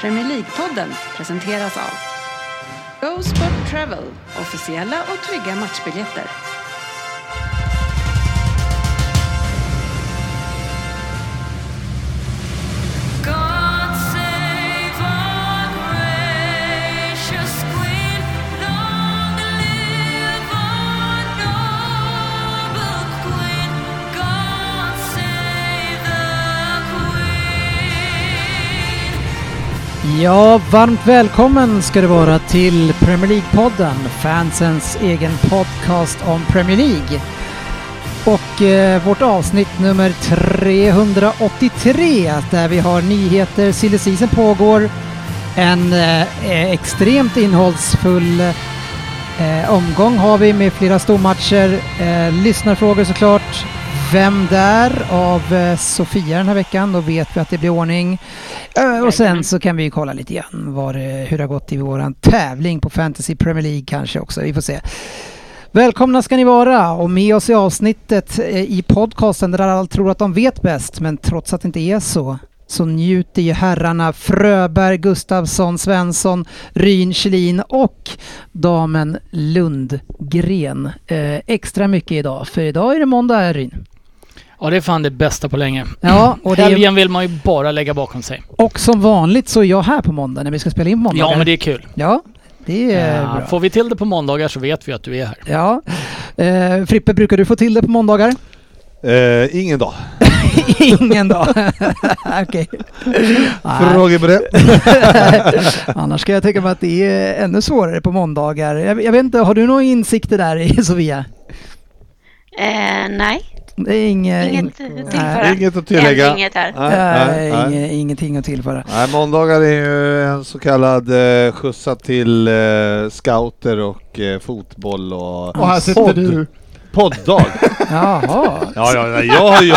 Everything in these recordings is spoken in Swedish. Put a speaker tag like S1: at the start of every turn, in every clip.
S1: Premier League-podden presenteras av Go Sport Travel, officiella och trygga matchbiljetter.
S2: God save our gracious Queen. Long live our noble Queen. God save the Queen.
S3: Ja, varmt välkommen ska du vara till Premier League-podden, fansens egen podcast om Premier League. Och eh, vårt avsnitt nummer 383 där vi har nyheter, silly season pågår, en eh, extremt innehållsfull eh, omgång har vi med flera stormatcher, eh, lyssnarfrågor såklart, Vem där? av eh, Sofia den här veckan, då vet vi att det blir ordning. Eh, och sen så kan vi ju kolla lite grann vad det, hur det har gått i våran tävling på Fantasy Premier League kanske också, vi får se. Välkomna ska ni vara och med oss i avsnittet eh, i podcasten där alla tror att de vet bäst men trots att det inte är så så njuter ju herrarna Fröberg, Gustafsson, Svensson, Ryn, Kjellin och damen Lundgren eh, extra mycket idag. För idag är det måndag eh, Ryn.
S4: Ja, det är fan det bästa på länge.
S3: Ja, och, det är,
S4: Helgen vill man ju bara lägga bakom sig.
S3: och som vanligt så är jag här på måndag när vi ska spela in måndag.
S4: Ja, men det är kul.
S3: ja, det är
S4: Ja,
S3: bra.
S4: Får vi till det på måndagar så vet vi att du är här.
S3: Ja. Eh, Frippe, brukar du få till det på måndagar?
S5: Eh, ingen dag.
S3: Ingen dag. Okej. Nej.
S5: Fråga på det.
S3: Annars kan jag tänka mig att det är ännu svårare på måndagar. Jag, jag vet inte, har du några insikter där i Sofia?
S6: Eh, nej,
S3: Det är inge,
S6: inget
S3: ing-
S6: att
S3: nej.
S6: tillföra.
S5: Inget att tillägga.
S6: Än inget här.
S5: Nej,
S3: Eh,
S5: nej, nej.
S3: inge, ingenting att tillföra.
S5: nej, måndagar är ju en så kallad eh, skjutsa till eh, scouter och eh, fotboll och...
S7: Och här sitter
S5: podd.
S7: du.
S5: Podddag!
S3: Jaha.
S5: Ja, ja, nej, jag har ju...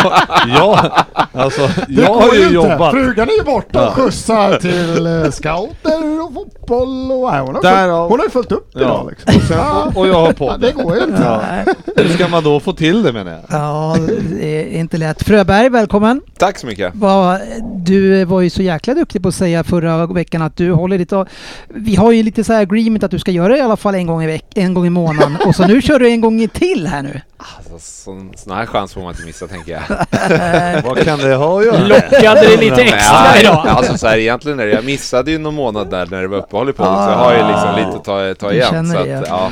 S5: Jag, alltså,
S7: Du
S5: jag
S7: går
S5: har ju
S7: inte.
S5: jobbat.
S7: Frugan är ju borta
S5: Ja.
S7: och skjutsar till eh, scouter och fotboll och nej, hon, har
S5: Därav-
S7: fullt, hon har ju fullt upp
S5: Ja.
S7: idag liksom.
S5: Och, sen, och jag har
S7: Ja,
S5: podd.
S7: det går ju inte.
S5: Ja. Hur ska man då få till det menar jag?
S3: Ja, det är inte lätt. Fröberg, välkommen.
S8: Tack så mycket.
S3: Vad- Du var ju så jäkla duktig på att säga förra veckan att du håller ditt... av- Vi har ju lite så här agreement att du ska göra det i alla fall en gång i, veck- en gång i månaden. Och så nu kör du en gång i till här nu.
S8: Alltså, sån, sån här chans får man inte missa tänker jag.
S5: Vad kan det ha att göra?
S4: Lockade det lite extra
S8: Nej,
S4: idag.
S8: Alltså så här, egentligen är det, jag missade ju någon månad där när det var uppehåll i podden så jag har ju liksom lite att ta, ta
S3: Du
S8: igen.
S3: känner
S8: Så
S3: det,
S8: att, ja.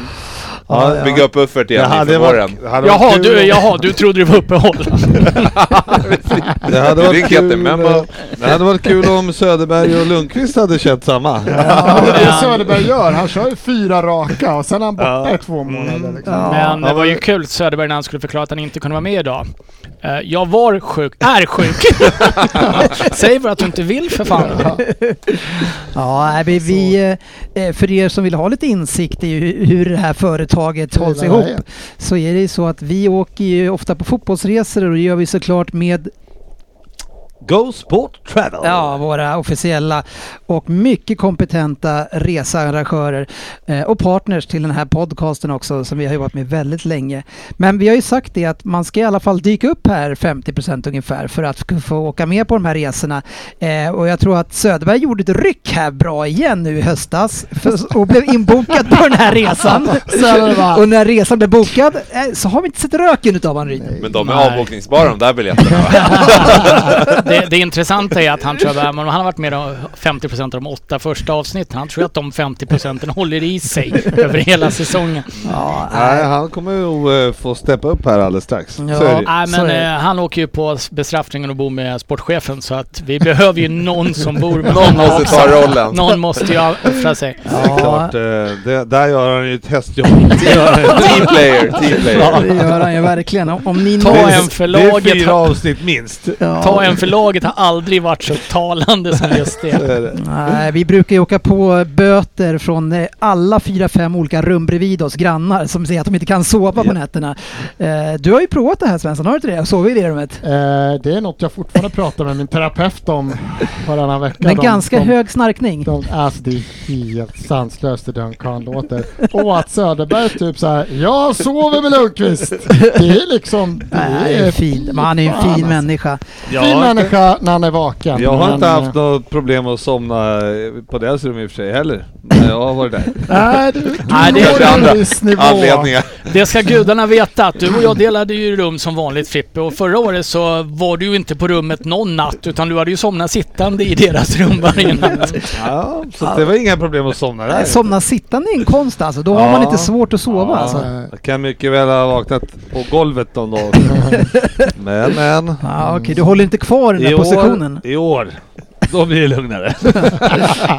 S3: Ja,
S8: Ja, bygga upp buffert igen inför våren.
S5: det hade
S4: Jaha
S5: varit kul
S4: du,
S5: om-
S4: jaha, du trodde det var uppehåll.
S5: Det hade
S8: Det
S5: varit
S8: ringt inte,
S5: kul,
S8: men
S5: eh,
S8: vad-
S5: det hade varit kul om Söderberg och Lundqvist hade känt samma.
S7: Ja, det är det Söderberg gör. Han kör ju fyra raka och sen är han borta i
S5: Mm.
S7: två månader. Liksom.
S4: Men det var ju kul Söderberg när han skulle förklara att han inte kunde vara med idag. Eh, Jag var sjuk, är sjuk. Säg bara att du inte vill för fan.
S3: Ja, nej, vi, vi, eh, för er som vill ha lite insikt i hu- hur det här företaget
S7: Det är
S3: hålls
S7: det
S3: ihop
S7: här är.
S3: så är det ju så att vi åker ju ofta på fotbollsresor och det gör vi såklart med
S5: Go Sport Travel!
S3: ja, våra officiella och mycket kompetenta researrangörer eh, och partners till den här podcasten också som vi har jobbat med väldigt länge. Men vi har ju sagt det att man ska i alla fall dyka upp här 50% ungefär för att få åka med på de här resorna. Eh, och jag tror att Söderberg gjorde ett ryck här bra igen nu i höstas för, och blev inbokad på den här resan.
S7: Sen är det bara,
S3: Och när resan blev bokad eh, så har vi inte sett röken utav han Ryd.
S8: Men de är
S4: Nej.
S8: avbokningsbara de där biljetterna va?
S4: Det, det intressanta är att han tror att han har varit med de 50% av de åtta första avsnitten. Han tror att de 50% håller i sig över hela säsongen.
S3: Ja,
S5: Nej, han kommer ju eh, få steppa upp här alldeles strax.
S3: Ja.
S5: Så är det ju.
S4: Nej
S3: Så
S4: men
S3: är det.
S4: eh, han åker ju på s- bestraffningen och bor med sportchefen så att vi behöver ju någon som bor med
S8: Någon måste
S4: också.
S8: ta rollen.
S4: Någon måste ju offra sig.
S5: Det är klart, eh, det, där gör han ju ett hästjobb. Det gör han ju.
S8: Team player, team
S3: Ja,
S8: player.
S3: det gör han ju verkligen. Om- Om ni
S4: Ta
S3: någonsin-
S5: Det är-
S4: en för
S5: Det är
S4: laget.
S5: fyra avsnitt minst.
S3: Ja.
S4: Ta en förlaget har aldrig varit så talande som just
S5: Det
S4: det.
S5: är det.
S3: Nej, vi brukar ju åka på böter från eh, alla fyra, fem olika rum bredvid oss, grannar, som säger att de inte kan sova på
S5: Ja.
S3: nätterna. Eh, Du har ju provat det här Svensson, har du inte det? Sovit i det rummet?
S7: eh, det är något jag fortfarande pratar med min terapeut om varannan vecka.
S3: Men
S7: De-
S3: ganska
S7: de,
S3: hög snarkning.
S7: De, alltså det är helt sanslöst hur den kan låter. Och att Söderberg typ såhär, jag sover med Lundqvist. Det är liksom... Det
S3: Nej, han är ju fin. Men han är ju en
S7: fan,
S3: fin
S7: alltså.
S3: människa.
S7: Fin
S5: Jag kan
S7: människa när han är vaken.
S5: Jag har
S7: men,
S5: inte haft
S7: eh,
S5: något problem att somna eh, på deras rum i och för sig heller. När jag har varit där.
S7: Nej, du, du
S4: Nej, det är
S7: når
S4: kanske
S7: en
S5: andra
S7: viss nivå.
S5: Anledningar.
S4: Det ska gudarna veta att du och jag delade ju rum som vanligt Frippe och förra året så var du ju inte på rummet någon natt utan du hade ju somnat sittande i deras rum varje natt.
S5: Ja, så det var inga problem att somna där.
S3: Somna sittande är en konst alltså. Då har
S5: Ja.
S3: man inte svårt att sova
S5: Ja.
S3: alltså.
S5: Jag kan mycket väl ha vaknat på golvet någon dag. Men, men.
S3: Ja, okej, du håller inte kvar den
S5: I
S3: där positionen.
S5: år, I år. Då blir det lugnare.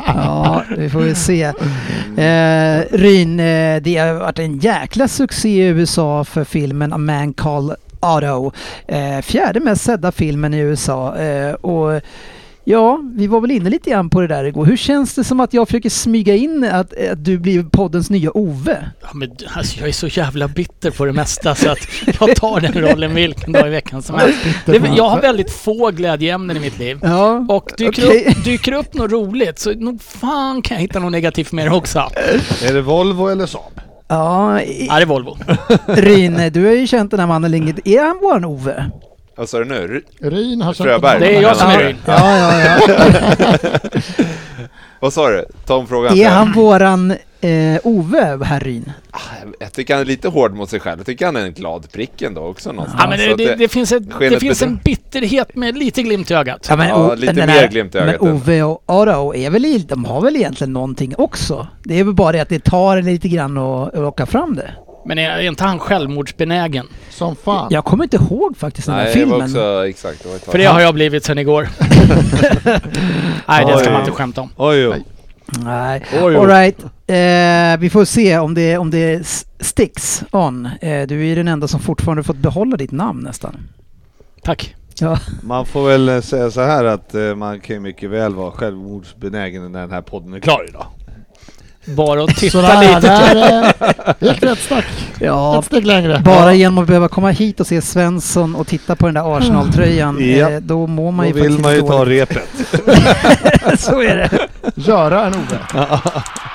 S3: Ja, vi får väl se. Eh, Ryn, eh, det har varit en jäkla succé i USA för filmen A Man Called Otto. Eh, fjärde mest sedda filmen i USA. Eh, och Ja, vi var väl inne lite grann på det där igår. Hur känns det som att jag försöker smyga in att, att du blir poddens nya Ove?
S4: Ja, men, alltså, jag är så jävla bitter på det mesta så att jag tar den rollen vilken dag i veckan som helst. Det, är väl- jag har väldigt få glädjeämnen i mitt liv.
S3: Ja,
S4: Och dyker,
S3: Okej.
S4: upp, dyker upp något roligt så nog fan kan jag hitta något negativt med det också.
S5: Är det Volvo eller Saab?
S3: ja i-
S4: Ja, det är Volvo.
S3: Ryn, du har ju känt den här mannen länge. Är han våran Ove?
S8: Vad sa du nu? R-
S7: Ryn har känt
S8: Fröberg.
S4: alltså, Det är jag som är
S8: Ja.
S4: Ryn.
S3: Ja, ja, ja.
S8: Vad sa du? Tom frågan.
S3: Är han våran eh, Ove, herr Ryn?
S8: Ah, Jag tycker han är lite hård mot sig själv. Jag tycker han är en glad prick ändå också någonstans.
S4: Ja, men
S8: Så
S4: det,
S8: att
S4: alltså, det, det finns, ett, det
S8: skenet
S4: finns en
S8: bedrar.
S4: bitterhet med lite glimt i ögat.
S3: Ja, men,
S8: Ja,
S3: O-
S8: lite
S3: den
S8: mer
S3: här-
S8: glimt i ögat
S3: Men
S8: än-
S3: Ove och Arao är väl, i- de har väl egentligen någonting också? Det är väl bara det att det tar lite grann att att locka fram det.
S4: Men är är inte han självmordsbenägen?
S7: Som fan.
S3: Jag kommer inte ihåg faktiskt den här
S8: Nej, det var
S3: filmen.
S8: också exakt. Det var ett tag.
S4: För det har jag blivit sen igår. Nej, det ska
S5: Oj.
S4: man inte skämta om.
S5: Oj, oj.
S3: Nej. All
S5: Oj, oj.
S3: right. Eh, vi får se om det, om det s- sticks on. Eh, du är ju den enda som fortfarande fått behålla ditt namn nästan.
S4: Tack.
S3: Ja.
S5: Man får väl eh, säga så här att eh, man kan ju mycket väl vara självmordsbenägen när den här podden är klar idag.
S4: Bara att titta
S7: Sådär,
S4: lite.
S7: där eh, gick det ett steg.
S3: ja,
S7: Ett steg längre.
S3: bara genom att behöva komma hit och se Svensson och titta på den där Arsenal-tröjan,
S5: Ja.
S3: eh, då mår man
S5: Då
S3: ju
S5: vill
S3: faktiskt
S5: man ju
S3: lite
S5: ta
S3: dåligt.
S5: repet.
S3: Så är det.
S7: Göra en Ove.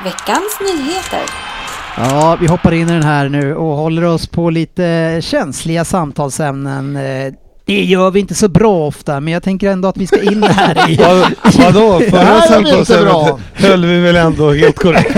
S2: Veckans nyheter.
S3: Ja, vi hoppar in i den här nu och håller oss på lite känsliga samtalsämnen. Eh, Det gör vi inte så bra ofta, men jag tänker ändå att vi ska in här i...
S5: Vad, vadå?
S7: här
S5: Förra
S7: var
S5: samtalsämnet
S7: jättebra.
S5: höll vi väl ändå helt korrekt?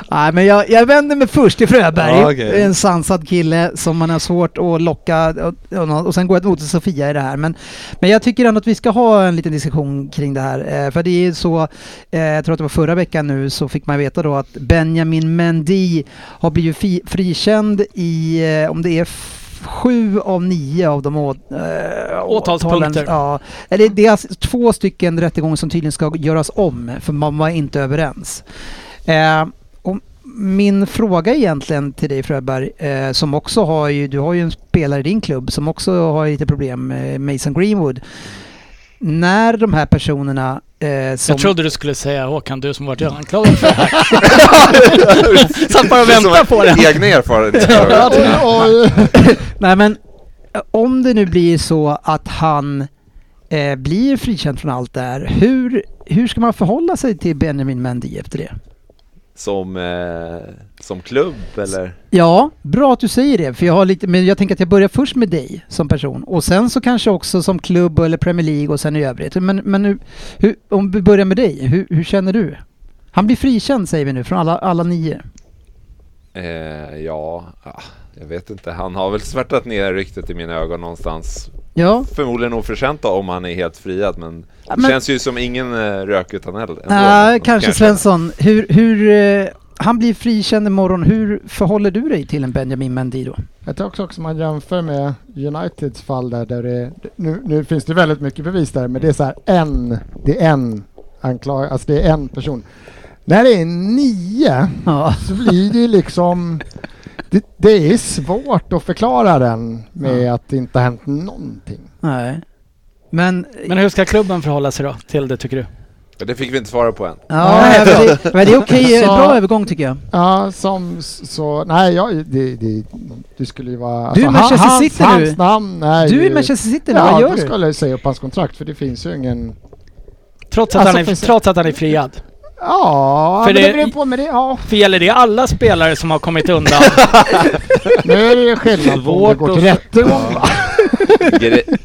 S3: Nej, men jag, jag vänder mig först till Fröberg.
S5: Ja, okej.
S3: En sansad kille som man har svårt att locka. Och, och, och sen går jag emot till Sofia i det här. Men, men jag tycker ändå att vi ska ha en liten diskussion kring det här. Eh, för det är ju så, eh, jag tror att det var förra veckan nu, så fick man veta då att Benjamin Mendy har blivit fi, frikänd i, eh, om det är f- sju av nio av de å, eh,
S4: Åtalspunkter.
S3: åtalen. Ja. Eller det är alltså två stycken rättegångar som tydligen ska göras om, för man var inte överens. Eh, och min fråga egentligen till dig Fröberg, eh, som också har ju, du har ju en spelare i din klubb som också har lite problem, eh, Mason Greenwood. När de här personerna eh, som...
S4: Jag trodde du skulle säga Håkan, du som varit anklagad för det här. Satt bara och
S8: Det är som
S4: väntade på det.
S8: Egna erfarenheter.
S7: Oj, oj.
S3: Nej men, eh, om det nu blir så att han eh, blir frikänd från allt det här, hur, hur ska man förhålla sig till Benjamin Mendy efter det?
S8: Som, eh, som klubb eller?
S3: Ja, bra att du säger det. För jag har lite, men jag tänker att jag börjar först med dig som person och sen så kanske också som klubb eller Premier League och sen i övrigt. Men, men nu, hur, om vi börjar med dig, hur, hur känner du? Han blir frikänd säger vi nu från alla, alla nio.
S8: Eh, ja, ah, jag vet inte. Han har väl svärtat ner ryktet i mina ögon någonstans.
S3: Ja,
S8: Förmodligen oförtjänt då, om han är helt friad men
S3: Ja,
S8: det
S3: men-
S8: känns ju som ingen eh, rök utan eld. ändå,
S3: äh,
S8: nästan,
S3: kanske Svensson. Hur, hur, eh, han blir frikänd imorgon. Hur förhåller du dig till en Benjamin Mendy då?
S7: Jag tror också också man jämför med Uniteds fall där, där det, nu, nu finns det väldigt mycket bevis där, men det är så här en, det är en anklag, alltså det är en person. När det är nio
S3: Ja,
S7: så blir det ju liksom, det, det är svårt att förklara den med att det inte har hänt någonting.
S3: nej. Men,
S4: Men hur ska klubben förhålla sig då till det tycker du?
S8: Det fick vi inte svara på än.
S3: ja,
S7: Nej,
S3: men det, men det är okej.
S7: Så-
S3: Bra övergång tycker jag.
S7: Ja, som så, nej jag, det, det, det skulle ju vara...
S3: Du är Manchester
S7: hans,
S3: City
S7: hans,
S3: nu.
S7: namn är
S3: Du är
S7: ju-
S3: i Manchester City nu,
S7: Ja,
S3: vad
S7: då
S3: gör du?
S7: skulle jag säga upp hans kontrakt för det finns ju ingen...
S4: Trots att,
S7: Alltså,
S4: han, är,
S7: precis.
S4: trots att han är friad.
S7: Ja,
S4: För
S7: men det,
S4: det-
S7: beror på med det. Ja.
S4: För gäller det alla spelare som har kommit undan?
S7: Nu är det ju skillnad på om det
S5: Svårt
S7: går
S5: att-
S7: till rättegång va?
S8: Gre-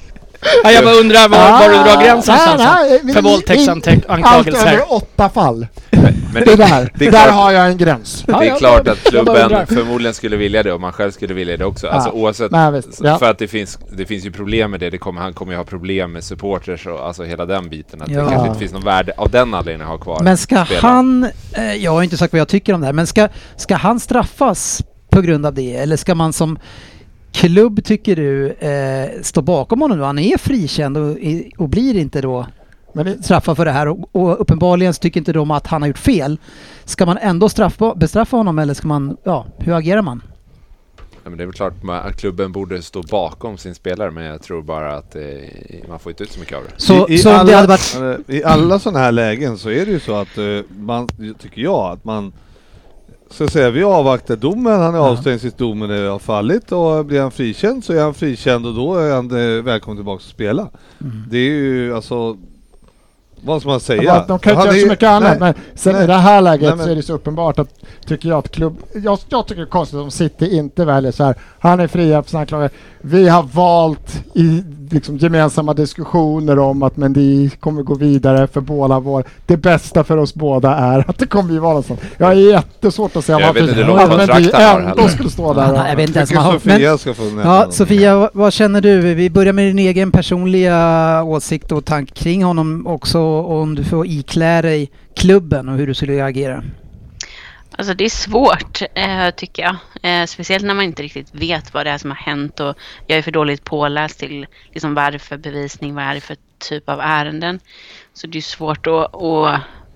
S4: Ja, jag bara undrar var, var du drar gränsen
S7: Ah,
S4: någonstans.
S7: nej, nej,
S4: För
S7: men- Allt
S4: våldtäktsanklagelser.
S7: över åtta fall.
S8: Men
S7: Det
S8: det,
S7: där,
S8: det är
S7: där
S8: klart-
S7: har jag en gräns.
S4: Ja,
S8: det är
S4: jag
S8: klart
S4: bara-
S8: att
S4: jag bara undrar.
S8: klubben förmodligen skulle vilja det och man själv skulle vilja det också. Alltså
S7: Ja.
S8: oavsett.
S7: Nej, visst. Ja.
S8: För att det finns, det finns ju problem med det. det kommer, han kommer ju ha problem med supporters och alltså hela den biten. Att
S3: Ja.
S8: det kanske inte finns någon värde av den anledningen att ha kvar.
S3: Men ska
S8: spelaren.
S3: han, eh, jag har inte sagt vad jag tycker om det här, men ska, ska han straffas på grund av det? Eller ska man som klubb, tycker du, eh, stå bakom honom nu? Han är frikänd och, i- och blir inte då
S7: Men det,
S3: straffad för det här och, och uppenbarligen så tycker inte de att han har gjort fel. Ska man ändå straffa, bestraffa honom eller ska man, ja, hur agerar man?
S8: Ja, men det är väl klart ma- att klubben borde stå bakom sin spelare men jag tror bara att eh, man får inte ut så mycket av det.
S3: Så, så om det hade varit...
S5: eh, I alla sådana här lägen så är det ju så att eh, man, tycker jag, att man ska säga vi avvaktar domen, han är avstängd tills domen är- har fallit och blir han frikänd så är han frikänd och då är han eh, välkommen tillbaka att spela.
S3: Mm.
S5: Det är ju alltså, vad ska man säga?
S7: de kan ju
S5: Han är
S7: inte göra så
S5: ju-
S7: mycket
S5: nej.
S7: annat. Men sen
S5: nej.
S7: i det här läget
S5: Nej, men-
S7: så är det så uppenbart att, tycker jag att klubb... Jag, jag tycker det är konstigt om City inte väljer så här. Han är fria för sina anklagelser. Vi har valt i liksom, gemensamma diskussioner om att Mendy kommer gå vidare för båda vår... Det bästa för oss båda är att det kommer ju vara något sånt. Jag är jättesvårt att säga
S8: Jag vet inte hur långt
S7: att Mendy
S8: kontrakt han har
S7: ändå
S8: heller.
S7: skulle stå där och...
S3: Nej, jag vet inte ens
S5: Tycker
S3: vad man har...
S5: Sofia
S3: Men,
S5: ska få nämna
S3: ja,
S5: någonting.
S3: Sofia, vad- vad känner du? Vi börjar med din egen personliga åsikt och tanke kring honom också och om du får iklä dig klubben och hur du skulle agera.
S6: Alltså det är svårt eh, tycker jag. Eh, speciellt när man inte riktigt vet vad det är som har hänt och jag är för dåligt påläst till liksom, vad är det för bevisning, vad är det för typ av ärenden. Så det är svårt att, och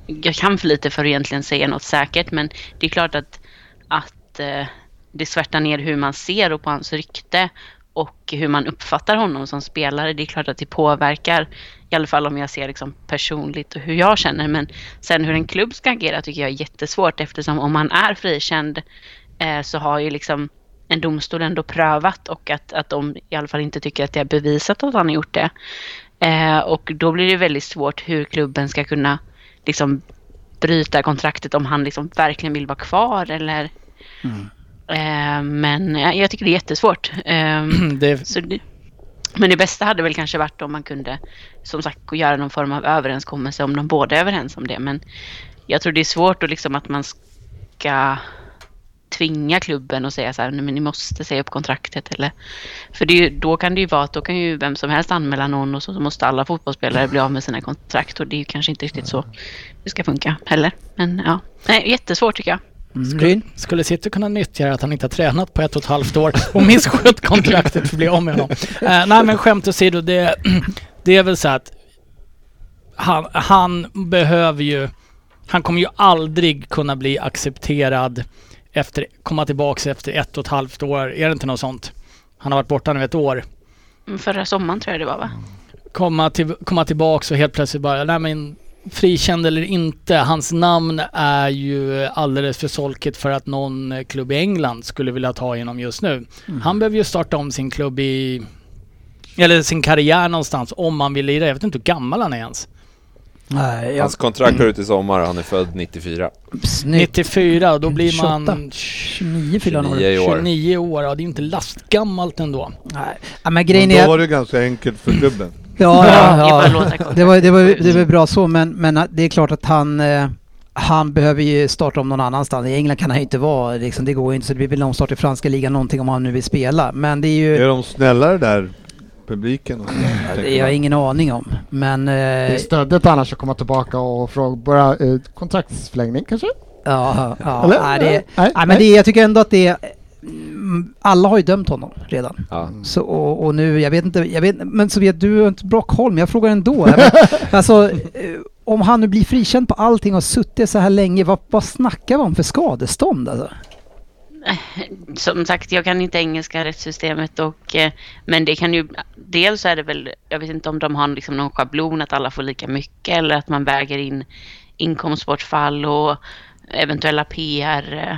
S6: jag kan för lite för att egentligen säga något säkert men det är klart att, att eh, det svärtar ner hur man ser och på hans rykte och hur man uppfattar honom som spelare. Det är klart att det påverkar, i alla fall om jag ser liksom personligt och hur jag känner. Men sen hur en klubb ska agera tycker jag är jättesvårt eftersom om man är frikänd eh, så har ju liksom en domstol ändå prövat och att, att de i alla fall inte tycker att det är bevisat att han har gjort det. Eh, och då blir det väldigt svårt hur klubben ska kunna liksom bryta kontraktet om han liksom verkligen vill vara kvar eller Eh, men eh, jag tycker det är jättesvårt. Eh,
S4: Det,
S6: så det, men det bästa hade väl kanske varit om man kunde, som sagt, gå- göra någon form av överenskommelse om de båda är överens om det. Men jag tror det är svårt att, liksom att man ska tvinga klubben och säga så här, nej men ni måste säga upp kontraktet eller... För det är ju, då kan det ju vara att då kan ju vem som helst anmäla någon och så måste alla fotbollsspelare bli av med sina kontrakt och det är ju kanske inte riktigt så det ska funka heller. Men ja, nej, jättesvårt tycker jag.
S3: Mm.
S4: skulle, skulle City kunna nyttja att han inte har tränat på ett och ett halvt år och misskött kontraktet för att bli av med honom? Eh, nej men skämt åsido, det, det är väl så att han, han behöver ju... Han kommer ju aldrig kunna bli accepterad efter, komma tillbaks efter ett och ett halvt år. Är det inte något sånt? Han har varit borta nu ett år.
S6: Mm, Förra sommaren tror jag det var va?
S4: komma, till, komma tillbaks och helt plötsligt bara, nej men frikänd eller inte, hans namn är ju alldeles för solkigt för att någon eh, klubb i England skulle vilja ta honom just nu. Han behöver ju starta om sin klubb i, eller sin karriär någonstans om han vill lira. Jag vet inte hur gammal han är ens.
S3: Nej,
S8: Hans kontrakt går ut i sommar och han är född 94.
S3: Snyggt.
S4: 94 och då blir man
S3: 28. 29 fyller han år.
S8: 29 i år.
S4: 29 år. Ja, det är ju inte lastgammalt ändå.
S3: Nej, ja, men
S5: Men
S3: grejen är...
S5: Då var det ganska enkelt för klubben.
S3: Ja, ja,
S6: Ifall
S3: ja.
S6: låta kontraktet
S3: Det var, det, var,
S6: gå ut.
S3: det var bra så, men, men att det är klart att han, eh, han behöver ju starta om någon annanstans. I England kan han ju inte vara, liksom, det går ju inte, så det blir väl någon start i franska ligan någonting om han nu vill spela. Men det är ju,
S5: Är de snällare där, publiken?
S3: det har jag ingen aning om. Men
S7: Det är
S3: eh,
S7: stödet annars att komma tillbaka och fråga, börja eh, kontraktsförlängning kanske?
S3: ja, ja,
S7: Eller?
S3: nej, det,
S7: Nej,
S3: nej, men
S7: nej.
S3: det, jag tycker ändå att det är, mm, alla har ju dömt honom redan.
S6: Mm.
S8: Ja.
S3: Så, och, och nu, jag vet inte, jag vet, men så vet du har inte bra koll, men jag frågar ändå. Jag vet, alltså, eh, om han nu blir frikänd på allting och har suttit så här länge, vad, vad snackar vi om för skadestånd alltså?
S6: som sagt, jag kan inte engelska rättssystemet och eh, men det kan ju dels är det väl, jag vet inte om de har liksom någon schablon att alla får lika mycket eller att man väger in inkomstbortfall och eventuella PR,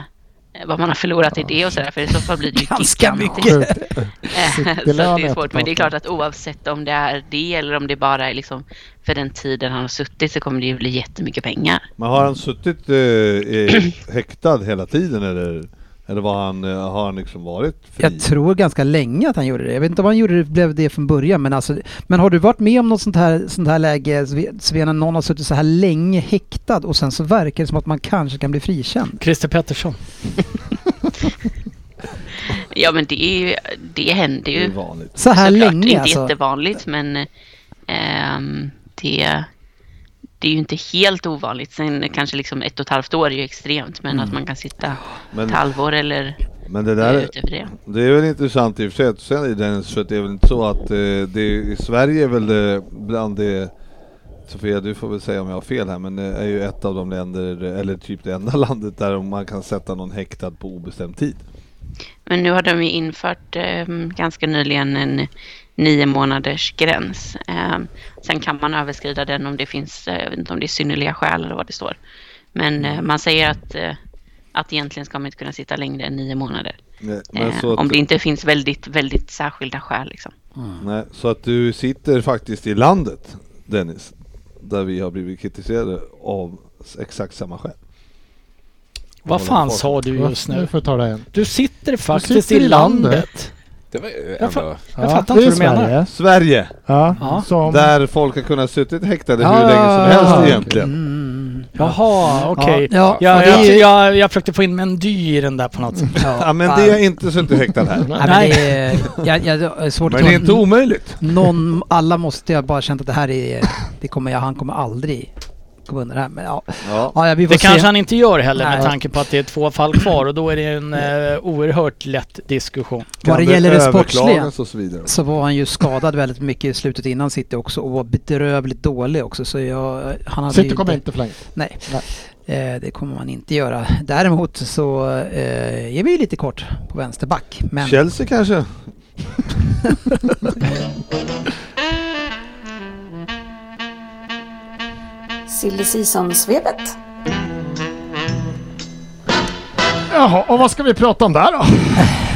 S6: eh, vad man har förlorat i det och sådär, för i så fall blir det ju
S3: Ganska
S6: gigantiskt.
S3: mycket.
S6: Eh, så att det
S7: Citylön
S6: är svårt,
S7: efteråt.
S6: men det är klart att oavsett om det är det eller om det bara är liksom för den tiden han har suttit så kommer det ju bli jättemycket pengar.
S5: Men har han suttit eh, i- häktad hela tiden eller? Eller var han, eh, har han liksom varit fri?
S3: Jag tror ganska länge att han gjorde det. Jag vet inte om han gjorde det, blev det från början. Men, alltså, men har du varit med om något sånt här, sånt här läge, Sve- Sven, när någon har suttit så här länge häktad och sen så verkar det som att man kanske kan bli frikänd?
S4: Christer Pettersson.
S6: Ja, men det, är ju, det händer
S5: Det
S6: ju.
S5: är vanligt.
S3: Så här
S6: Såklart,
S3: länge
S6: inte
S3: alltså?
S6: jättevanligt, men ehm, det, det är ju inte helt ovanligt. Sen kanske liksom ett och ett halvt år är ju extremt, men
S3: Mm.
S6: att man kan sitta
S5: Men,
S6: ett halvår eller
S5: men det där,
S6: Där. utöver det.
S5: Det är väl intressant i och för sig att du säger det Dennis, för att det är väl inte så att eh, det, i Sverige är väl det, bland det Sofia, du får väl säga om jag har fel här, men det är ju ett av de länder, eller typ det enda landet där man kan sätta någon häktad på obestämd tid.
S6: Men nu har de ju infört ehm, ganska nyligen en nio månaders gräns. Ehm, sen kan man överskrida den om det finns, eh, jag vet inte om det är synnerliga skäl eller vad det står. Men eh, man säger att, eh, att egentligen ska man inte kunna sitta längre än nio månader.
S5: Men
S6: eh,
S5: så,
S6: om
S5: att,
S6: det inte finns väldigt, väldigt särskilda skäl. Liksom.
S5: nej, så att du sitter faktiskt i landet, Dennis, där vi har blivit kritiserade av s- exakt samma skäl.
S4: Vad fan sa du just
S7: Nu
S4: nu?
S7: får jag ta det igen.
S4: Du sitter faktiskt
S7: sitter
S4: i
S7: i
S4: landet.
S7: landet.
S8: Det var ju
S4: Jag
S8: ändå...
S4: Jag fattar
S7: det
S4: inte
S7: är
S4: vad du menar.
S7: Sverige.
S5: Sverige,
S7: Ja,
S4: Ja.
S7: Som,
S5: där folk har kunnat suttit häktade hur
S3: Ja,
S5: länge som
S3: ja,
S5: helst
S7: ja,
S5: egentligen.
S3: Mm.
S4: Jaha, okej.
S3: Ja, ja. det
S4: Ja,
S3: är
S4: jag,
S3: ju-
S4: jag, jag försökte få in Mendy i den där på något sätt.
S5: Ja, men det är inte suttit häktad här.
S3: Nej, men det är, jag, jag, det är svårt
S5: Men
S3: att
S5: det
S3: tro
S5: är inte omöjligt.
S3: någon, alla måste jag bara känt att det här är, det kommer jag, han kommer aldrig komma under det här. Men ja,
S5: Ja.
S3: ja vi får
S4: Det
S3: se.
S4: kanske han inte gör heller med
S3: Nej.
S4: tanke på att det är två fall kvar och då är det en eh, oerhört lätt diskussion.
S3: Vad det
S5: Kan
S3: gäller det
S5: överklagas
S3: sportsliga
S5: och så vidare.
S3: så var han ju skadad väldigt mycket i slutet innan City också och var bedrövligt dålig också. Så jag, han hade
S7: City
S3: ju
S7: kommer
S3: inte,
S7: inte förlänga.
S3: Nej, Eh, det kommer man inte göra. Däremot så eh, är vi ju lite kort på vänsterback. Men
S5: Chelsea kanske?
S2: Silly Season-svepet.
S7: Jaha, och vad ska vi prata om där då?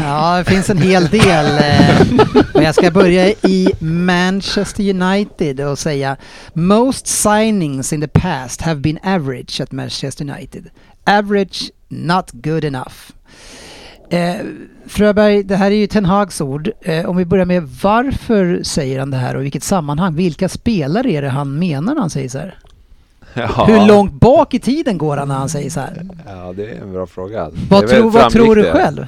S3: Ja, det finns en hel del. eh, Men jag ska börja i Manchester United och säga Most signings in the past have been average at Manchester United. Average, not good enough. Eh, Fröberg, det här är ju Ten Hags ord. Eh, om vi börjar med varför säger han det här och i vilket sammanhang? Vilka spelare är det han menar när han säger så här?
S8: Ja.
S3: Hur långt bak i tiden går han när han säger så här?
S8: Ja, det är en bra fråga. Det
S3: Vad,
S8: är väl
S3: tror- vad tror du
S8: framgick det.
S3: själv?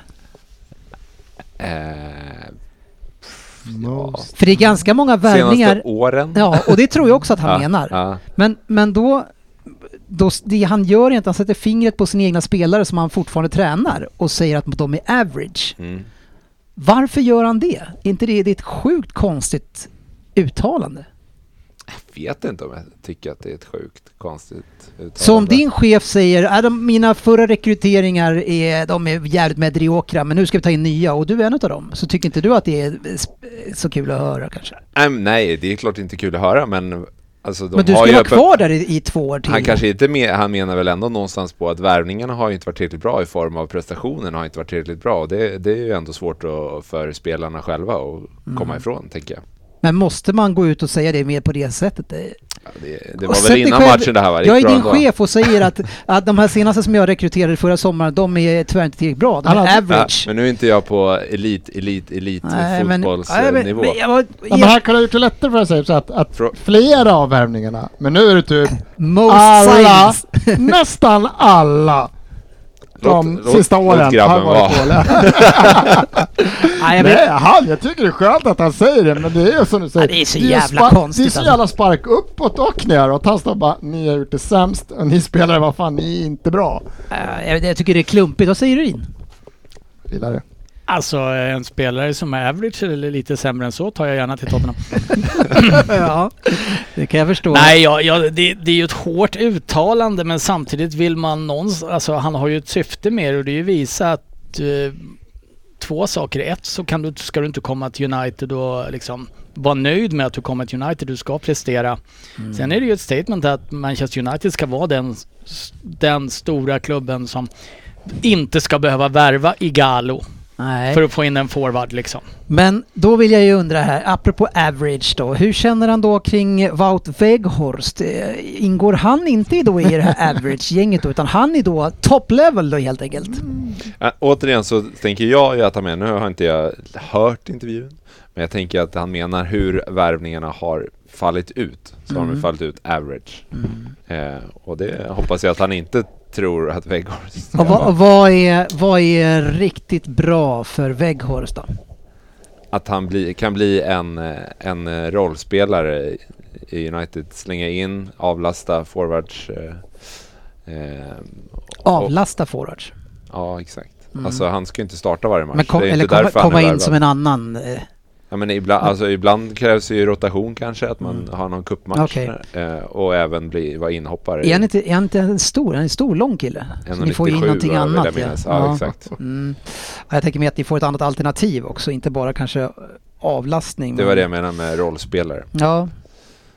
S8: Eh,
S7: Most.
S3: För det är ganska många värvningar
S8: senaste åren?
S3: Ja, och det tror jag också att han menar.
S8: Ja.
S3: Men, men då, då, det han gör är att han sätter fingret på sina egna spelare som han fortfarande tränar och säger att de är average.
S8: Mm.
S3: Varför gör han det? Är inte det, det är ett sjukt konstigt uttalande?
S8: Jag vet inte om jag tycker att det är ett sjukt konstigt uttalande.
S3: Så om din chef säger att de, mina förra rekryteringar är, de är jävligt mediokra men nu ska vi ta in nya och du är en av dem. Så tycker inte du att det är eh, sp- så kul att höra kanske?
S8: Äm, nej, det är klart inte kul att höra, men... Alltså, de
S3: men du
S8: har
S3: ska
S8: ju
S3: vara
S8: öppen-
S3: kvar där i, i två år till.
S8: Han kanske inte men, han menar väl ändå någonstans på att värvningarna har ju inte varit tillräckligt bra i form av prestationen har inte varit tillräckligt bra. Och Det, det är ju ändå svårt att, för spelarna själva att
S3: Mm.
S8: komma ifrån, tänker jag.
S3: Men måste man gå ut och säga det mer på det sättet? Det-
S8: Ja, det, det
S3: Och
S8: var
S3: sätt
S8: väl
S3: dig
S8: innan
S3: själv-
S8: matchen det här var
S3: Jag är din chef och säger att, att de här senaste som jag rekryterade förra sommaren, de är tyvärr inte tillräckligt bra. De
S7: Han
S3: är
S7: har-
S8: Ja,
S3: average.
S8: men nu är inte jag på elit, elit, elit
S3: nej, men-
S8: fotbollsnivå.
S3: men jag var-
S7: Ja, men han kunde ha gjort det lättare för sig så att, att
S8: Frå-
S7: flera av värvningarna, men nu är det typ
S3: Most
S7: alla,
S3: signings.
S7: nästan alla de
S8: Låt- låt-
S7: sista
S8: låt
S7: åren
S8: grabben
S7: har varit
S8: vara.
S7: dåliga.
S3: Nej, jag vet-
S7: Nej, han, jag tycker det är skönt att han säger det, men det är ju som du säger.
S3: Ja, det är så
S7: ju
S3: jävla
S7: spark-
S3: konstigt
S7: Det är så
S3: alltså.
S7: jävla spark uppåt och neråt. Han står bara, ni har gjort det sämst och ni spelare, vad fan, ni är inte bra.
S3: eh, jag, jag tycker det är klumpigt. Vad säger du in?
S7: Gillar det.
S4: Alltså eh, en spelare som är average eller lite sämre än så tar jag gärna till Tottenham.
S3: ja, det kan jag förstå.
S4: Nej, jag, jag, det, det är ju ett hårt uttalande men samtidigt vill man någonstans, alltså han har ju ett syfte med det och det är ju visa att eh, två saker. Ett så kan du, ska du inte komma till United och liksom vara nöjd med att du kommer till United, du ska prestera. Sen är det ju ett statement att Manchester United ska vara den, s- den stora klubben som inte ska behöva värva Igalo.
S3: Nej.
S4: för att få in en forward liksom.
S3: Men då vill jag ju undra här, apropå average då, hur känner han då kring Wout Weghorst? Eh, Ingår han inte då i det här average-gänget då, utan han är då top level då helt enkelt?
S8: Äh, återigen så tänker jag ju att han menar, nu har inte jag hört intervjun, men jag tänker att han menar hur värvningarna har fallit ut. Så har de
S3: Mm.
S8: fallit ut average. Eh, och det hoppas jag att han inte tror att Weghorst
S3: Och vad, och vad, är, vad är riktigt bra för Weghorst då?
S8: att han bli, kan bli en, eh, en eh, rollspelare i- i United. Slänga in, avlasta forwards. Eh, eh, och-
S3: Avlasta forwards.
S8: Ja, exakt.
S3: Mm.
S8: Alltså han ska ju inte starta varje match.
S3: Men kom,
S8: Det är
S3: eller
S8: inte
S3: komma,
S8: därför han
S3: komma
S8: är
S3: in
S8: värvad.
S3: som en annan... eh,
S8: Ja, men ibland, alltså, ibland krävs ju rotation kanske, att man
S3: Mm.
S8: har någon cupmatch.
S3: Okej.
S8: Eh, och även bli, vara inhoppare. i
S3: Är han inte, är han inte en stor, han är en stor lång kille? Så ni får ju in
S8: 1,97
S3: någonting
S8: vill jag
S3: annat.
S8: minnas. Ja, exakt.
S3: Mm. Och Jag tänker mig att ni får ett annat alternativ också, inte bara kanske avlastning.
S8: Det
S3: men-
S8: var det jag menade med rollspelare.
S3: Ja,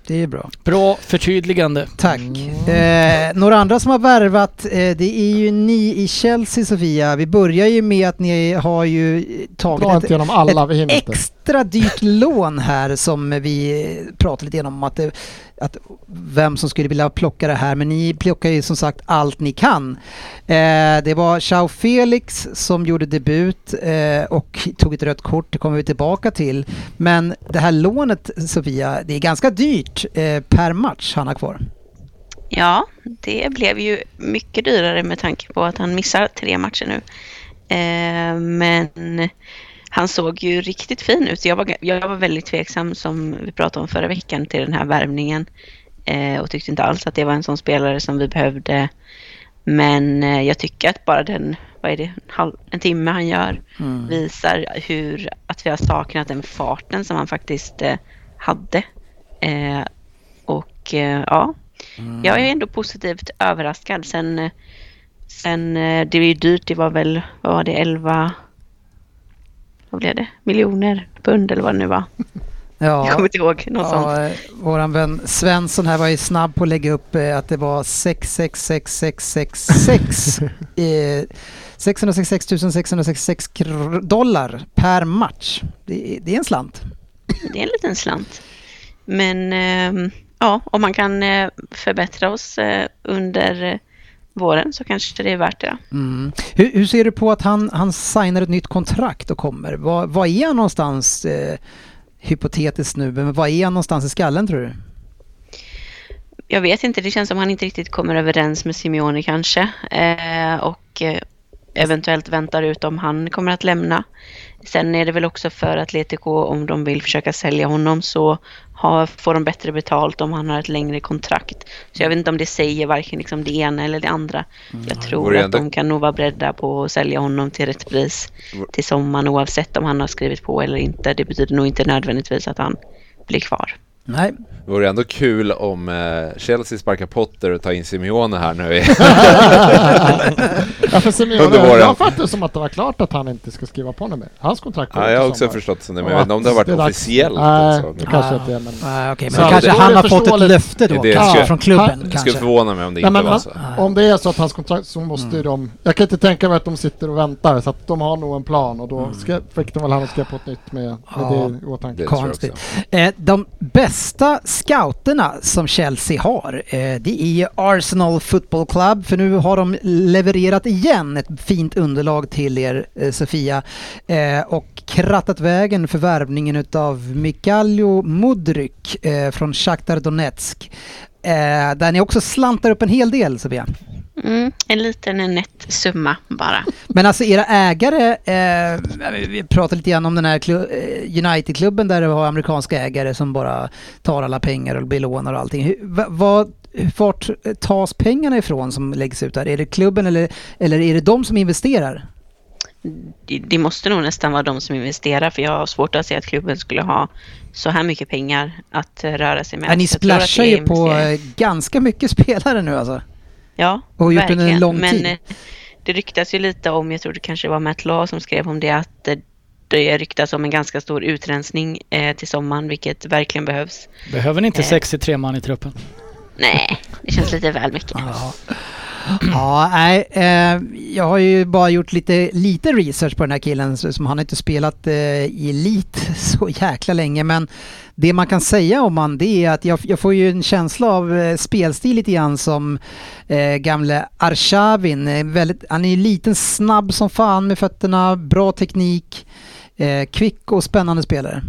S3: det är bra.
S4: Bra förtydligande.
S3: Tack.
S8: Mm.
S3: Eh, några andra som har värvat, eh, det är ju ni i Chelsea Sofia. Vi börjar ju med att ni har ju eh,
S7: Dra
S3: tagit
S7: inte
S3: ett
S7: genom alla, typ. vi hinner inte.
S3: extra dyrt lån här som vi eh, pratade lite grann om att, det- att vem som skulle vilja plocka det här. Men ni plockar ju som sagt allt ni kan. Eh, det var Chao Felix som gjorde debut eh, och tog ett rött kort, det kommer vi tillbaka till. Men det här lånet Sofia, det är ganska dyrt eh, per match han har kvar.
S6: Ja, det blev ju mycket dyrare med tanke på att han missar tre matcher nu. Eh, men han såg ju riktigt fin ut. Jag var, jag var väldigt tveksam som vi pratade om förra veckan till den här värvningen. Eh, och tyckte inte alls att det var en sån spelare som vi behövde. Men eh, jag tycker att bara den, vad är det, en, halv, en timme han gör visar hur att vi har saknat den farten som han faktiskt eh, hade. Eh, och eh, ja, jag
S3: Mm.
S6: är ändå positivt överraskad. Sen, eh, sen eh, det är ju dyrt. Det var väl, vad var det, 11 vad blev det? Miljoner pund eller vad det nu var.
S3: Ja.
S6: Jag kommer inte ihåg. Något sånt.
S3: Ja, eh, våran vän Svensson här var ju snabb på att lägga upp eh, att det var 666666 eh, 666 666 kr- dollar per match. Det, är- det är en slant.
S6: Det är en liten slant. Men ehm, ja, om man kan eh, förbättra oss eh, under eh, våren så kanske det är värt det.
S3: Mm. Hur, hur ser du på att han, han signar ett nytt kontrakt och kommer? Vad vad är han någonstans, eh, hypotetiskt nu, men vad är han någonstans i skallen tror du?
S6: jag vet inte, det känns som han inte riktigt kommer överens med Simeone kanske. Eh, och eh, eventuellt väntar ut om han kommer att lämna. Sen är det väl också för Atletico, om de vill försöka sälja honom så har, får de bättre betalt om han har ett längre kontrakt. Så jag vet inte om det säger varken liksom det ena eller det andra. Jag tror
S8: Mm. Vore
S6: att
S8: ändå-
S6: de kan nog vara beredda på att sälja honom till rätt pris
S8: Vore-
S6: till sommaren oavsett om han har skrivit på eller inte. Det betyder nog inte nödvändigtvis att han blir kvar.
S3: Nej,
S8: Det vore ändå kul om eh, Chelsea sparkar Potter och tar in Simeone här nu. i-
S7: ja, för Simeone,
S8: Under våren.
S7: jag fattade som att det var klart att han inte ska skriva på något mer. Hans kontrakt går
S8: ja,
S7: ut i
S8: jag har också
S7: sommar.
S8: förstått som det, men
S7: Ja,
S8: jag vet inte om det har varit
S7: är dags.
S8: officiellt.
S7: Nej,
S8: alltså.
S7: det kanske inte är, men...
S3: ah, okej,
S7: Så
S3: men kanske
S7: det-
S3: han
S7: det
S3: har
S7: är
S3: fått ett
S7: förståeligt.
S3: löfte då
S8: Det
S3: kanske,
S8: skulle-
S3: från klubben.
S7: Det
S8: Det skulle
S3: kanske.
S8: förvåna mig om det
S7: Nej,
S8: inte
S7: men
S8: var
S7: han,
S8: så.
S7: om det är så att hans kontrakt så måste
S4: Mm.
S7: ju de... Jag kan inte tänka mig att de sitter och väntar så att de har nog en plan och
S4: Mm.
S7: då ska, fick de väl han att skriva på ett nytt med, med
S3: Ja.
S7: det i åtanke.
S8: Det tror jag
S3: Konstigt.
S8: också.
S3: Eh, de bästa scouterna som Chelsea har, eh, det är Arsenal Football Club, för nu har de levererat igen ett fint underlag till er, eh, Sofia, eh, och krattat vägen för värvningen utav Mikaljo Mudryk eh, från Shakhtar Donetsk. Eh, där ni också slantar upp en hel del, Sofia.
S6: Mm, en liten en nätt summa bara.
S3: Men alltså era ägare, eh, vi pratade lite grann om den här klu- eh, United-klubben där det var amerikanska ägare som bara tar alla pengar och belånar och allting. Hur, va, vad, vart tas pengarna ifrån som läggs ut där? Är det klubben eller, eller är det de som investerar?
S6: det- det måste nog nästan vara de som investerar för jag har svårt att se att klubben skulle ha så här mycket pengar att eh, röra sig med.
S3: Ja, ni
S6: Jag tror att det
S3: splashar
S6: är
S3: ju på
S6: investering.
S3: eh, ganska mycket spelare nu alltså.
S6: Ja,
S3: och gjort under en
S6: verkligen.
S3: lång
S6: Men
S3: tid.
S6: eh, det ryktas ju lite om, jag tror det kanske var Matt Law som skrev om det, att eh, det ryktas om en ganska stor utrensning eh, till sommaren, vilket verkligen behövs.
S4: Behöver ni inte
S6: Eh.
S4: 63 man i truppen?
S6: Nej, det känns lite väl mycket.
S3: Ja. Ja, nej, eh, jag har ju bara gjort lite, lite research på den här killen så- som han har inte spelat eh, i Elite så jäkla länge men det man kan säga om han det är att jag, jag får ju en känsla av eh, spelstil lite grann som eh, gamle Arshavin. Eh, väldigt, han är ju liten, snabb som fan med fötterna, bra teknik, eh, kvick och spännande spelare.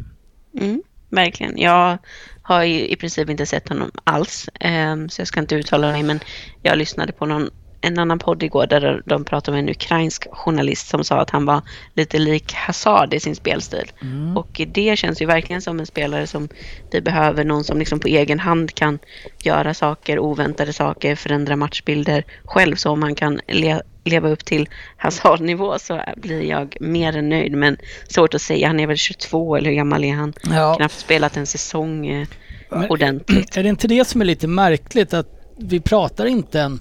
S6: Mm, verkligen. Jag har ju i princip inte sett honom alls, ehm, så jag ska inte uttala mig, men jag lyssnade på någon, en annan podd igår där de pratade med en ukrainsk journalist som sa att han var lite lik Hazard i sin spelstil. Och det känns ju verkligen som en spelare som vi behöver, någon som liksom på egen hand kan göra saker, oväntade saker, förändra matchbilder själv. Så om han kan le- leva upp till Hazard-nivå så blir jag mer än nöjd. Men svårt att säga, han är väl 22 eller hur gammal är han?
S3: Ja.
S6: knappt spelat en säsong eh,
S4: Men-
S6: ordentligt.
S4: Är det inte det som är lite märkligt att vi pratar inte en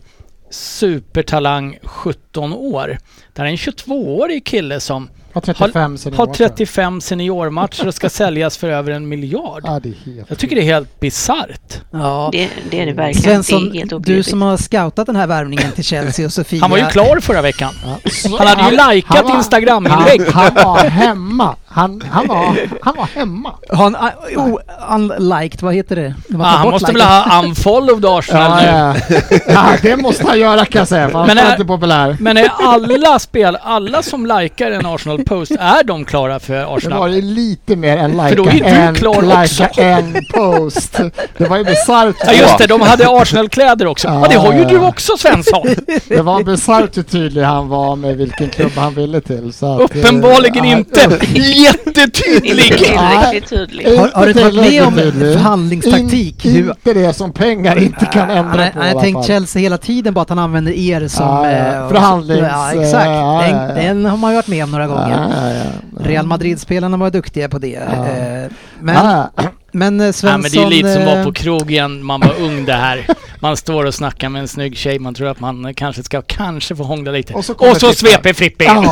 S4: supertalang 17 år. Det här är en 22-årig kille som
S7: Har 35 sen i år,
S4: har
S7: tror jag.
S4: 35 seniormatcher och ska säljas för över en miljard.
S7: Ja, det är helt
S4: Jag tycker det är helt bisarrt.
S3: Ja.
S6: Det, det är det verkligen. det är
S3: Svensson,
S6: helt
S3: du
S6: obegripligt.
S3: som har scoutat den här värvningen till Chelsea och Sofia.
S4: Han var ju klar förra veckan.
S7: sjukt.
S4: Han hade ju
S7: han
S4: likat
S7: var-
S4: Instagram-inlägg.
S7: Han, han var hemma. Han, han, var, han var hemma.
S3: Har han uh, oh, unliked, vad heter det?
S4: Ah, han måste väl ha unfollowed Arsenal
S7: Ja,
S4: nu.
S7: ja. ja, det måste han göra kan jag säga, för han
S4: Men
S7: var
S4: är-
S7: inte populär.
S4: Men är alla spel, alla som likar en Arsenal post, är de klara för
S7: Det var
S4: Arsenal?
S7: ju lite mer än
S4: För då
S7: lajka,
S4: är ju du
S7: en,
S4: klar
S7: lajka,
S4: också.
S7: en post. Det var ju bisarrt.
S4: Ja just det, de hade Arsenal-kläder också. Ja det har ju du också Svensson!
S7: Det var bisarrt hur tydlig han var med vilken klubb han ville till. Så att, eh,
S4: Uppenbarligen
S7: ja,
S4: inte
S6: Inte
S4: jättetydlig!
S6: tillräckligt tydlig.
S7: inte
S3: Har- har du inte varit med
S7: tillräckligt
S3: om
S7: tydlig.
S3: förhandlingstaktik?
S7: In,
S3: Hur- Ah,
S7: inte det som pengar inte kan ändra
S3: Han
S7: på i
S3: har- han
S7: alla
S3: har tänkt
S7: fall. Ah,
S3: Chelsea hela tiden, bara att han använder er som...
S7: Ja, ja.
S3: eh, och-
S7: Förhandlings-
S3: Ja, exakt.
S7: ja, ja, ja.
S3: Den, den har man ju varit med om några gånger.
S7: Ja, ja, ja. Ah.
S3: Real Madrid-spelarna var duktiga på det. eh, Men,
S7: Ja, ja.
S3: men eh, Svensson...
S4: Ja, men det är ju lite som
S3: eh,
S4: var på krogen man var ung det här. Man står och snackar med en snygg tjej, man tror att man eh, kanske ska kanske få hångla lite.
S7: Och
S4: Och
S7: så
S4: så,
S7: kommer Frippe.
S4: sveper Frippe in.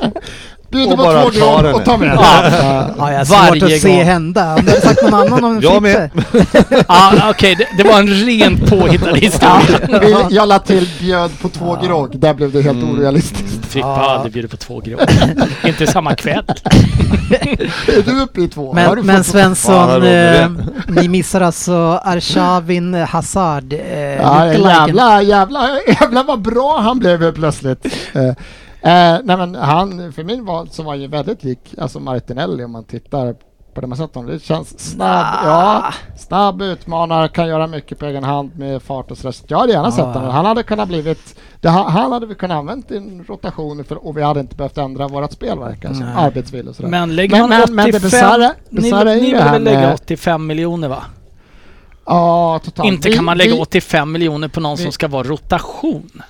S7: Ja. Bjuder
S5: Och
S7: på
S5: bara
S7: två
S5: ta
S7: grogg
S5: den.
S7: och ta med
S4: Ja.
S7: den.
S3: Ja, jag har svårt
S4: varje
S3: att se
S4: gång.
S3: hända. Om du hade sagt någon annan om
S5: Jag
S3: Frippe.
S4: Ja, Okej, det, det var en rent påhittad historia.
S7: Vill- Jag la till bjöd på två grogg, där blev det helt
S5: Mm.
S7: orealistiskt.
S4: Frippe har aldrig bjudit på två grogg. Inte samma kväll.
S7: Är du uppe i två? Har du
S3: Men, men
S5: Fan,
S7: fått-
S3: Svensson,
S5: vad roligt.
S3: eh, ni missar alltså Arshavin Hazard. Eh,
S7: Ja,
S3: lookaliken.
S7: jävla, jävla, jävla vad bra han blev helt plötsligt. Eh, eh, nej men han, för min val så var han ju väldigt lik alltså Martinelli om man tittar på det man sett honom. Det känns snabb,
S4: Ah.
S7: ja, snabb utmanare, kan göra mycket på egen hand med fart och stress. Jag hade gärna sett
S4: Ah.
S7: honom. Han hade kunnat blivit, det, ha- han hade vi kunnat använt i en rotation för, och vi hade inte behövt ändra vårat spel verkar det som.
S3: Nej.
S7: arbetsvilja och sådär.
S4: Men lägger man
S7: Men- men-
S4: 85...
S7: men det bisarra- bisarra är
S4: ni,
S7: ju
S4: ni
S7: det
S4: vill
S7: här
S4: väl lägga
S7: med-
S4: 85 miljoner va?
S7: Ja, totalt.
S4: Inte
S7: Vi-
S4: kan man lägga
S7: vi-
S4: 85 miljoner på någon
S7: vi-
S4: som ska vara rotation.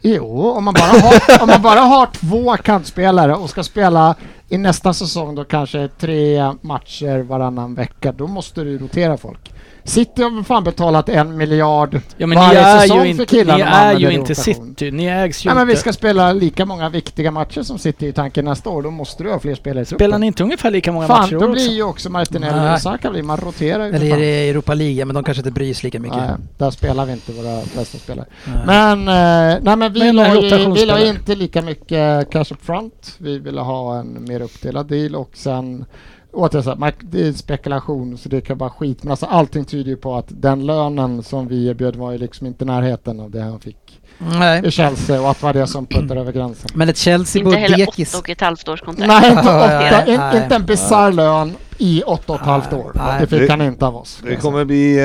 S7: Jo, om man, bara har, om man bara har två kantspelare och ska spela i nästa säsong då kanske tre matcher varannan vecka, då måste du rotera folk. City har väl fan betalat en miljard
S4: Ja men ni
S7: varje
S4: är
S7: säsong
S4: ju
S7: för
S4: inte,
S7: killarna
S4: ni
S7: man
S4: är
S7: använder
S4: ju
S7: i
S4: inte
S7: rotation.
S4: City. Ni ägs ju
S7: Nej men vi
S4: inte.
S7: ska spela lika många viktiga matcher som City i tanken nästa år, då måste du ha fler spelare i truppen.
S4: Spelar ni inte ungefär lika många
S7: Fan,
S4: matcher i
S7: då
S4: år
S7: blir
S4: också?
S7: ju också Martinelli
S3: Nej.
S7: och Saka blir, man roterar ju. för
S3: Eller är
S7: fan.
S3: det Europa League? Ja, Men de kanske inte bryr sig lika mycket.
S7: Nej, där spelar vi inte våra bästa spelare. Men, eh, nej, men vi,
S4: Men en
S7: la ju, vi la
S4: rotationsspelare.
S7: inte lika mycket cash up front. Vi ville ha en mer uppdelad deal och sen återigen så här, Mark- det är spekulation så det kan vara skit. Men alltså allting tyder ju på att den lönen som vi erbjöd var ju liksom inte i närheten av det han fick i
S3: Nej.
S7: Chelsea och att det var det som puttade över gränsen.
S3: Men ett Chelsea
S6: Inte heller
S3: Bodekis.
S6: åtta och ett halvt års kontrakt.
S7: Nej, inte,
S3: Ja,
S7: åtta,
S3: ja,
S6: Roterar.
S3: ja.
S7: in, inte en bisarr lön i åtta och ett halvt år.
S3: Nej.
S7: Det fick
S5: Det-
S7: han inte av oss.
S5: Det kommer bli,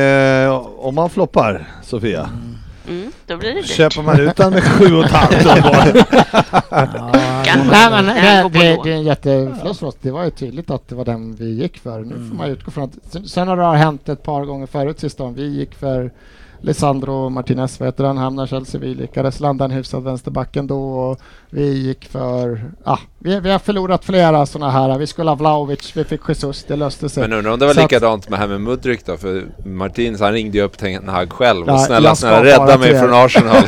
S5: eh, om man floppar Sofia,
S6: Mm, då blir det dyrt.
S5: köper man ut den med sju och ett halvt år bara.
S6: Kan-
S7: Nej, men
S6: kan
S7: det,
S6: gå på
S7: det,
S6: lån.
S7: det är en jätteförlust för oss. Det var ju tydligt att det var den vi gick för. Nu
S8: Mm.
S7: får man utgå från att sen- sen har det hänt ett par gånger förut sista åren. Vi gick för Lisandro Martinez, vad heter han, hamnar i Chelsea. Vi lyckades landa en hyfsad vänsterback ändå. Och vi gick för... Ah, vi, vi har förlorat flera sådana här. Vi skulle ha Vlahovic, vi fick Jesus, det löste sig.
S8: Men eh, undrar om det var
S7: Så att-
S8: likadant med här med Mudryk då? För Martins han ringde ju upp Ten Hag själv
S7: Ja,
S8: och snälla,
S7: jag ska
S8: snälla
S7: bara
S8: rädda
S7: till
S8: mig
S7: er."
S8: från Arsenal.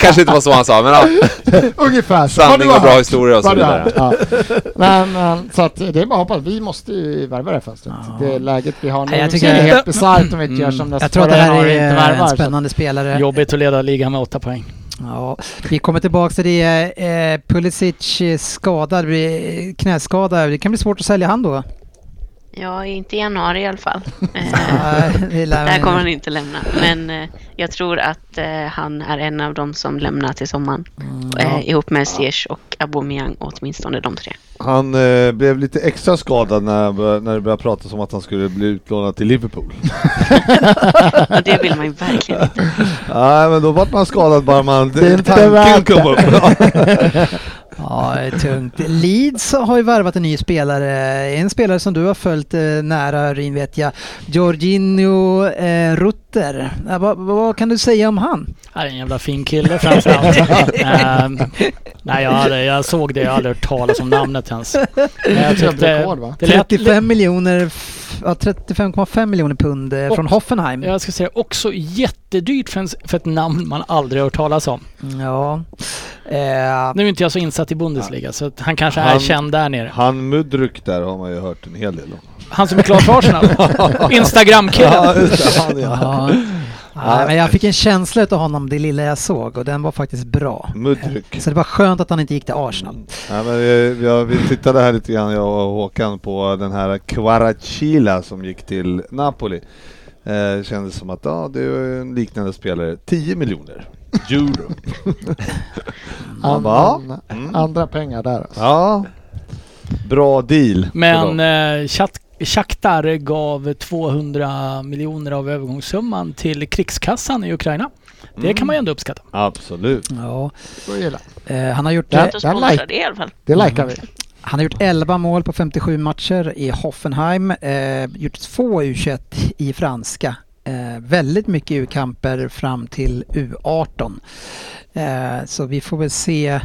S8: Kanske inte var så han sa, men ja,
S7: Ungefär. så. Vad
S8: sanning
S7: du
S8: och
S7: har
S8: bra
S7: hört.
S8: historia och så
S7: Vad du har hört,
S8: vidare.
S7: Ja. Men, men, så att det är bara att hoppas. Vi måste ju värva det här fönstret. Det läget vi har nu.
S3: Nej, jag
S7: Jag
S3: tycker- Mm.
S7: tycker det är helt bisarrt om vi inte gör som
S3: Jag
S7: nästa
S3: tror att det här
S7: har
S3: är
S7: inte värvar.
S3: en
S7: så att-
S3: spännande spelare.
S4: Jobbigt att leda ligan med åtta poäng.
S3: Ja, vi kommer tillbaka till det. Eh, Pulisic eh, skadad, det blir knäskada. Det kan bli svårt att sälja han då.
S6: Ja, inte i januari i alla fall. Eh,
S3: Ja, det lär
S6: där
S3: man-
S6: kommer han inte lämna. Men eh, jag tror att eh, han är en av dem som lämnar till sommaren.
S3: ja.
S6: Eh, ihop med Ziyech och Aubameyang, åtminstone de tre.
S5: Han eh, blev lite extra skadad när, han bör- när det började pratas om att han skulle bli utlånad till Liverpool.
S6: Och det vill man ju verkligen inte.
S5: Nej men då vart man skadad bara man...
S7: Det är inte
S5: tanken
S7: värt det.
S5: kom upp. Ja.
S3: Ja, det är tungt. Leeds har ju värvat en ny spelare. En spelare som du har följt eh, nära Rin vet jag. Jorginho eh, Rutter. Ja, vad, vad kan du säga om han?
S4: Här är en jävla fin kille framförallt. Ehm, nej, jag, hade, jag såg det. Jag har aldrig hört talas om namnet ens. Men jag tyckte...
S7: Rekord, va?
S4: Det lät,
S3: 35 miljoner, f- ja, 35,5 miljoner pund eh, från
S4: Och-
S3: Hoffenheim.
S4: jag ska säga också jättedyrt för, en, för ett namn man aldrig hört talas om.
S3: Mm, Ja. Eh,
S4: Nu är inte jag så insatt i Bundesliga så att han kanske är
S5: Han-
S4: känd där nere.
S5: Han Mudryk där har man ju hört en hel del om.
S4: Han som är klar för Arsenal. Instagram-killen.
S5: Ja, just det, han, ja.
S3: ja. Ja, men jag fick en känsla av honom, det lilla jag såg, och den var faktiskt bra.
S5: Mm. Mudryk.
S3: Så det var skönt att han inte gick till Arsenal.
S5: Nej, men vi, vi, har- vi tittade här lite grann, jag och Håkan, på den här Kvaratskhelia som gick till Napoli. Eh, kändes som att ja, det är en liknande spelare. 10 miljoner euro.
S7: An-
S5: Va?
S7: an-
S5: Mm.
S7: Andra pengar där. Alltså.
S5: Ja, bra deal.
S4: Men eh, Shak- Shakhtar gav 200 miljoner av övergångssumman till krigskassan i Ukraina. Det kan man
S7: Mm.
S4: ju ändå uppskatta.
S5: Absolut.
S3: Ja.
S7: Det får vi gilla.
S3: Eh, han, har gjort,
S7: Ja.
S3: eh,
S6: Låt oss
S7: där
S6: sponsra
S7: like-
S6: det i alla fall.
S7: Det likar vi.
S3: han har gjort 11 mål på 57 matcher i Hoffenheim, eh, gjort två U21 i franska. Eh, väldigt mycket U-kamper fram till U18. Eh, så vi får väl se...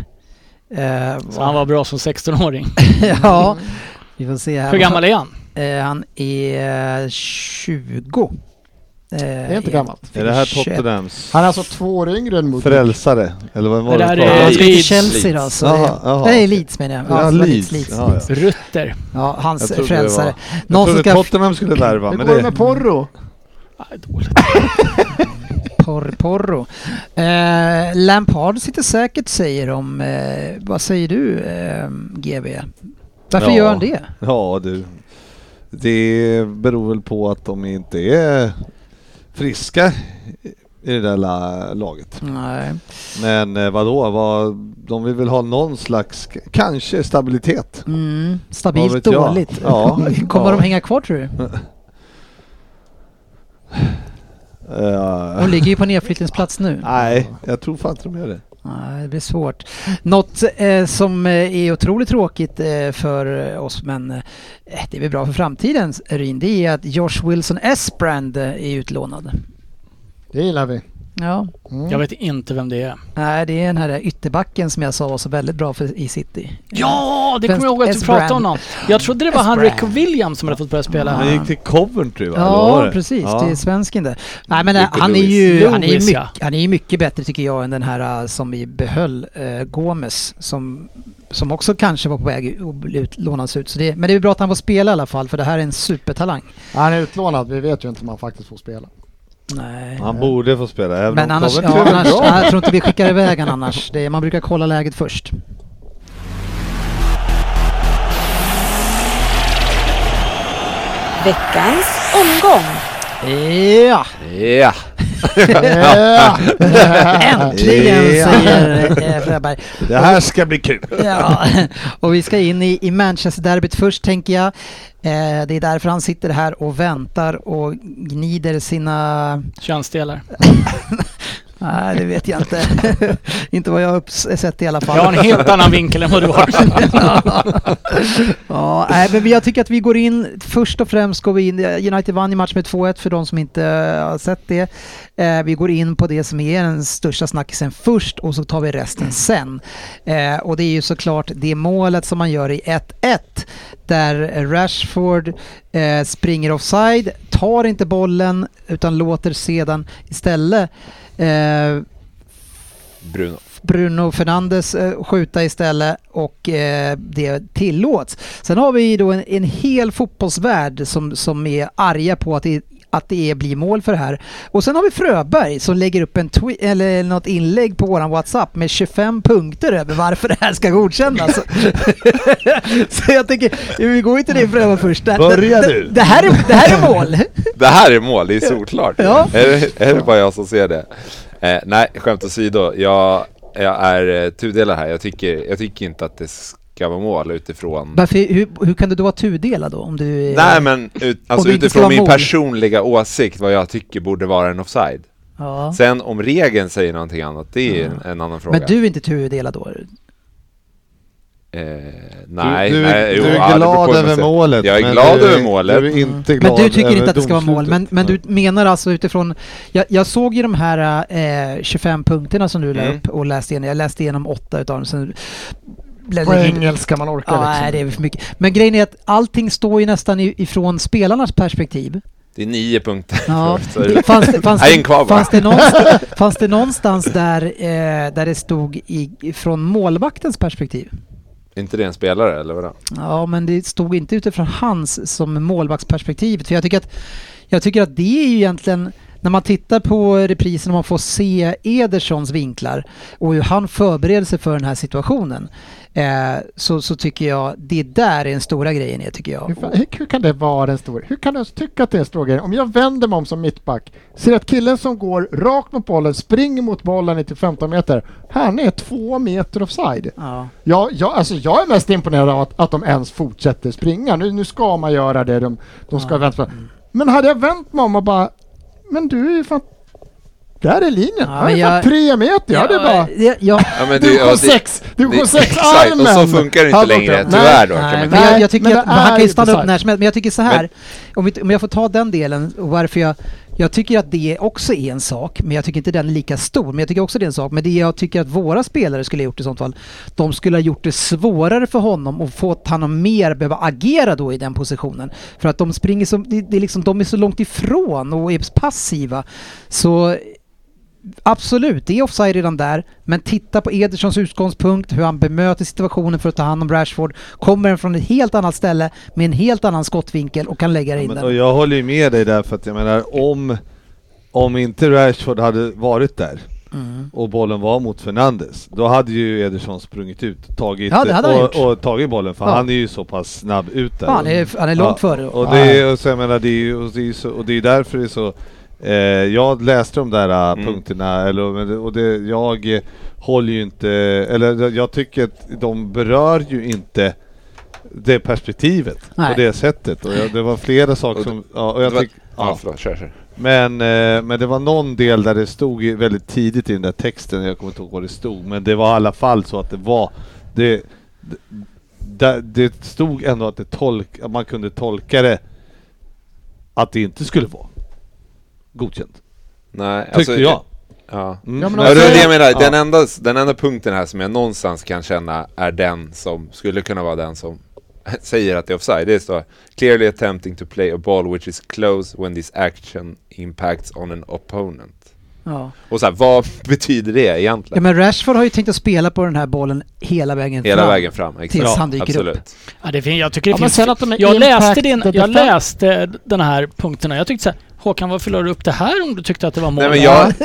S3: Eh,
S4: Så han var bra som 16-åring.
S3: ja, vi får se här.
S4: Hur gammal är han?
S3: Eh, han är eh, 20. det
S7: Det är inte gammalt.
S5: Är det här Tottenhams
S7: Han är alltså två år yngre än Moodle.
S5: frälsare? Eller vad var
S4: Det här
S5: det?
S4: är-
S3: Han ska ju till
S4: Leeds.
S3: Chelsea då. Så
S5: Jaha, jaha.
S3: Nej, Leeds menar jag.
S5: Ja,
S3: det var
S5: Leeds.
S3: Leeds.
S5: Ja, ja.
S4: Rutter.
S3: Ja,
S5: Jag
S3: hans
S5: trodde det
S3: frälsare.
S5: var-
S3: Någon
S5: Jag
S3: som
S5: trodde
S3: ska...
S5: Tottenham skulle värva,
S7: Hur
S5: men
S7: går det
S5: det...
S7: med Porro?
S4: Nej, dåligt.
S7: Mm.
S3: Por, porro. Eh, Lampard sitter säkert säger om... Eh, vad säger du eh, GB? Varför
S5: Ja.
S3: gör han det?
S5: Ja du. Det beror väl på att de inte är friska i det där la- laget.
S3: Nej.
S5: Men eh, vadå, vad, de vill väl ha någon slags, k- kanske stabilitet.
S3: Mm,
S5: Vad
S3: stabilt
S5: vet jag?
S3: dåligt.
S5: Ja,
S3: Kommer
S5: ja.
S3: de hänga kvar tror du?
S5: Eh,
S3: De ligger ju på nedflyttningsplats nu.
S5: nej, jag tror fan inte de gör det.
S3: Nej, det blir svårt. Något eh, som eh, är otroligt tråkigt eh, för eh, oss, men eh, det är väl bra för framtiden, Ryn, det är att Josh Wilson Esbrand eh, är utlånad.
S7: Det gillar vi.
S3: Ja.
S4: Jag
S7: Mm.
S4: vet inte vem det är.
S3: Nej, det är den här ytterbacken som jag sa var så väldigt bra för, i City.
S4: Ja, det kommer jag ihåg att du
S3: Esbrand.
S4: pratade om någon. Jag trodde det var han
S3: Esbrand.
S4: Rico Williams som hade fått börja spela.
S5: Han gick till Coventry va? Eller vad var
S3: Ah. Ja,
S5: det?
S3: precis.
S5: Ja.
S3: Det är svensken där. Nej, men eh,
S5: Rico
S3: han är
S5: Lewis.
S3: ju han är ju
S4: Lewis,
S3: mycket,
S4: ja.
S3: han är ju mycket bättre tycker jag än den här eh, som vi behöll, eh, Gomes, som, som också kanske var på väg att bli utlånas ut. Så det, men det är bra att han får spela i alla fall, för det här är en supertalang.
S7: Han är utlånad. Vi vet ju inte om han faktiskt får spela.
S3: Nej.
S5: Han borde få spela, även
S3: Men
S5: om
S3: annars,
S5: Coventry
S3: ja,
S5: är väl
S3: annars
S5: bra.
S3: jag tror inte vi skickar iväg han annars. Det är, man brukar kolla läget först.
S2: Veckans omgång.
S3: Ja,
S8: Ja!
S7: Ja.
S3: äntligen
S5: Ja.
S3: säger eh, Fröberg.
S5: Det här ska bli kul!
S3: Ja, och vi ska in i, i Manchester-derbyt först tänker jag. Eh, det är därför han sitter här och väntar och gnider sina...
S4: Könsdelar.
S3: Nej, det vet jag inte. inte vad jag har upps- sett i alla fall.
S4: Jag har en helt annan vinkel än vad du har.
S3: Ja, nej, men jag tycker att vi går in, först och främst går vi in, United vann i match med 2-1 för de som inte eh, har sett det. Eh, vi går in på det som är den största snackisen först och så tar vi resten sen. Eh, och det är ju såklart det målet som man gör i 1-1 där Rashford eh, springer offside, tar inte bollen utan låter sedan istället eh,
S8: Bruno.
S3: Bruno Fernandes eh, skjuta istället och eh, det tillåts. Sen har vi ju då en, en hel fotbollsvärld som, som är arga på att det att det är, blir mål för det här. Och sen har vi Fröberg som lägger upp en twi- eller något inlägg på våran WhatsApp med 25 punkter över varför det här ska godkännas. så jag tänker, vi går ju till din Fröberg först. Det-
S5: Börja
S3: det-
S5: du.
S3: Det här är, det här är mål!
S8: Det här är mål, det är solklart.
S3: Ja.
S8: Är, det, är det bara jag som ser det? Eh, nej, skämt åsido. Jag, jag är eh, tudelad här. Jag tycker, jag tycker inte att det ska vara mål utifrån...
S3: Varför, hur, hur kan du då vara tudelad då? Om du, är-
S8: Nej men ut, alltså,
S3: det inte ska
S8: utifrån
S3: vara
S8: min
S3: mål.
S8: personliga åsikt vad jag tycker borde vara en offside.
S3: ja.
S8: Sen om regeln säger någonting annat, det är en, en annan fråga.
S3: Men du är inte tudelad då?
S8: Eh, nej,
S5: du, du, är-
S8: nej, jo,
S5: du
S8: ja, det
S5: är
S8: beror
S5: glad
S8: på hur man
S5: över
S8: ser.
S5: målet.
S8: Jag är
S5: men
S8: glad
S5: du
S8: över målet.
S5: Du är inte glad
S3: Mm. Men du tycker
S5: över
S3: inte att det ska vara mål,
S5: domslutet.
S3: men, men du menar alltså utifrån... Jag, jag såg ju de här eh, 25 punkterna som du la
S8: Mm.
S3: upp och läste igenom. Jag läste igenom åtta utav dem. Sen blev
S7: På
S3: det-
S7: engelska man orkar
S8: liksom.
S7: liksom.
S3: Ja, nej, det är för mycket. Men grejen är att allting står ju nästan i- ifrån spelarnas perspektiv.
S8: Det är nio punkter.
S3: Ja.
S8: Så är det-
S3: Fanns det, fanns
S8: Nej, en
S3: det,
S8: kvar bara.
S3: fanns det, någonstans, fanns det någonstans där, eh, där det stod i, från målvaktens perspektiv?
S8: inte det en spelare eller vadå?
S3: Ja, men det stod inte utifrån hans som målvaktsperspektivet. För jag tycker att, jag tycker att det är ju egentligen, när man tittar på reprisen och man får se Edersons vinklar och hur han förbereder sig för den här situationen. Eh, så, så tycker jag det där är den stora grejen är, tycker jag.
S7: Hur, fan- hur, hur kan det vara en stor Hur kan du ens tycka att det är en stor grej? Om jag vänder mig om som mittback, ser att killen som går rakt mot bollen, springer mot bollen i till 15 meter, han är två meter offside.
S3: Ja.
S7: Ja, jag, alltså jag är mest imponerad av att, att de ens fortsätter springa. Nu, nu ska man göra det, de, de ska vänta på. Men hade jag vänt mig om och bara, men du är ju fan... Där är linjen!
S3: Ja,
S7: han är
S3: men
S7: fan
S3: jag-
S7: tre meter! Jag hade bara...
S3: jag, jag,
S8: Ja, men
S7: Du
S8: det- ja,
S7: går
S8: det-
S7: sex! Du
S8: det-
S7: går sex
S8: exakt,
S7: armen!
S8: Och så funkar det inte
S7: Hade
S8: längre,
S7: gått upp.
S8: tyvärr då. kan
S3: Nej,
S8: man
S3: men jag,
S7: Nej,
S3: jag tycker
S7: men
S3: att
S7: det
S3: han
S7: är
S3: kan ju
S7: lite
S3: stanna upp
S7: så.
S3: när som helst. Men jag tycker så
S8: Men-
S3: här, om, vi, om jag får ta den delen och varför jag, jag tycker att det också är en sak, men jag tycker inte den är lika stor. Men jag tycker också det är en sak. Men det jag tycker att våra spelare skulle ha gjort i sånt fall, de skulle ha gjort det svårare för honom och fått honom mer behöva agera då i den positionen. För att de springer så, det, det är liksom, de är så långt ifrån och är passiva. Så Absolut, det är offside redan där. Men titta på Edersons utgångspunkt, hur han bemöter situationen för att ta hand om Rashford. Kommer den från ett helt annat ställe med en helt annan skottvinkel och kan lägga in
S5: Men, och
S3: den.
S5: jag håller ju med dig där för att jag menar om, om inte Rashford hade varit där
S3: Mm.
S5: och bollen var mot Fernandes, då hade ju Ederson sprungit ut tagit,
S3: Ja, det hade han
S5: och,
S3: gjort.
S5: och tagit bollen för
S3: Ja.
S5: han är ju så pass snabb ut där.
S3: Ja, han, är, han är långt före.
S5: Och det är, och så jag menar, det är, ju- och det är ju så, och det är därför det är så Eh, jag läste de där eh, punkterna eller, och det- och det, jag eh, håller ju inte, eller jag- jag tycker att de berör ju inte det perspektivet
S3: Nej.
S5: på det sättet. Och jag, det var flera saker som... Ja, och jag
S8: Det var-
S5: tyck,
S8: Ja,
S5: ja.
S8: förlåt, kör, kör.
S5: Men, eh, men det var någon del där det stod ju väldigt tidigt i den där texten, jag kommer inte ihåg vad det stod, men det var i alla fall så att det var... Det, det, där- det stod ändå att, det tolk, att man kunde tolka det att det inte skulle vara godkänt.
S8: Nej, alltså,
S5: Tyckte jag.
S8: Ja.
S5: Mm.
S7: Ja, men
S8: Ja, det är det jag menar.
S5: Ja.
S8: Den, enda, den enda punkten här som jag någonstans kan känna är den som skulle kunna vara den som säger att det är offside. Det står “Clearly attempting to play a ball which is close when this action impacts on an opponent”.
S3: Ja.
S8: Och så här, vad betyder det
S3: Ja,
S8: egentligen?
S3: men Rashford har ju tänkt att spela på den här bollen hela vägen
S8: Hela
S3: fram.
S8: vägen fram, exakt.
S3: Tills han dyker upp.
S8: absolut.
S4: Ja, det fin- jag tycker det
S7: Ja, men
S4: finns...
S7: sen att de är
S4: jag
S7: impact
S4: läste, din,
S7: the
S4: jag
S7: defense.
S4: läste eh, den här punkterna. Jag tyckte så här, Håkan varför la du upp det här om du tyckte att det var mål?
S8: Nej, men jag,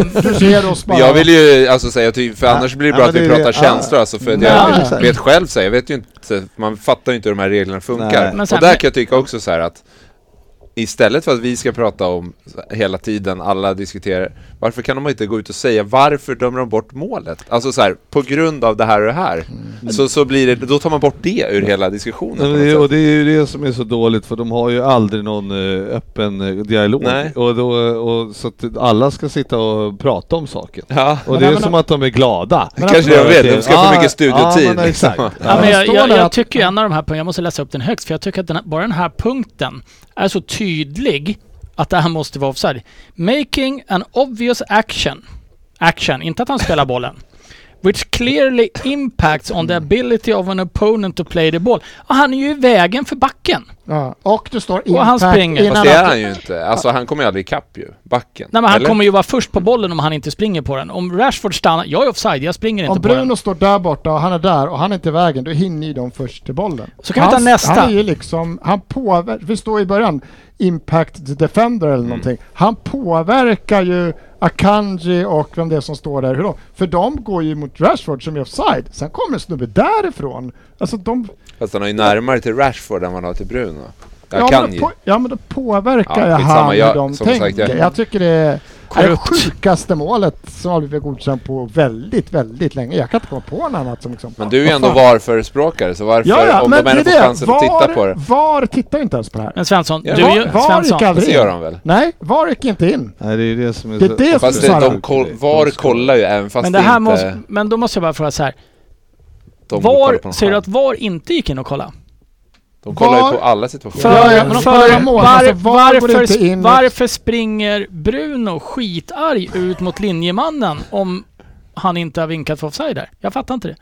S4: Ehm,
S7: Du ser oss bara.
S8: jag vill ju alltså säga typ, för
S5: Ja.
S8: annars blir det
S5: Ja,
S8: bra
S5: men
S8: att vi
S5: det är
S8: pratar
S5: det. Ja.
S8: känslor alltså, för
S4: Nej,
S8: jag
S5: exakt.
S8: vet själv så här, jag vet ju inte, man fattar ju inte hur de här reglerna funkar.
S5: Nej.
S4: Men så
S8: och
S4: här,
S8: där
S4: men-
S8: kan jag tycka också så här att Istället för att vi ska prata om så här hela tiden, alla diskuterar, varför kan de inte gå ut och säga varför dömer de bort målet? Alltså så här, på grund av det här och det här. Så, så blir det, då tar man bort det ur hela diskussionen
S5: Mm. Ja,
S8: på
S5: men
S8: något
S5: det,
S8: sätt.
S5: och det är ju det som är så dåligt för de har ju aldrig någon eh, öppen eh, dialog.
S8: Nej.
S5: Och då, och, så att alla ska sitta och prata om saken.
S8: Ja.
S5: Och
S7: Men
S5: det är
S7: även
S5: som
S7: om-
S5: att de är glada.
S8: Kanske jag vet, de ska
S5: Ja,
S8: få mycket
S5: Ja,
S8: studiotid.
S5: men exakt.
S8: liksom.
S4: Ja, men
S7: det
S4: jag,
S7: står
S4: jag,
S7: där
S4: jag
S7: att-
S4: tycker ju en av de här punkterna, jag måste läsa upp den högst, för jag tycker att den här, bara den här punkten är så tydlig att det här måste vara offside. Making an obvious action, action, inte att han spelar bollen, which clearly impacts on the ability of an opponent to play the ball. Och han är ju i vägen för backen.
S7: Ja, och du står
S4: Och han
S7: impact
S4: springer.
S7: innan
S8: Fast det är
S7: att-
S8: han ju inte. Alltså han kommer ju aldrig ikapp ju, backen.
S4: Nej, men han
S8: Eller?
S4: kommer ju vara först på bollen om han inte springer på den. Om Rashford stannar, jag är offside, jag springer
S7: Om
S4: inte på den.
S7: Bruno står där borta och han är där och han är inte i vägen, då hinner ju de först till bollen.
S4: Så kan vi ta
S7: Hans-
S4: nästa.
S7: Han är ju liksom, han påverkar, vi står i början, Impact Defender
S8: Mm.
S7: eller någonting. Han påverkar ju Akanji och vem det är som står där. Hur då? För de går ju mot Rashford som är offside. Sen kommer en snubbe därifrån. Alltså de...
S8: Fast han har ju närmare till Rashford än vad han har till Bruno. Jag
S7: ja,
S8: kan
S7: men
S8: ju.
S7: då, på, ja men då påverkar
S8: Ja,
S7: jag
S8: skitsamma.
S7: han hur
S8: Jag-
S7: de
S8: som sagt,
S7: tänker. jag...
S8: jag-
S7: tycker det är är det
S4: Korrupt.
S7: sjukaste målet som har blivit godkänt på väldigt, väldigt länge. Jag kan inte komma på något annat som liksom...
S8: Men du är ju
S7: Vad
S8: ändå
S7: fan?
S8: VAR-förespråkare, så varför,
S7: Ja, ja,
S8: om
S7: men det
S8: de
S7: är
S8: ändå
S7: det.
S8: får chansen att titta på det,
S7: VAR tittar ju inte ens på det här.
S4: Men Svensson,
S8: Ja,
S4: du
S8: var-
S4: är ju...
S7: var gick
S4: Svensson,
S7: aldrig
S8: så
S7: in.
S8: gör de väl?
S7: Nej, VAR gick inte in.
S5: Nej, det är ju det som är
S7: Det är det som
S8: Fast
S7: så
S8: det,
S7: här-
S8: de koll, VAR kollar ju även fast
S4: men, det här
S8: inte
S4: måste, men då måste jag bara fråga så här.
S8: de kollar på
S4: Var,
S8: någon
S4: säger du
S8: skärm.
S4: att VAR inte gick in och kolla?
S8: De kollar
S7: VAR
S8: ju på alla situationer.
S4: För,
S7: Ja, ja, men de
S4: för,
S7: kollar ju mål,
S4: var,
S7: alltså, VAR går
S4: varför,
S7: inte in.
S4: varför springer Bruno skitarg ut mot linjemannen om han inte har vinkat för offside där? Jag fattar inte det.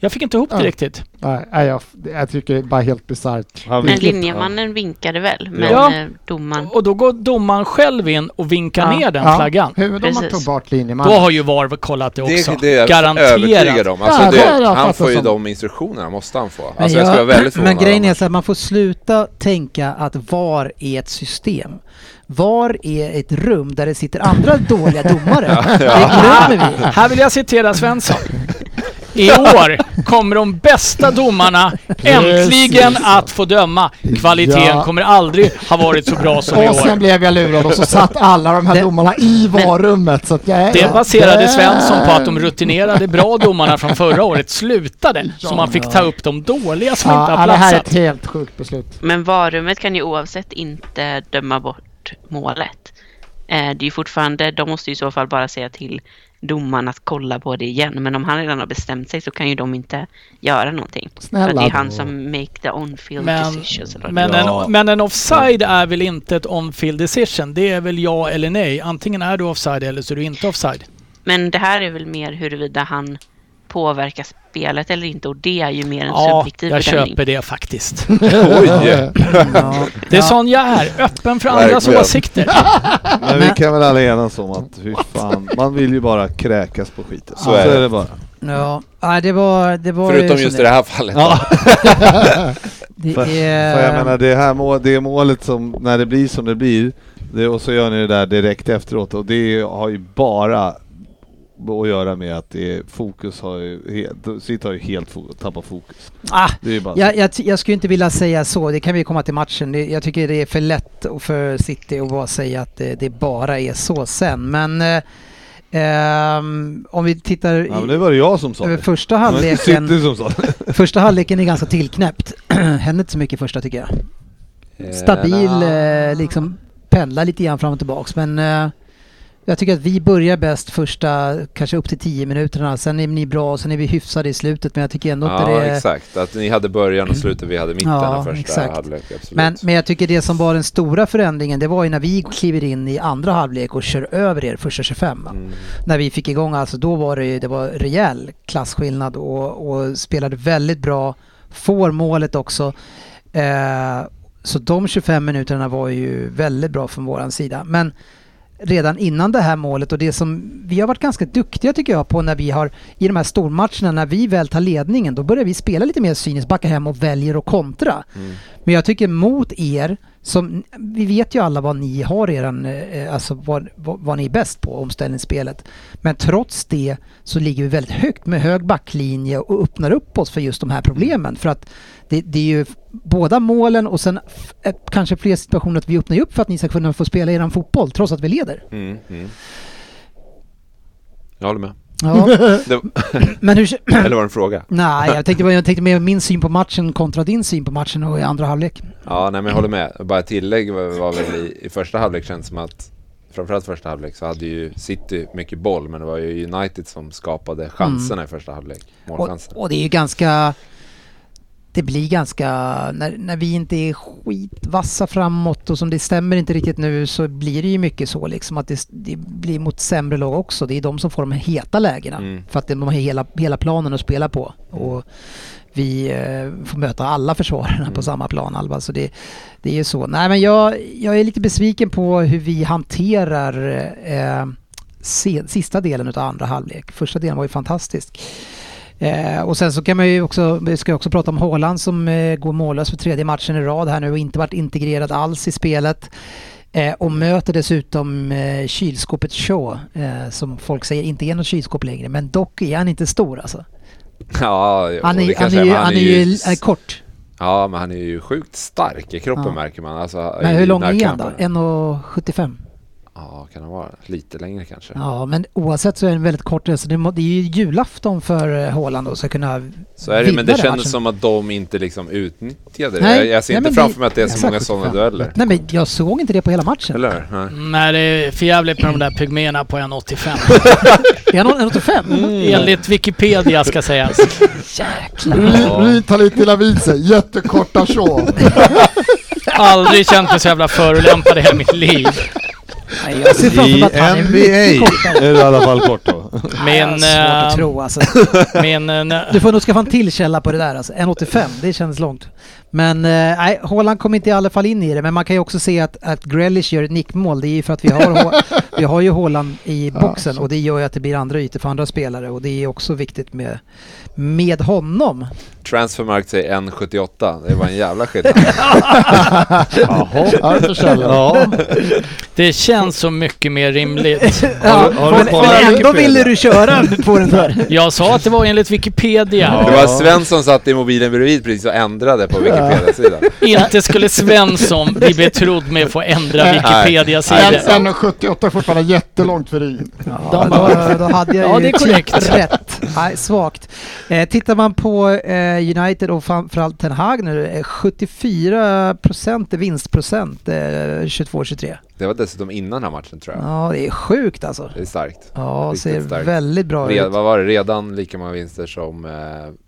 S4: Jag fick inte ihop det
S7: Ja.
S4: riktigt.
S7: Nej, nej, jag, jag tycker det är bara helt bisarrt.
S5: Han
S6: Men
S5: vinkade.
S6: linjemannen vinkade väl, men
S4: Ja.
S6: eh, domaren...
S4: Och då går domaren själv in och vinkar ner den
S7: Ja,
S4: flaggan.
S7: Huvuddomaren
S6: Precis.
S7: tog bort linjemannen.
S4: Då har ju VAR kollat det också.
S8: Det, det är jag
S4: Garanterat.
S8: övertygad om. Alltså,
S7: Ja, det har
S8: det,
S7: jag
S8: han
S7: fattat
S8: får ju
S7: som.
S8: de instruktionerna, måste han få. Alltså, jag skulle vara väldigt
S3: men
S8: förvånad
S3: grejen är
S8: annars.
S3: så här, man får sluta tänka att VAR är ett system. VAR är ett rum där det sitter andra dåliga domare. Det glömmer vi.
S4: Här vill jag citera Svensson. I år kommer de bästa domarna äntligen att få döma. Kvaliteten
S7: Ja.
S4: kommer aldrig ha varit så bra som i
S7: och sen
S4: år.
S7: blev jag lurad och så satt alla de här
S3: Det-
S7: domarna i VAR-rummet. Så att jag,
S4: Det baserade Svensson på att de rutinerade bra domarna från förra året slutade. Så man fick ta upp de dåliga som inte
S7: Ja,
S4: har
S7: det här är
S4: platsat.
S7: ett helt sjukt beslut.
S6: Men varummet kan ju oavsett inte döma bort målet. Eh, Det är ju fortfarande, de måste ju i så fall bara säga till domaren att kolla på det igen. Men om han redan har bestämt sig så kan ju de inte göra någonting. För att det
S7: Snälla.
S6: är han som make the on-field
S4: Men-
S6: decisions. Eller vad det
S4: Men
S5: Ja.
S4: en, men en offside är väl inte ett on-field decision? Det är väl ja eller nej? Antingen är du offside eller så är du inte offside.
S6: Men det här är väl mer huruvida han påverkar spelet eller inte och det är ju mer en
S4: Ja,
S6: subjektiv
S4: jag
S6: bedömning.
S4: köper det faktiskt.
S8: Oj!
S3: Ja.
S4: Det är sån jag är, öppen för andras
S8: Verkligen.
S4: åsikter.
S5: Men vi kan väl alla enas om att fy fan, man vill ju bara kräkas på skiten.
S8: Så är det.
S5: bara.
S3: Ja, nej, det var... Det var
S8: Förutom just i det här fallet.
S5: Ja.
S3: Det
S5: För,
S3: är...
S5: för jag menar det här mål, det målet som, när det blir som det blir, det, och så gör ni det där direkt efteråt och det har ju bara att göra med att det är, fokus har ju helt, sitt har ju helt fo- tappat fokus.
S3: ah,
S5: Det är ju bara så.
S3: jag, jag, ty- jag skulle inte vilja säga så, det kan vi komma till matchen. Det, jag tycker det är för lätt och för City att bara säga att det, det bara är så sen. Men eh, ehm, om vi tittar i,
S5: Ja, men nu var det jag som sa
S3: över
S5: det.
S3: första
S5: Det var inte
S3: halvleken.
S5: City som sa det.
S3: Första halvleken är ganska tillknäppt. Hände inte så mycket i första tycker jag. Stabil, eh, liksom pendlar lite grann fram och tillbaks. Men eh, jag tycker att vi börjar bäst första, kanske upp till 10 minuterna. Sen är ni bra, sen är vi hyfsade i slutet. Men jag tycker ändå inte
S8: Ja,
S3: det är...
S8: exakt. Att ni hade början och slutet, vi hade mitten
S3: Ja,
S8: och första
S3: exakt.
S8: halvlek. Absolut.
S3: Men, men jag tycker det som var den stora förändringen, det var ju när vi kliver in i andra halvlek och kör över er första 25. va?
S8: Mm.
S3: När vi fick igång, alltså då var det ju, det var rejäl klassskillnad och, och spelade väldigt bra, får målet också. Eh, så de 25 minuterna var ju väldigt bra från våran sida. Men redan innan det här målet och det som vi har varit ganska duktiga tycker jag på när vi har i de här stormatcherna när vi väl tar ledningen då börjar vi spela lite mer cyniskt, backa hem och väljer att kontra. Men jag tycker mot er, som, vi vet ju alla vad ni har eran, eh, alltså vad, vad, vad ni är bäst på, omställningsspelet. Men trots det så ligger vi väldigt högt med hög backlinje och öppnar upp oss för just de här problemen. För att det, det är ju f- båda målen och sen f- eh, kanske fler situationer att vi öppnar ju upp för att ni ska kunna få spela eran fotboll trots att vi leder.
S8: Mm, mm. Jag håller med.
S3: Ja,
S8: Det,
S3: men hur,
S8: eller var det en fråga?
S3: nej, jag tänkte, bara- jag tänkte mer min syn på matchen kontra din syn på matchen och i andra halvlek.
S8: Ja, nej men jag håller med. Bara ett tillägg var, var väl i, i första halvlek känns som att Framförallt första halvlek så hade ju City mycket boll men det var ju United som skapade chanserna i första halvlek.
S3: Mm. Och,
S8: Målchanserna.
S3: och det är ju ganska... Det blir ganska... När, när vi inte är skitvassa framåt och som det stämmer inte riktigt nu så blir det ju mycket så liksom att det, det blir mot sämre lag också. Det är de som får de heta lägena.
S8: Mm.
S3: För att de har hela, hela planen att spela på. Och vi eh, får möta alla försvararna på samma plan Alva. Så det, det är ju så. Nej men jag, jag är lite besviken på hur vi hanterar eh, se, sista delen av andra halvlek. Första delen var ju fantastisk. Eh, och sen så kan man ju också, vi ska ju också prata om Haaland som eh, går mållös för tredje matchen i rad här nu och inte varit integrerad alls i spelet. Eh, och möter dessutom eh, kylskåpet Shaw, eh, som folk säger inte är något kylskåp längre, men dock är han inte stor alltså.
S8: Ja, jo,
S3: Han är, han
S8: det kanske
S3: är, ju,
S8: men
S3: han är ju är kort.
S8: Ja, men han är ju sjukt stark i kroppen
S3: Ja.
S8: märker man. Alltså,
S3: Men
S8: i
S3: hur lång är han då?
S8: närkamperna.
S3: 1,75?
S8: Ja, kan han vara lite längre kanske.
S3: Ja, men oavsett så är den väldigt kort. Så det, må, det är ju julafton för eh, Haaland och ska kunna...
S8: Så är det, men det
S3: vidare
S8: kändes
S3: matchen.
S8: som att de inte liksom utnyttjade det.
S3: alltså. Nej,
S8: jag, jag ser
S3: nej,
S8: inte
S3: men
S8: framför
S3: det-
S8: mig att det är så
S3: exakt.
S8: många sådana dueller.
S3: Nej, men jag såg inte det på hela matchen.
S8: Eller hur? Nej.
S4: Nej, det är för jävligt med de där pygméerna på 1,85.
S3: Är han 1,85?
S4: Mm. Enligt Wikipedia ska sägas.
S3: Jäklar.
S8: Ja.
S7: Ryd tar lite illa vid sig, jättekorta så.
S4: Aldrig känt mig så jävla förolämpad i hela mitt liv.
S3: Nej, jag ser framför
S5: I
S3: mig att han är mycket
S5: NBA
S3: kortare.
S5: är det i alla fall kort då.
S3: Nej, jag har
S4: Min...
S3: svårt att
S4: eh,
S3: tro alltså.
S4: min eh, nä-
S3: Du får nog skaffa en till källa på det där alltså. 1,85, det känns långt. Men eh, nej, Haaland kom inte i alla fall in i det. Men man kan ju också se att, att Grealish gör ett nickmål. Det är ju för att vi har, Ha- vi har ju Haaland i
S7: Ja,
S3: boxen
S7: så.
S3: och det gör ju att det blir andra ytor för andra spelare. Och det är också viktigt med, med honom.
S8: Transfermarkt säger 1,78. Det var en jävla skillnad.
S7: Ja, det är för sällan.
S5: Ja,
S4: det känns så mycket mer rimligt.
S5: Har du- har du
S3: men,
S5: kollat
S3: men ändå
S5: Wikipedia?
S3: ville du köra på den där.
S4: Jag sa att det var enligt Wikipedia.
S8: Det var Sven som satt i mobilen bredvid precis och ändrade på Wikipedia-sidan.
S4: Inte skulle Svensson bli betrodd med att få ändra
S7: Nej.
S8: Nej,
S4: Wikipedia-sidor.
S8: det-
S7: 1,78 är fortfarande jättelångt för Ryd.
S3: Ja, då, då hade jag
S4: Ja,
S3: ju typ
S4: det är korrekt.
S3: rätt. Nej, svagt. Eh, tittar man på eh, United och framförallt Ten Hag nu, eh, 74 procent vinstprocent eh, 22-23.
S8: Det var dessutom innan den här matchen tror jag.
S3: Ja, det är sjukt alltså.
S8: Det är starkt.
S3: Ja,
S8: Riktigt
S3: ser
S8: starkt.
S3: väldigt bra
S8: Red,
S3: ut.
S8: vad var det? Redan lika många vinster som eh,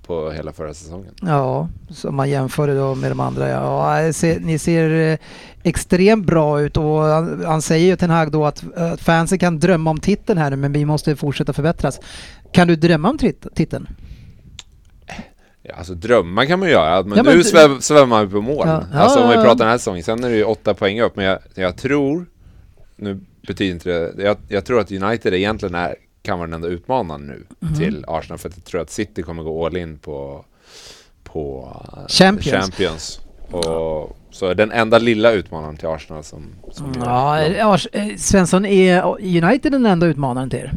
S8: på hela förra säsongen.
S3: Ja, som man jämför det då med de andra. Ja, Ja, jag ser, ni ser eh, extremt bra ut och han, han säger ju Ten Hag då att eh, fansen kan drömma om titeln här nu men vi måste fortsätta förbättras. Kan du drömma om trit- titeln?
S8: Ja, alltså drömmar kan man ju göra, men,
S3: Ja, men
S8: nu
S3: du-
S8: sväv, svävar man ju på moln.
S3: Ja.
S8: Alltså om vi
S3: Ja, ja,
S8: pratar den här säsongen, sen är det ju åtta poäng upp, men jag, jag tror, nu betyder inte det, jag, jag tror att United egentligen är, kan vara den enda utmanaren nu
S3: Mhm.
S8: till Arsenal, för att jag tror att City kommer gå all in på, på eh,
S3: Champions.
S8: Champions. Och, så den enda lilla utmanaren till Arsenal som... som
S3: Ja, ja, eh, Svensson, är United den enda utmanaren till er?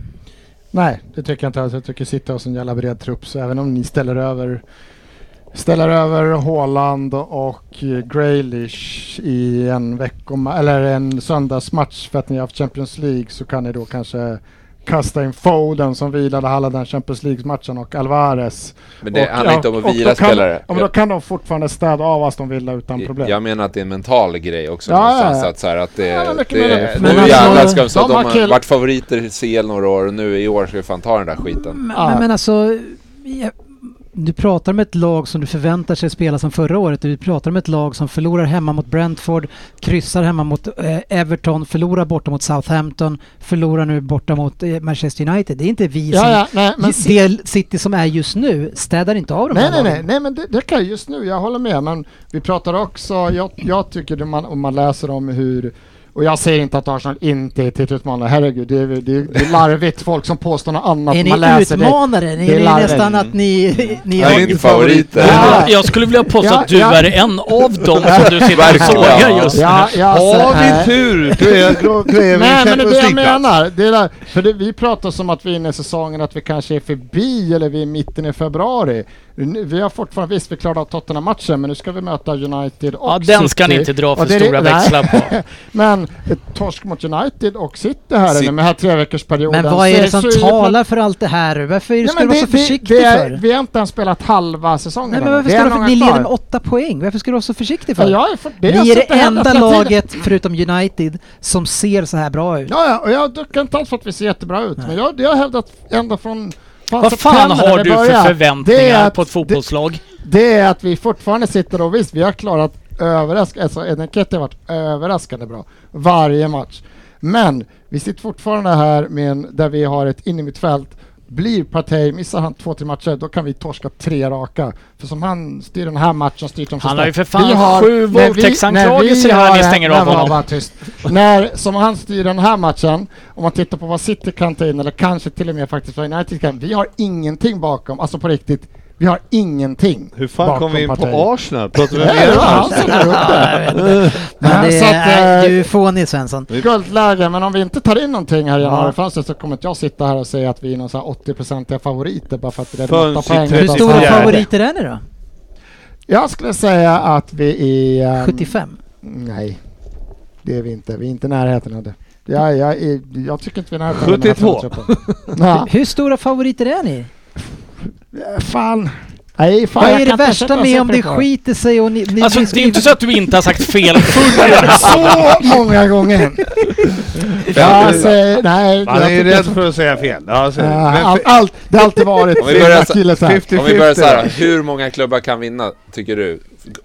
S7: Nej, det tycker jag inte alls. Jag tycker City har sån jävla bred trupp så även om ni ställer över Ställer över Haaland och eh, Grealish i en veckoma, eller en söndagsmatch för att ni har haft Champions League så kan ni då kanske kasta in Foden som vilade alla den Champions League-matchen och Alvarez.
S8: Men det
S7: och,
S8: handlar
S7: ja,
S8: inte om
S7: och
S8: att vila
S7: då kan,
S8: spelare.
S7: Ja, men då kan de fortfarande städa av Aston Villa utan problem.
S8: Jag menar att det är en mental grej också
S7: Ja,
S8: någonstans.
S7: ja, ja.
S8: Att så här, att det,
S7: Ja,
S8: det,
S7: mycket möjligt.
S8: nu
S3: Men alltså,
S8: jävlar ska de så
S7: de
S8: att de
S7: har
S8: har
S7: kill-
S8: varit favoriter i CL några år och nu i år ska vi fan ta den där skiten.
S3: Men,
S7: Ja.
S3: men, men alltså, jag- du pratar om ett lag som du förväntar sig spela som förra året. Du pratar om ett lag som förlorar hemma mot Brentford, kryssar hemma mot eh, Everton, förlorar borta mot Southampton, förlorar nu borta mot eh, Manchester United. Det är inte vi som...
S7: Ja, ja, nej, men
S3: det City som är just nu städar inte av de
S7: Nej,
S3: här
S7: nej,
S3: lagen.
S7: nej, nej, men det, det kan jag just nu, jag håller med. Men vi pratar också, jag, jag tycker det man, om man läser om hur och jag säger inte att Arsenal inte är titelutmanare, herregud det är, det, är, det är larvigt folk som påstår något annat när man
S3: Är ni
S7: läser det.
S3: utmanare? Ni
S7: det är
S3: är ni
S7: larven.
S3: nästan att ni... ni
S8: Jag är
S3: har,
S8: inte favoriter.
S7: Ja.
S4: Jag skulle vilja påstå att du
S7: Ja, ja.
S4: är en av dem som du sitter och
S8: Verkligen.
S4: sågar just nu.
S7: Ja, jag
S3: Alltså,
S7: säger-
S3: eh.
S5: har vi tur kräver- kräver vi
S7: Nej men det
S5: Champions
S7: är det jag
S5: League-plats.
S7: menar. Det är där. För det, vi pratar som att vi är inne i säsongen, att vi kanske är förbi eller vi är i mitten i februari. Nu- Vi har fortfarande, visst vi klarade av Tottenham-matchen men nu ska vi möta United och
S4: Ja, den ska
S7: City.
S4: ni inte dra
S7: Och
S4: för
S7: det är det-
S4: stora
S7: nej.
S4: växlar på.
S7: Men eh, torsk mot United och City här
S8: City.
S7: inne med den här treveckorsperioden.
S3: men vad
S7: så
S3: är det som
S7: så givet
S3: talar för allt det här? Varför
S7: Nej,
S3: ska du
S7: men
S3: vara så
S7: det- det-
S3: försiktig
S7: det är-
S3: för?
S7: Vi har inte ens spelat halva säsongen
S3: Nej, men
S7: ännu.
S3: varför
S7: Det är
S3: ska du,
S7: många
S3: ni leder
S7: kvar.
S3: med åtta poäng. Varför ska du vara så försiktig för?
S7: Ja, jag är för, det
S3: ni är
S7: suttit
S3: det
S7: här
S3: enda
S7: hela tiden.
S3: laget, förutom United, som ser så här bra ut.
S7: Ja, ja, och jag duckar inte alls för att vi ser jättebra ut. Men jag, det har jag hävdat ända från... från
S4: Vad fan
S7: september när
S4: typ har
S7: vi
S4: du för
S7: började. Det är
S4: förväntningar
S7: att-
S4: på ett fotbollslag?
S7: Det, det är att vi fortfarande sitter och visst, vi har klarat överraskande... Alltså, Eneketti har varit överraskande bra varje match. Men vi sitter fortfarande här med en, där vi har ett innermittfält Blir Partey, missar han två, tre matcher, då kan vi torska tre raka. För som han styr den här matchen, styrt de
S4: Han
S7: sista-
S4: har ju för fan
S7: Vi
S4: sju
S7: när vi-
S4: våldtäktsanklagelser
S7: när vi
S4: här, ni
S7: har-
S4: stänger
S7: när
S4: av
S7: vi har
S4: honom.
S7: bara tyst. När, som han styr den här matchen, om man tittar på vad City kan ta in, eller kanske till och med faktiskt vad United kan, vi har ingenting bakom, alltså på riktigt, vi har ingenting
S5: Hur fan
S7: bakom
S5: kom vi in
S7: Partey.
S5: på Arsenal? Pratar vi om
S7: Nej, det
S5: er
S7: var han
S5: match?
S7: som drog upp
S3: Ja,
S7: det.
S3: jag vet inte. Men
S7: Nej,
S3: det
S7: så att,
S3: är,
S7: eh,
S3: du är fånig Svensson.
S7: Guldläge, men om vi inte tar in någonting här i
S3: Ja.
S7: januarifönstret så kommer inte jag sitta här och säga att vi är någon så här 80-procentiga favoriter bara för att det
S5: Förrän
S7: är 8
S5: sitter
S7: poäng.
S5: det
S3: Hur
S5: är
S7: utan
S3: stora
S7: så här-
S5: fjärde.
S3: favoriter är ni då?
S7: Jag skulle säga att vi är... ehm,
S3: 75?
S7: Nej, det är vi inte. Vi är inte i närheten av det. Jag, jag, är, jag tycker inte vi är i närheten av den här
S5: 72.
S7: truppen. Nej,
S3: Hur stora favoriter är ni?
S7: fan. Nej, fan.
S3: Vad
S7: jag
S3: är det
S7: kan inte
S3: värsta
S7: sätta
S3: med om det
S7: siffror på
S3: skiter sig och ni... ni
S4: Alltså
S3: ni
S4: det är
S3: skriver-
S4: inte så att du inte har sagt fel förr.
S7: Så många gånger. jag säger, alltså, nej,
S5: Man
S7: jag
S5: är ju
S7: tycker
S5: rädd
S7: så-
S5: för att säga fel. Ja, så-
S7: Ja,
S5: men
S7: allt, allt, det har alltid varit
S8: Om vi börjar så-
S7: akilleshäl.
S5: 50-50.
S8: Om vi börjar så här, hur många klubbar kan vinna, tycker du,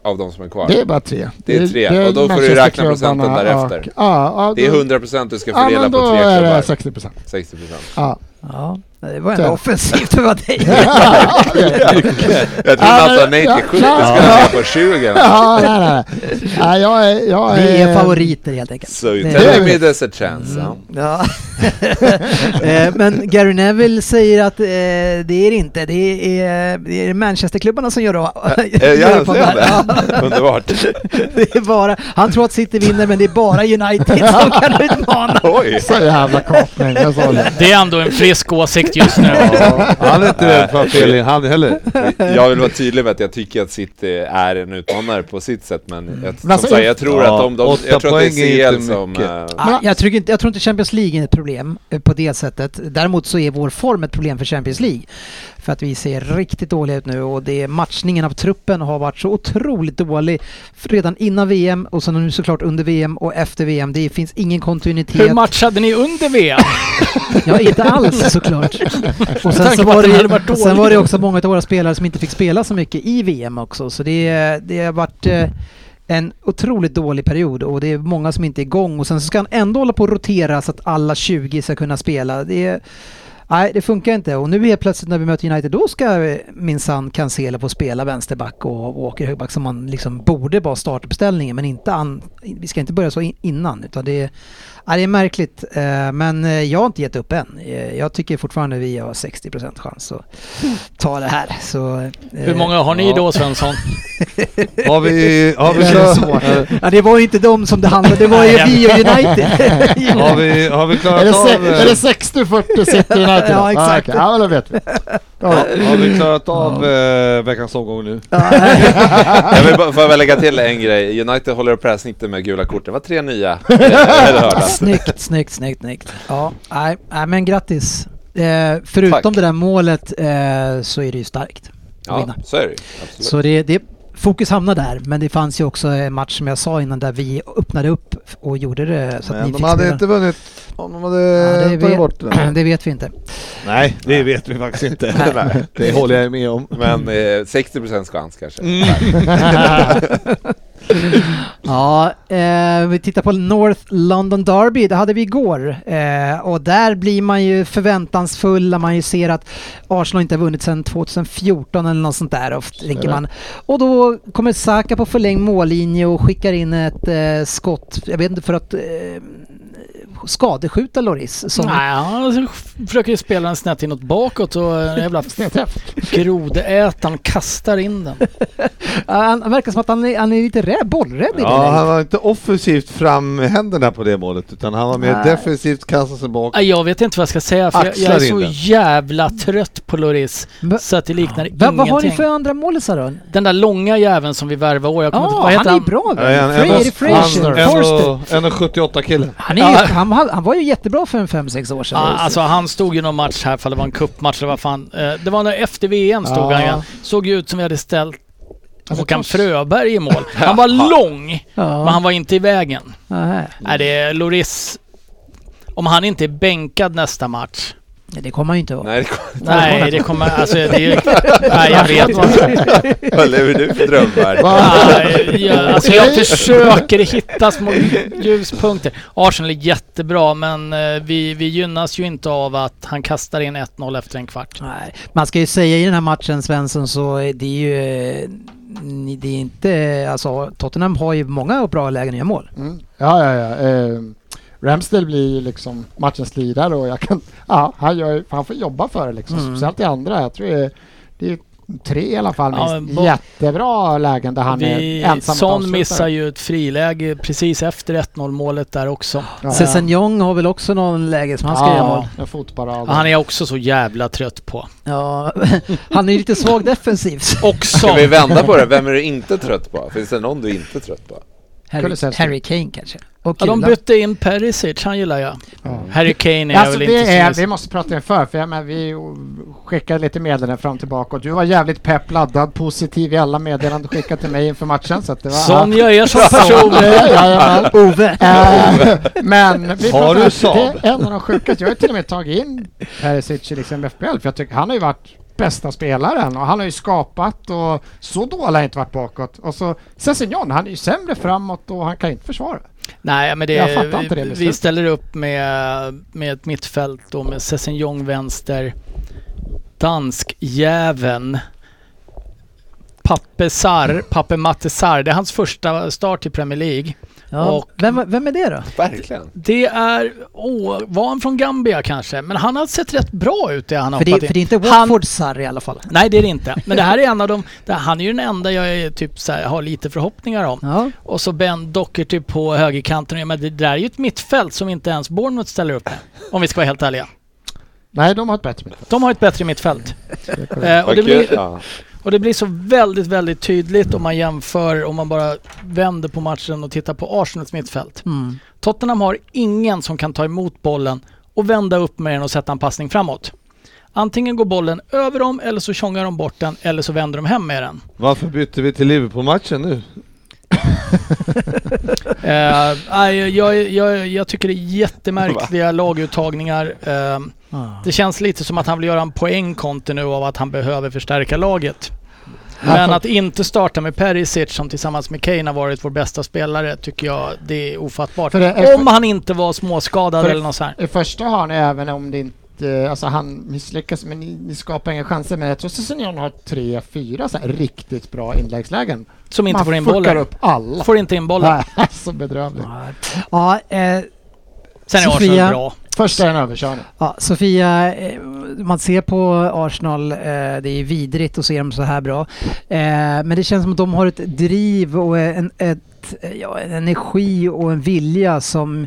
S8: av de som är kvar?
S7: Det är bara tre.
S8: Det är tre, och då får du
S7: Manchester
S8: räkna procenten
S7: klubbarna
S8: därefter.
S7: och- Ja, ja,
S8: Det är
S7: då-
S8: 100% du ska
S7: Ja,
S8: fördela
S7: men
S8: på
S7: då
S8: tre
S7: är det
S8: klubbar.
S7: 60 procent.
S8: 60%.
S7: Ja.
S3: Ja, det var ändå
S7: Tjena.
S3: offensivt för vad dig.
S8: Jag tror
S7: Ja,
S8: Mats var
S7: men-
S8: nej
S7: ja,
S8: till 70,
S7: klar.
S8: ska han på 20.
S7: ja, nej, nej, nej. nej. Jag är, jag
S3: Vi är
S7: är
S3: favoriter helt enkelt.
S8: So you
S3: Det- Mm.
S8: tell me there's a chance. ja.
S3: Ja. Eh, Men Gary Neville säger att eh, det är det inte. Det är, det är Manchesterklubbarna som gör då.
S8: Eh,
S3: gör
S8: Ja,
S3: upp om
S8: ser jag
S3: det här.
S8: det. Underbart.
S3: Det är bara, han tror att City vinner men det är bara United som kan utmana.
S8: Oj!
S7: så jävla kapning. Jag sa det.
S4: Det är ändå en frisk åsikt just nu.
S5: Han är inte rädd för att ha fel i hand heller.
S8: Jag vill vara tydlig med att jag tycker att City är en utmanare på sitt sätt, men jag, som
S7: alltså,
S8: sagt, jag tror
S5: ja,
S8: att om de,
S5: åtta
S8: jag tror att
S5: poäng är
S8: det är CL
S5: inte
S8: som...
S5: mycket.
S8: eh,
S3: Ah, Jag, tycker inte, jag tror inte Champions League är ett problem eh, på det sättet. Däremot så är vår form ett problem för Champions League. För att vi ser riktigt dåliga ut nu och det är matchningen av truppen har varit så otroligt dålig redan innan VM och sen nu såklart under VM och efter VM. Det finns ingen
S4: Hur
S3: kontinuitet.
S4: matchade ni under VM?
S3: Ja, inte alls såklart. Och sen,
S4: tanke
S3: så
S4: på
S3: var
S4: att det hade
S3: det,
S4: varit
S3: sen var det
S4: dåligt.
S3: också många av våra spelare som inte fick spela så mycket i VM också. Så det, det har varit eh, en otroligt dålig period och det är många som inte är igång. Och sen så ska han ändå hålla på och rotera så att alla 20 ska kunna spela. Det, är- nej, det funkar inte. Och nu helt plötsligt när vi möter United, då ska eh, minsann Cancelo få spela vänsterback och, och Walker högerback som man liksom borde vara startuppställningen. Men inte an, vi ska inte börja så in, innan. Utan det är, Ja, det är märkligt, eh, men eh, jag har inte gett upp än. Eh, Jag tycker fortfarande vi har 60% chans att ta det här. Så, eh,
S4: Hur många har ni då Svensson?
S5: Har vi, har vi,
S3: Det är svårt. eh, Ja, det var ju inte dem som det handlade det var ju vi och
S5: har
S3: United.
S5: vi, har vi
S7: Är
S5: klarat
S7: det,
S5: av...
S7: se- är
S5: eh,
S7: det 60-40 City United?
S3: Ja, exakt.
S7: okej. Ja, men då vet vi. Då,
S5: Har vi klarat av eh, veckans omgång nu?
S8: Jag vill bara, får jag bara lägga till en grej. United håller upp det här snittet med gula kort. Det var tre nya. eh, eller hördas.
S3: snyggt, snyggt, snyggt, snyggt. Ja, nej, nej, men grattis. Eh, förutom
S8: Tack.
S3: det där målet eh, så är det ju starkt. att
S8: Ja,
S3: vinna.
S8: så är det ju. Absolut.
S3: Så det, det, fokus hamnar där, men det fanns ju också en match som jag sa innan där vi öppnade upp och gjorde det så att
S5: Men
S3: ni
S5: de
S3: fick
S5: hade
S3: spela.
S5: inte vunnit om de hade
S3: Ja, det,
S5: tagit bort
S3: vet,
S5: den.
S3: det vet vi inte.
S5: Nej, det vet vi faktiskt inte.
S8: Nej.
S5: Det håller jag med om.
S8: Men eh, 60% chans kanske.
S3: Ja, eh, vi tittar på North London Derby, det hade vi igår. Eh, och där blir man ju förväntansfull när man ju ser att Arsenal inte har vunnit sedan 2014 eller något sånt där. Och, tänker man. och då kommer Saka på förlängd mållinje och skickar in ett eh, skott, jag vet inte för att eh, skadeskjuta Loris. Som,
S4: Nej, han försöker ju spela en snett inåt bakåt och eh, jävla grodätaren kastar in den.
S3: han, han verkar som att han är, han är lite rädd, bollrädd i det
S5: Ja,
S3: läget.
S5: han var inte offensivt fram med händerna på det målet utan han var mer
S3: Nej.
S5: defensivt kastade sig bak.
S4: Nej, Jag vet inte vad jag ska säga för jag, jag är
S5: Axlar
S4: så
S5: in den.
S4: jävla trött på Loris
S3: Va-
S4: så att det liknar
S3: Va,
S4: ingenting.
S3: vad har ni för andra målisar då?
S4: Den där långa jäveln som vi värvade i år, jag kommer inte-
S3: Ja,
S4: vad heter
S3: han är ju bra
S5: Ja, en-
S3: väl?
S5: en-
S3: Freddie Fraser.
S5: en- en-
S3: Forster.
S5: och- en och 78 kille.
S3: Han, är,
S4: Ja.
S3: ju- han, han han var ju jättebra för en 5-6 år sedan.
S4: Ja, alltså han stod ju någon match här, för det var en cupmatch eller vad fan. Eh, Det var när efter VM stod
S7: Ja.
S4: han igen. Såg ju ut som vi hade ställt
S7: Alltså,
S4: Håkan
S7: trots-
S4: Fröberg i mål. Han var lång,
S3: ja.
S4: men han var inte i vägen.
S3: Nej.
S4: Nej, det är Loris. Om han inte är bänkad nästa match
S3: Nej, det kommer man ju inte vara.
S8: Nej,
S4: Nej, det kommer... Alltså, det är ju... Nej, jag vet inte.
S8: det- vad lever du för drömvärld?
S7: Va?
S4: Nej, jag, alltså jag försöker hitta små ljuspunkter. Arsenal är jättebra, men eh, vi, vi gynnas ju inte av att han kastar in 1-0 efter en kvart.
S3: Nej, man ska ju säga i den här matchen Svensson så är det är ju... eh, ni- Det är inte... Alltså Tottenham har ju många bra lägen att göra mål.
S7: Mm. Ja, ja, ja. Eh, Ramsdale blir ju liksom matchens lirare och jag kan, ja, han, gör, ju- han får jobba för det liksom.
S3: Mm.
S7: Speciellt i andra. Jag tror det är, det är tre i alla fall
S4: Ja,
S7: minst.
S4: men Bo-
S7: Jättebra lägen där han
S4: Vi,
S7: är ensam
S4: Son missar ju ett friläge precis efter 1-0 målet där också.
S7: Ja.
S3: Sessegnong har väl också någon läge som han ska
S7: ja,
S3: göra mål.
S7: en fotparad.
S4: Han är jag också så jävla trött på.
S3: Ja, han är ju lite svag defensivt.
S4: Och
S8: Ska vi
S4: Son.
S8: vända på det? Vem är du inte trött på? Finns det någon du inte är trött på?
S3: Harry,
S7: Kulusevski.
S3: Harry Kane kanske. Och
S4: Ja, de
S3: Kula.
S4: bytte in Perisic, han gillar jag.
S7: Ja.
S4: Harry Kane är
S7: Alltså
S4: väl inte så
S7: det är, vi
S4: miss-
S7: måste prata inför, för jag, men, vi skickade lite meddelanden fram och tillbaka och du var jävligt pepp, laddad, positiv i alla meddelanden du skickade till mig inför matchen. Så att det var,
S4: Son gör jag som person.
S7: Ja, jajamän.
S3: Ove!
S7: Eh, men vi
S5: Har
S7: pratar-
S5: du Saab?
S7: Det är en av de sjukaste. Jag har till och med tagit in Perisic i liksom FPL för jag tycker han har ju varit bästa spelaren och han har ju skapat och så dålig har han inte varit bakåt. Och så Sessignon, han är ju sämre framåt och han kan ju inte försvara.
S4: Nej, men det,
S7: Jag fattar inte det
S4: vi, vi
S7: beslutet.
S4: ställer upp med, med ett mittfält då med Sessignon vänster, danskjäveln, Pape Sarr, Pape Matte Sarr. Det är hans första start i Premier League.
S3: Ja.
S4: Och-
S3: Vem, vem är det då?
S8: Verkligen.
S4: Det är, åh, var han från Gambia kanske? Men han har sett rätt bra ut det han har
S3: För det,
S4: hoppat in.
S3: för det är inte
S4: Han-
S3: Watfords sarr i alla fall.
S4: Nej, det är det inte. Men det här är en av de, det, han är ju den enda jag är typ så här, har lite förhoppningar om.
S3: Ja.
S4: Och så Ben Docherty på högerkanten. Men det där är ju ett mittfält som inte ens Bournemouth ställer upp med. Om vi ska vara helt ärliga.
S7: Nej, de har ett bättre mittfält.
S4: De har ett bättre mittfält.
S7: Det är korrekt.
S4: Eh, och, det
S8: Vad kul.
S4: blir,
S8: Ja.
S4: och det blir så väldigt, väldigt tydligt om man jämför, om man bara vänder på matchen och tittar på Arsenals mittfält.
S3: Mm.
S4: Tottenham har ingen som kan ta emot bollen och vända upp med den och sätta en passning framåt. Antingen går bollen över dem eller så tjongar de bort den eller så vänder de hem med den.
S5: Varför bytte vi till Liverpool-matchen nu?
S4: Eh, nej, jag, jag, jag tycker det är jättemärkliga laguttagningar. Eh,
S3: Ah.
S4: det känns lite som att han vill göra en poäng Conte nu av att han behöver förstärka laget. Men
S7: Varför-
S4: att inte starta med Perisic som tillsammans med Kane har varit vår bästa spelare tycker jag det är ofattbart.
S7: För det är-
S4: Om han inte var småskadad
S7: För-
S4: eller något så här.
S7: I första hörn även om det inte, alltså han misslyckas, men ni, ni skapar inga chanser. Men jag tror Sessignon har tre, fyra så här riktigt bra inläggslägen.
S4: Som inte
S7: Man
S4: får in
S7: fuckar
S4: bollen.
S7: upp alla.
S4: Får inte in bollen.
S7: Nej, så bedrövligt.
S3: Ja, eh,
S4: Sen är
S3: Sofia.
S4: Arsenal bra.
S7: Först är det en överkörning.
S3: ja, Sofia, eh, man ser på Arsenal, eh, det är vidrigt att se dem så här bra. Eh, men det känns som att de har ett driv och en, ett, eh, ja, en energi och en vilja som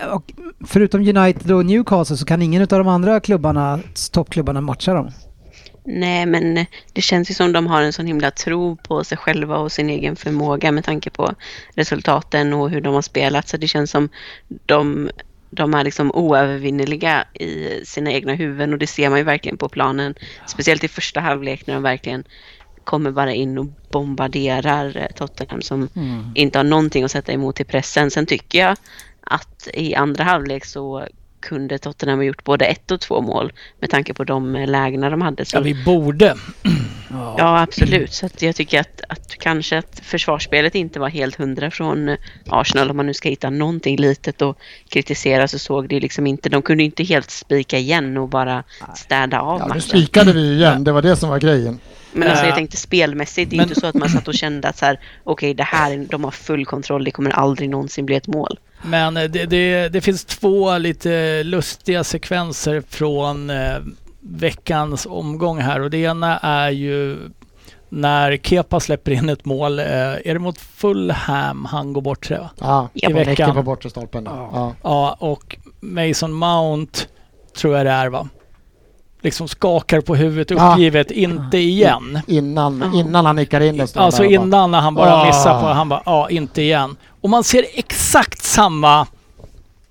S3: eh, och Förutom United och Newcastle så kan ingen av de andra klubbarna, toppklubbarna matcha dem.
S6: Nej, men det känns ju som de har en sån himla tro på sig själva och sin egen förmåga med tanke på resultaten och hur de har spelat. Så det känns som de, de är liksom oövervinnerliga i sina egna huvuden och det ser man ju verkligen på planen. Speciellt i första halvlek när de verkligen kommer bara in och bombarderar eh, Tottenham som
S4: Mm.
S6: inte har någonting att sätta emot i pressen. Sen tycker jag att i andra halvlek så kunde Tottenham ha gjort både ett och två mål med tanke på de eh, lägena de hade. Så
S4: Ja, vi borde.
S6: Ja, absolut. Så att jag tycker att, att kanske att försvarsspelet inte var helt hundra från eh, Arsenal. Om man nu ska hitta någonting litet och kritisera så såg det ju liksom inte. De kunde inte helt spika igen och bara städa av
S7: Ja, nu
S6: matchen.
S7: spikade vi ju igen, det var det som var grejen.
S6: Men alltså
S4: Äh,
S6: jag tänkte spelmässigt, det är
S4: men-
S6: inte så att man satt och kände att så här, okej, det här, är- de har full kontroll, det kommer aldrig någonsin bli ett mål.
S4: Men eh, det, det, det finns två lite lustiga sekvenser från eh, veckans omgång här och det ena är ju när Kepa släpper in ett mål. Eh, är det mot Fulham han går bort tror jag?
S7: Ja,
S6: I
S7: det räcker
S4: veckan.
S7: på bortre stolpen. nu. Ja.
S4: Ja, och Mason Mount tror jag det är va? Liksom skakar på huvudet
S7: Ja.
S4: uppgivet, inte igen.
S7: Innan, innan han nickar in den står han
S4: Alltså
S7: där och bara-
S4: innan när han bara
S7: Ah.
S4: missar på han bara, ja inte igen. Och man ser exakt samma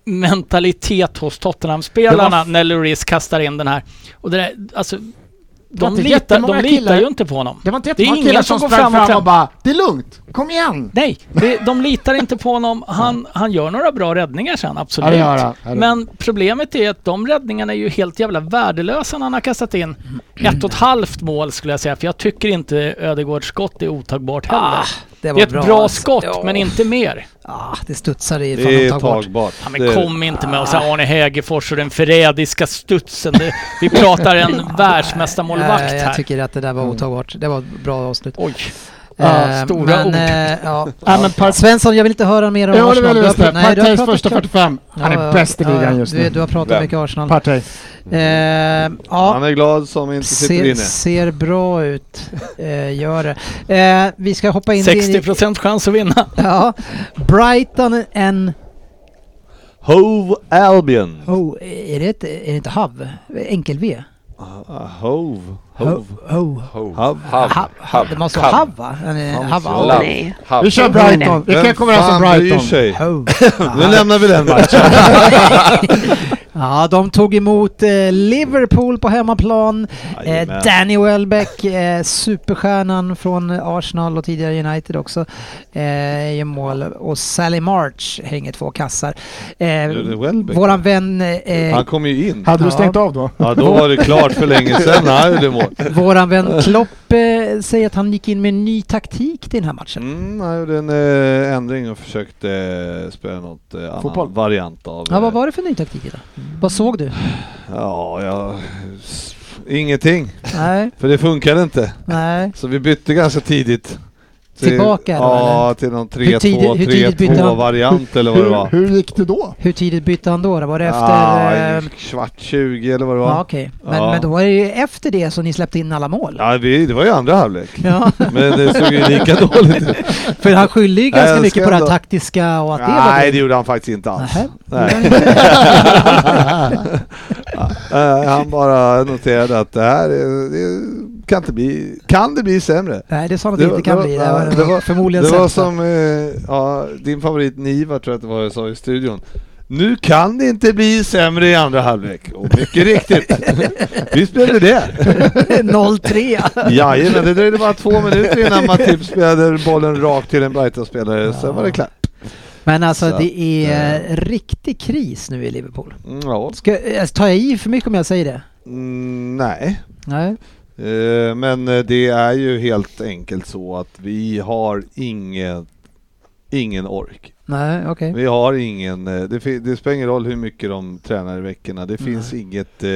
S4: mentalitet hos
S7: Det
S4: Tottenham-spelarna
S7: var
S4: när Lloris kastar in den här. Och det där, alltså
S7: var
S4: de,
S7: inte
S4: litar, de
S7: jättemånga
S4: litar
S7: killar-
S4: ju inte på honom.
S7: Det var inte
S4: Det är
S7: jättemånga
S4: ingen
S7: killar
S4: som
S7: som
S4: går
S7: sprang
S4: fram
S7: fram
S4: och
S7: och,
S4: kläm-
S7: bara ”Det är lugnt, kom igen!”
S4: Nej, det, de litar inte på honom. Han, han gör några bra räddningar sen,
S7: Ja,
S4: absolut.
S7: det gör han. Ja, det-
S4: Men problemet är att de räddningarna är ju helt jävla värdelösa när han har kastat in ett och ett halvt mål skulle jag säga. För jag tycker inte Ödegårds skott är otagbart heller.
S3: Ah, det var
S4: det är ett bra,
S3: alltså.
S4: skott,
S3: Ja.
S4: men inte mer.
S3: Ah, det studsade i
S5: Det är
S3: fan tagbart.
S5: tagbart.
S4: Ja,
S5: Det-
S4: men kom inte med och säga Arne Hägerfors och den förrädiska studsen. Det, vi pratar en världsmästarmålvakt
S3: Eh, jag
S4: här.
S3: tycker att det där var
S5: Mm.
S3: otagbart. Det var ett bra avslut.
S4: Oj.
S3: Eh,
S4: Ah, stora
S3: men,
S4: ord.
S3: eh, ja.
S7: Ja, men par-
S3: Svensson, jag vill inte höra mer om
S7: Ja, det
S3: Arsenal.
S7: var
S3: Du har
S7: just det.
S3: pr- nej, du har
S7: Partajs
S3: pratat
S7: första
S3: klart.
S7: 45. Han
S3: Ja,
S7: är bäst i
S3: ja,
S7: ligan just
S3: du,
S7: nu.
S3: du har pratat
S8: Vem?
S3: mycket Arsenal.
S7: Partaj.
S3: Eh, ja,
S5: Han är glad som inte sitter
S3: ser,
S5: inne.
S3: ser bra ut. Eh, gör det. Eh, vi ska hoppa in
S4: 60% chans att vinna.
S3: Ja, Brighton en...
S5: Hove Albion.
S3: Oh, är det, ett, är det inte HAV? Enkel-V?
S5: Ah, Hove. Hove.
S3: Oh.
S8: Hov.
S5: Hav.
S3: Hav, hav. Det måste vara HAV va? Den är-
S5: Hav.
S3: Hav.
S5: Ja.
S3: Hav.
S6: Nej.
S8: Hav.
S7: Vi kör Brighton. Vi kan
S5: Vem
S7: komma överens om
S5: fan bryr
S7: Brighton.
S5: sig?
S3: Hov.
S5: Nu lämnar vi den matchen.
S3: Ja, de tog emot eh, Liverpool på hemmaplan. Eh,
S5: Jajamän.
S3: Danny Welbeck, eh, superstjärnan från Arsenal och tidigare United också, eh, gör mål. Och Sally March hänger två kassar. Eh,
S5: Danny Welbeck?
S3: våran vän... Eh,
S5: Han kom ju in.
S7: Hade du
S3: Ja.
S7: stängt av då?
S5: Ja, då var det klart för länge sedan. när Han gjorde mål.
S3: Våran vän Klopp eh, säger att han gick in med en ny taktik till den här matchen.
S5: Mm, han gjorde en eh, ändring och försökte eh, spela något eh,
S7: Fotboll.
S5: annan variant av...
S3: Ja, vad
S5: eh,
S3: var det för ny taktik idag?
S5: Mm.
S3: Vad såg du?
S5: Ja, jag... s- Ingenting.
S3: Nej,
S5: För det funkade inte.
S3: nej.
S5: Så vi bytte ganska tidigt. Till,
S3: Tillbaka då,
S5: Ja, till någon 3-2,
S3: Hur tidigt- hur tidigt bytte han?
S5: 3-2-variant eller vad det var.
S7: Hur, hur gick det då?
S3: Hur tidigt bytte han då? då? Var det efter...
S5: Ja,
S3: eh,
S5: i kvart 20 eller vad det
S3: Ja,
S5: var.
S3: okej. Men,
S5: Ah, Ja.
S3: men då var det ju efter det som ni släppte in alla mål.
S5: Ja, vi, det var ju andra halvlek.
S3: Ja,
S5: Men det såg ju lika dåligt ut.
S3: för han skyllde ju
S5: Jag
S3: ganska
S5: älskar
S3: mycket på det här
S5: ändå.
S3: taktiska och att det var
S5: Nej,
S3: dumt.
S5: det gjorde han faktiskt inte alls.
S3: Nähä.
S5: Nej. Eh, han bara noterade att det här är, det kan, inte bli, kan det bli sämre.
S3: Nej, det sa han att det inte kan bli. Det var,
S5: det var-
S3: förmodligen
S5: Det var
S3: sämsta.
S5: som eh, ja, din favorit Niva tror jag att det var jag sa i studion. Nu kan det inte bli sämre i andra halvlek. Och mycket riktigt. Visst blev det det?
S3: 0-3.
S5: Jajamän, det dröjde bara två minuter innan Matip spelade bollen rakt till en Brighton-spelare.
S3: Ja.
S5: Sen var det klart.
S3: Men alltså
S5: Så
S3: det är
S5: att,
S3: eh, riktig kris nu i Liverpool.
S5: Mm, ja.
S3: Ska, eh, tar jag i för mycket om jag säger det?
S5: Mm, nej.
S3: Nej.
S5: Eh, Men eh, det är ju helt enkelt så att vi har ingen, ingen ork.
S3: Nej, okej.
S5: Vi har ingen, eh, det, fi- det spelar ingen roll hur mycket de tränar i veckorna. Det finns inget, eh,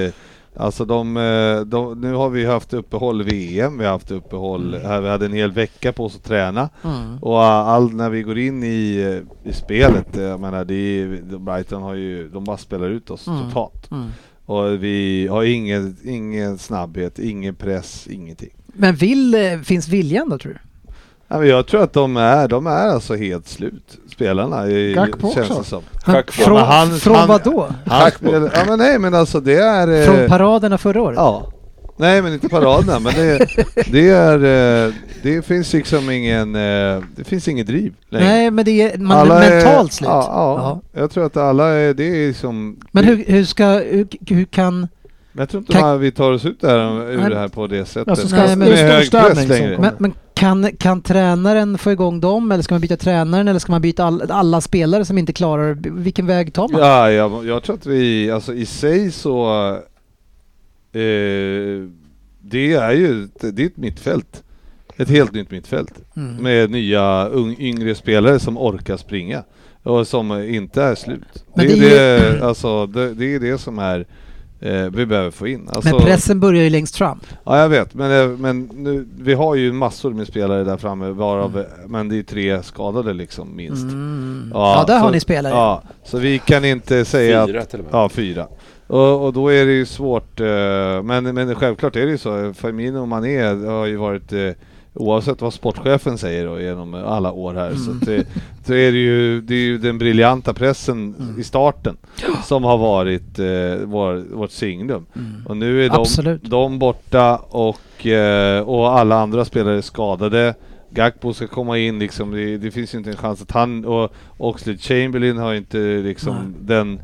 S5: alltså de, eh, de, nu har vi haft uppehåll VM, vi har haft uppehåll, här, vi hade en hel vecka på oss att träna.
S3: Mm.
S5: Och eh, all, när vi går in i, eh, i spelet, eh, jag menar det är, Brighton har ju, de bara spelar ut oss
S3: Mm.
S5: totalt.
S3: Mm.
S5: Och vi har ingen, ingen snabbhet, ingen press, ingenting.
S3: Men vill, eh, finns viljan då tror du?
S5: Ja, men jag tror att de är, de är alltså helt slut, spelarna. i-
S7: Gakpo
S5: känns
S7: också.
S5: det som.
S3: Men
S8: Schack på.
S3: från
S5: Men han-
S3: från
S5: han-
S3: vad då?
S5: Han spelar, ja, men nej men alltså det är... eh,
S3: Från paraderna förra året?
S5: ja. Nej men inte paraderna, men det, det är... eh, Det finns liksom ingen... eh, Det finns ingen driv längre.
S3: Nej, men det är man,
S5: är-
S3: mentalt slut.
S5: Ja, ja. jag tror att alla är... Det är som...
S3: Men hur, hur ska, hur, hur kan...
S5: Men jag tror inte
S3: Kan-
S5: man, vi tar oss ut det här, ur
S3: Nej.
S5: det här på det sättet.
S7: Alltså, ska,
S3: Nej, men-
S7: det
S5: Med
S7: är
S5: hög press
S7: storstädning som
S5: längre.
S7: kommer.
S3: Men, men kan, kan tränaren få igång dem eller ska man byta tränaren eller ska man byta all, alla spelare som inte klarar Vilken väg tar man?
S5: Ja, jag, jag tror att vi, alltså i sig så, eh, det är ju, ett- det är ett mittfält. Ett helt nytt mittfält
S3: Mm.
S5: med nya ung, yngre spelare som orkar springa och som inte är slut.
S3: Men
S5: det,
S3: det Mm.
S5: är det, alltså, det, det är det som är eh, vi behöver få in. Alltså,
S3: men pressen börjar ju längst fram.
S5: Ja, jag vet. Men, eh, men nu, vi har ju massor med spelare där framme, varav, men det är ju tre skadade liksom minst.
S3: Mm. Ja, där har
S5: så-
S3: ni spelare.
S5: Ja, så vi kan inte säga att
S8: Fyra till och med.
S5: Ja, fyra. Och, och då är det ju svårt. eh, Men, men självklart är det ju så. Firmino och Mané har ju varit, eh, oavsett vad sportchefen säger då, genom alla år här, så,
S3: Mm.
S5: att det, så är det, ju, det är ju den briljanta pressen
S3: Mm.
S5: i starten som har varit eh, vår, vårt signum. Och nu är de,
S3: Mm. Absolut.
S5: de borta och, eh, och alla andra spelare är skadade. Gakpo ska komma in liksom, det, det finns ju inte en chans att han och Oxlade Chamberlain har ju inte liksom den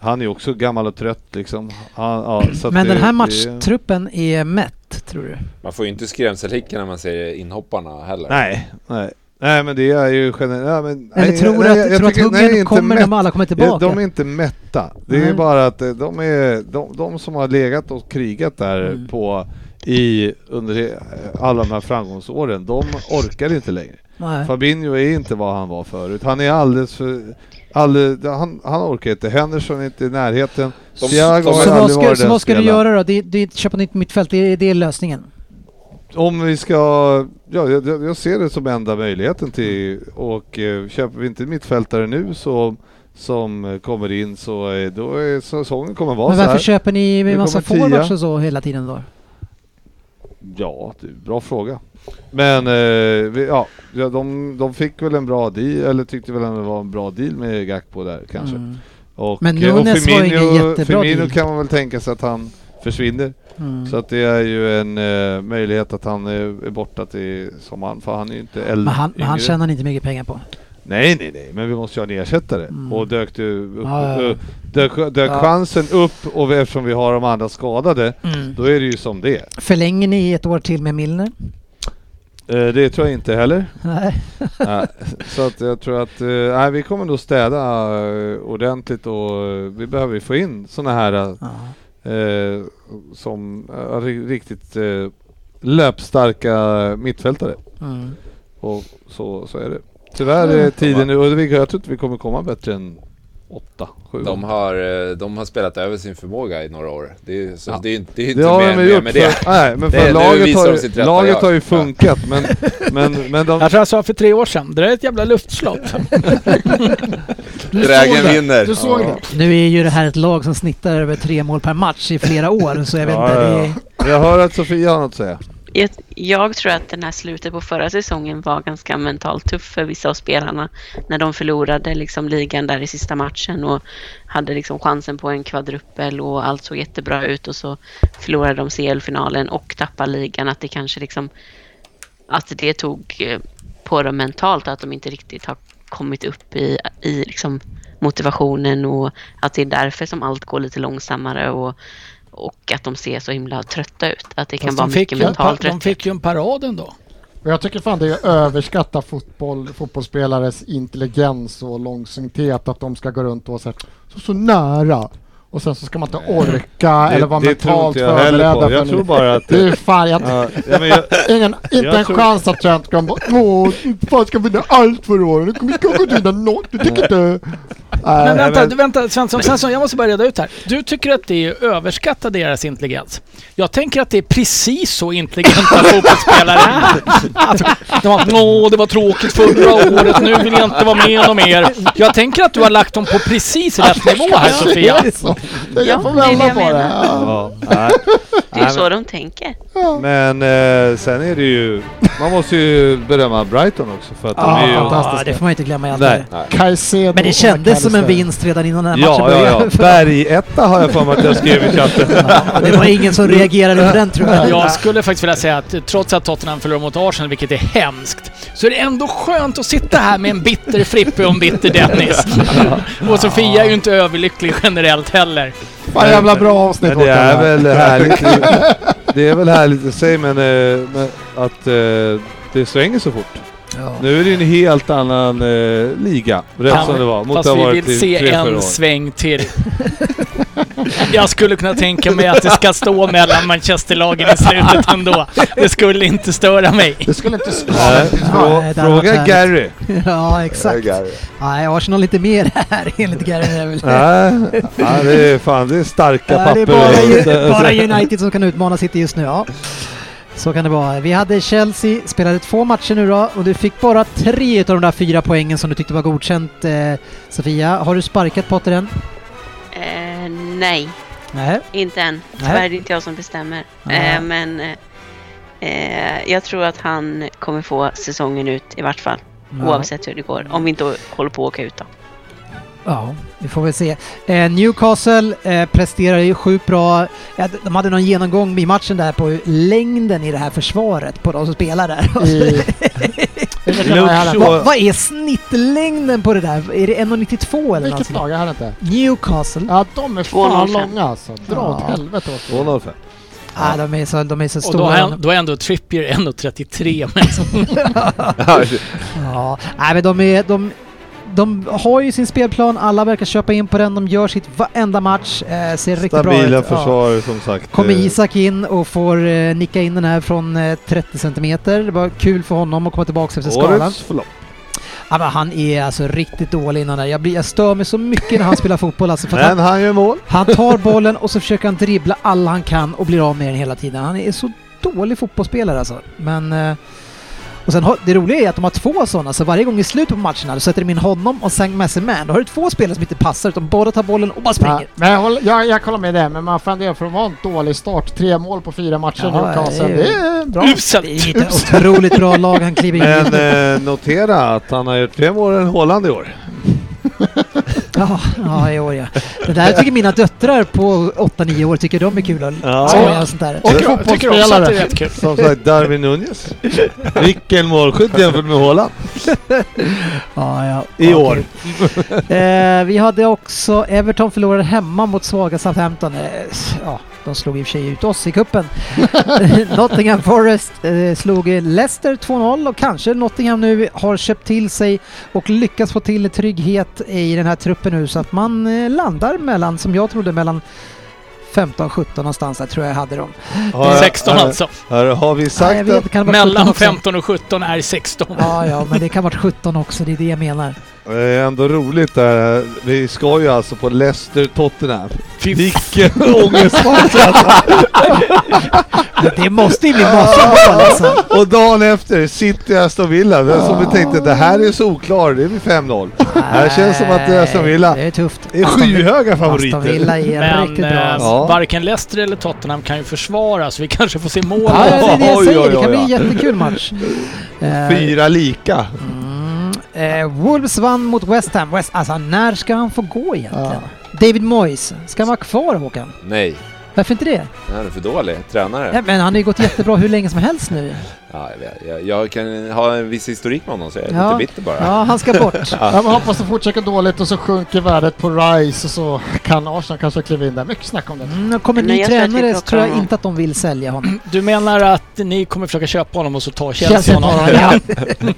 S5: han är ju också gammal och trött liksom. Han, ja, så att
S3: Men den
S5: det-
S3: här
S5: det-
S3: matchtruppen är mätt. tror du?
S8: Man får ju inte skrämselhicka när man ser inhopparna heller.
S5: Nej, nej. Nej men det är ju generellt... Nej, men,
S3: Eller
S5: nej,
S3: tror du
S5: nej,
S3: att,
S5: jag- jag
S3: tror att
S5: tycker- nej,
S3: huggen
S5: inte
S3: kommer när
S5: mätt.
S3: de alla kommer
S5: Ja,
S3: tillbaka?
S5: De är inte mätta. Det är
S3: Nej.
S5: bara att eh, de, är, de, de som har legat och krigat där
S3: Mm.
S5: på i, under he- alla de här framgångsåren, de orkar inte längre.
S3: Nej.
S5: Fabinho är inte vad han var förut. Han är alldeles för... Alldeles, han, han orkar inte. Henderson är inte i närheten.
S8: De-
S5: Thiago
S8: de-
S5: har
S3: Så vad
S5: aldrig
S3: ska,
S5: varit
S3: så
S5: den
S3: vad ska du
S5: spelaren.
S3: göra då? Det, det, köpa nytt mittfält, det, det är lösningen?
S5: Om vi ska... Ja, jag, jag jag ser det som enda möjligheten till... Och eh, köper vi inte mittfältare nu så, som eh, kommer in så eh, då är säsongen kommer vara
S3: Men
S5: så
S3: varför
S5: här.
S3: köper ni
S5: Nu
S3: en massa
S5: kommer
S3: forwards
S5: tia.
S3: och så hela tiden då?
S5: Ja, det är en bra fråga. Men eh, vi, ja, ja, de, de fick väl en bra deal, eller tyckte väl att det var en bra deal med Gakpo där kanske.
S3: Mm.
S5: Och,
S3: Men
S5: eh,
S3: Nunes var ingen jättebra
S5: Firmino
S3: deal.
S5: kan man väl tänka sig att han försvinner.
S3: Mm.
S5: Så att det är ju en eh, möjlighet att han är, är borta till sommaren, för han är ju inte äldre.
S3: Men han, men han
S5: yngre.
S3: tjänar inte mycket pengar på.
S5: Nej, nej, nej, men vi måste ju ha en ersättare.
S3: Mm.
S5: Och dök, det upp,
S3: Ja, ja, ja.
S5: eh, dök, dök
S3: Ja. Mm.
S5: chansen upp och eftersom vi har de andra skadade, då är det ju som det är.
S3: Förlänger ni ett år till med Milner?
S5: Eh, det tror jag inte heller.
S3: Nej.
S5: Nej, så att jag tror att eh, nej, vi kommer nog städa eh, ordentligt och eh, vi behöver ju få in sådana här
S3: Ja.
S5: eh, som eh, ri- riktigt eh, löpstarka mittfältare.
S3: Mm.
S5: Och så, så är det. Tyvärr är tiden nu, och det- jag tror inte vi kommer komma bättre än åtta, sju.
S8: De har, eh, de har spelat över sin förmåga i några år. Det är, ju- så
S5: Ja.
S8: det är, inte- det är
S5: det
S8: inte
S5: har
S8: mer
S5: de
S8: mer
S5: gjort.
S8: med det.
S5: För, nej, men för
S8: Det- nu
S5: laget,
S8: visar
S5: har,
S8: de
S5: ju-
S8: sitt rätta
S5: laget
S8: jag.
S5: har ju
S8: Ja.
S5: funkat men, men, men de...
S4: Jag tror jag sa för tre år sedan, det där är ett jävla luftslott.
S7: Du såg
S8: Drägen
S7: det.
S8: vinner.
S7: Du såg
S5: Ja.
S7: det.
S3: Nu är ju det här ett lag som snittar över tre mål per match i flera år, så jag vet
S5: Ja,
S3: inte.
S5: ja,
S3: det
S5: ja. Jag hör att Sofia har något att säga.
S6: Jag, jag tror att den här slutet på förra säsongen var ganska mentalt tuff för vissa av spelarna. När de förlorade liksom ligan där i sista matchen och hade liksom chansen på en kvadrupel och allt såg jättebra ut och så förlorade de CL-finalen och tappade ligan. Att det kanske liksom, att det tog eh, på dem mentalt att de inte riktigt har kommit upp i, i liksom motivationen och att det är därför som allt går lite långsammare och, och att de ser så himla trötta ut. Att det kan
S4: Fast
S6: vara
S4: de, fick
S6: mycket
S4: ju en, pa-
S6: mentalt
S4: de
S6: trötthet.
S4: fick ju en parad ändå.
S7: Och jag tycker fan det är att överskatta fotboll, fotbollsspelares intelligens och långsynthet att de ska gå runt och vara så, här, så, så nära och sen så ska man inte orka eller vara mentalt förberedda.
S5: på.
S7: för
S5: Jag
S7: en-
S5: tror bara att...
S7: Det är fan, jag,
S5: Ja, ja, men jag,
S7: ingen,
S5: jag
S7: inte en
S5: tror-
S7: chans att Trent kommer bara Åh, fan ska vinna allt för åren, du kommer kanske inte vinna något, du tycker inte...
S4: Men
S7: Nej,
S4: vänta,
S5: men-
S4: du, vänta Svensson, Svensson, jag måste bara reda ut här. Du tycker att det är överskattat deras intelligens. Jag tänker att det är precis så intelligenta fotbollsspelare är. Alltså, de har, Nå, det var tråkigt förra året, nu vill jag inte vara med om er. Jag tänker att du har lagt dem på precis rätt nivå här Sofia.
S7: så. Jag
S6: Ja,
S7: får
S6: det är det
S7: välja
S6: jag
S7: på det.
S6: menar.
S7: Ja.
S5: ja, nej.
S6: Det är ju
S5: Nej,
S6: så de tänker.
S5: Men eh, sen är det ju... Man måste ju berömma Brighton också för att de
S7: Ja,
S5: är ju...
S7: fantastiskt.
S3: Ja, det får man ju inte glömma i allt det
S5: Nej.
S3: här.
S7: Caicedo
S3: Men det kändes som en vinst redan innan den här matchen
S5: Ja, ja, ja.
S3: började.
S5: Bergetta har jag för mig att jag skrev i chatten.
S3: Ja, det var ingen som reagerade på den tror jag.
S4: Jag skulle faktiskt vilja säga att eh, trots att Tottenham förlorar mot Arsenal, vilket är hemskt, så är det ändå skönt att sitta här med en bitter Frippe och en bitter Dennis. Och Sofia är ju inte överlycklig generellt heller.
S7: Fan jävla bra avsnitt
S5: Men det är
S7: Håkan.
S5: väl härligt. Det är väl härligt i sig men, eh, men att eh, det svänger så fort.
S3: Ja.
S5: Nu är det ju en helt annan eh, liga. Rätt
S4: Ja,
S5: som det var. Mot
S4: Fast
S5: det har
S4: vi
S5: varit
S4: vill
S5: i
S4: se
S5: tre, fyra
S4: en
S5: år.
S4: sväng till. Jag skulle kunna tänka mig att det ska stå mellan Manchesterlagen i slutet ändå. Det skulle inte störa mig.
S7: Det skulle inte skada.
S5: Nej,
S3: Ja,
S5: frå-
S3: det hade varit
S5: Fråga
S3: härligt.
S5: Gary.
S3: Ja, exakt. Nej, Arsenal inte mer här enligt Gary Neville.
S5: Nej, ja, det är fan det är starka
S3: Ja, det
S5: papper.
S3: är bara, bara United som kan utmana City just nu. Ja. Så kan det vara. Vi hade Chelsea, spelade två matcher nu då och du fick bara tre av de där fyra poängen som du tyckte var godkänt. Eh, Sofia, har du sparkat Potter än?
S6: Eh, nej,
S3: Nej.
S6: inte än. Tyvärr är det inte jag som bestämmer.
S3: Nej.
S6: Eh, men eh, eh, jag tror att han kommer få säsongen ut i vart fall. Oavsett hur det går. Om vi inte håller på att åka ut då.
S3: Ja, vi får väl se. Eh, Newcastle eh, presterar ju sjukt bra. Eh, de hade någon genomgång i matchen där på längden i det här försvaret på de som spelar där.
S7: I- Vilket lag är det?
S5: Luke
S3: Vad
S5: Shaw.
S3: vad är snittlängden på det där? Är det 1,92 eller
S7: Vilket
S3: någonting?
S7: lag är det inte?
S3: Newcastle.
S7: Ja, de är fan
S6: 205.
S7: långa alltså. Dra åt helvete åt dem.
S5: 205.
S3: Ah, de är så, de är så
S4: Och då,
S3: stora.
S4: är- då är ändå Trippier 1,33 men
S3: Ja, nej men de är... De, de har ju sin spelplan, alla verkar köpa in på den, de gör sitt varenda match, eh, ser riktigt bra ut.
S5: Stabila
S3: Ja.
S5: försvar som sagt.
S3: Kommer
S5: eh,
S3: Isak in och får eh, nicka in den här från eh, 30 centimeter. Det var kul för honom att komma tillbaka efter skadan.
S5: Årets flopp.
S3: Ja, men han är alltså riktigt dålig innan det här. jag, blir, jag stör mig så mycket när han spelar fotboll alltså. För att
S5: Men
S3: han,
S5: han gör mål.
S3: han tar bollen och så försöker han dribbla alla han kan och blir av med den hela tiden. Han är så dålig fotbollsspelare alltså. Men... eh, Och sen har, det roliga är att de har två sådana, så varje gång i slutet på matcherna då sätter de in honom och Sang Messerman. Då har du två spelare som inte passar utan båda tar bollen och bara
S7: Ja,
S3: springer.
S7: men jag, håller, jag, jag kollar med det, men man funderar för de har en dålig start. Tre mål på fyra
S3: Ja,
S7: matcher i Newcastle.
S3: det
S7: Det är bra.
S3: Det
S4: uselt.
S3: är ett otroligt bra lag han kliver in i.
S5: Men eh, notera att han har gjort fler mål än Haaland i år.
S3: Ja, ja, i år ja. Det där tycker mina döttrar på 8-9 år tycker de är kul att
S5: Ja.
S3: skoja och sånt där.
S4: Och jag tycker också att det är rätt kul.
S5: Som sagt, Darwin Nunez. Vilken målskytt jämfört med Haaland.
S3: Ja, ja.
S5: I
S3: Ja,
S5: år.
S3: kul. eh, vi hade också Everton förlorade hemma mot svaga Southampton. Eh, s- ja, de slog i och för sig ut oss i kuppen. Nottingham Forest eh, slog eh, Leicester 2-0 och kanske Nottingham nu har köpt till sig och lyckats få till trygghet i den här truppen nu så att man eh, landar mellan, som jag trodde, mellan 15-17 någonstans där tror jag jag hade dem.
S5: Har,
S4: 16
S5: har,
S4: alltså.
S5: har, har vi
S3: Ja, jag
S5: sagt
S3: vet,
S5: att...
S3: det kan vara 17
S4: Mellan
S3: också.
S4: 15 och 17 är 16.
S3: Ja, ja, men det kan vara 17 också, det är det jag menar.
S5: Det är ändå roligt där. Vi ska ju alltså på Leicester-Tottenham.
S4: Fy
S5: Vilken ångestmatch alltså.
S3: Men det måste ju bli Vasaloppet alltså.
S5: Och dagen efter, City Aston Villa. Den som vi tänkte, det här är solklar, det är vid 5-0. här känns som att det är Aston Villa.
S3: Det är tufft.
S5: Det är
S3: Aston-
S5: skyhöga
S3: Aston
S5: favoriter.
S3: Villa är
S4: Men
S3: riktigt bra.
S4: eh,
S3: Alltså.
S5: Ja.
S4: varken Leicester eller Tottenham kan ju försvara så vi kanske får se mål.
S3: Ja, ja, det är det jag
S5: Oj,
S3: säger.
S5: oj,
S3: Det kan
S5: oj,
S3: bli en
S5: oj.
S3: jättekul match. Eh,
S5: Fyra lika.
S3: Mm, eh, Wolves vann mot West Ham. West, alltså när ska han få gå egentligen?
S7: Ja.
S3: David Moyes, ska han vara kvar Håkan?
S8: Nej,
S3: Varför inte det?
S8: han är för dålig tränare.
S3: Nej, men han har ju gått jättebra hur länge som helst nu.
S8: Ja, jag, vet. jag, jag kan ha en viss historik med honom så jag är
S3: Ja.
S8: lite bitter bara.
S3: Ja, han ska bort. Mm,
S7: Jag hoppas det fortsätter dåligt och så sjunker värdet på Rice och så kan Arsenal kanske kliva in där. Mycket snack om det.
S3: Mm, och kommer en ny
S6: Nej, jag tror att vi
S3: tränare så
S6: plockar
S3: tror jag
S6: honom.
S3: inte att de vill sälja honom.
S4: Du menar att ni kommer försöka köpa honom och så ta Chelsea
S3: Chelsea
S4: honom?
S3: bara, ja.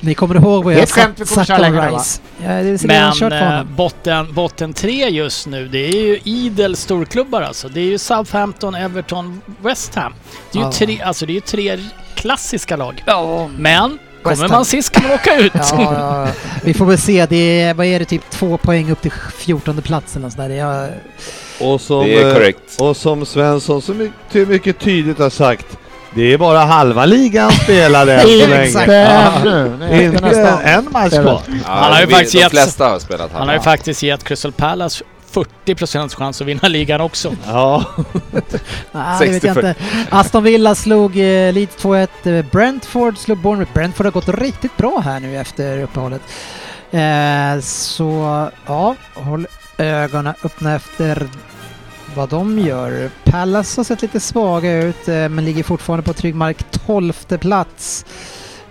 S3: Ni kommer ihåg vad
S7: Det är
S3: jag
S7: ett skämt vi
S3: sagt,
S7: kommer
S3: sagt
S7: köra
S3: om
S7: längre nu, va?
S3: Rice. Ja, Alltså, det är redan kört
S4: Men
S3: för
S4: eh,
S3: honom.
S4: botten, botten tre just nu, det är ju idel storklubbar alltså. Det är ju Southampton, Everton, West Ham. Det är ju
S3: Ja.
S4: tre, alltså det är ju tre klassiska lag.
S3: Ja,
S4: Men kommer
S3: Ham.
S4: man sist kan man åka ut.
S3: ja, ja. Vi får väl se. Det är, vad är det, typ två poäng upp till 14 plats eller nåt sånt där. Jag,
S5: Och som,
S8: Det är
S5: eh,
S8: korrekt.
S5: och som Svensson så mycket, mycket tydligt har sagt, det är bara halva ligan spelade än så
S7: Inte
S5: länge.
S7: ännu. Nej, Inte
S5: Inte
S7: nästan.
S5: en match kvar.
S8: Ja,
S4: Han har ju
S8: vi-
S4: faktiskt
S8: de
S4: gett-
S8: flesta har spelat
S4: Han har ju faktiskt gett Crystal Palace 40 chans att vinna ligan också.
S5: Ja.
S3: ah, det vet jag
S8: 60.
S3: inte. Aston Villa slog eh, Leeds 2-1. Eh, Brentford slog Bournemouth. Brentford har gått riktigt bra här nu efter uppehållet. Eh, så ja, håll ögonen öppna efter vad de gör. Palace har sett lite svaga ut eh, men ligger fortfarande på trygg mark. 12 plats.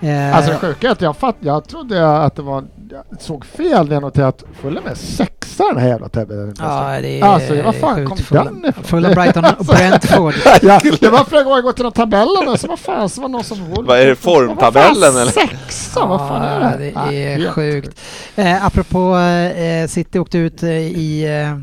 S3: Eh,
S7: Alltså det sjuka är att jag, fatt, jag trodde att det var... Jag såg fel när jag noterade att Fulham är sexa i den här jävla tävlingen.
S3: ja, det är
S7: Alltså, vad fan
S3: sjukt.
S7: kom
S3: Fulham-
S7: den ifrån? Alltså.
S3: Fulham, Brighton och Brentford.
S7: Ja, det var flera gånger jag gått till de tabellerna så vad fan så var det någon som...
S8: Vad är det, formtabellen eller?
S7: Sexa? Vad fan är det här?
S3: Ja,
S7: Ah,
S3: det är
S7: helt
S3: sjukt. Eh, apropå eh, City åkte ut eh, i, eh,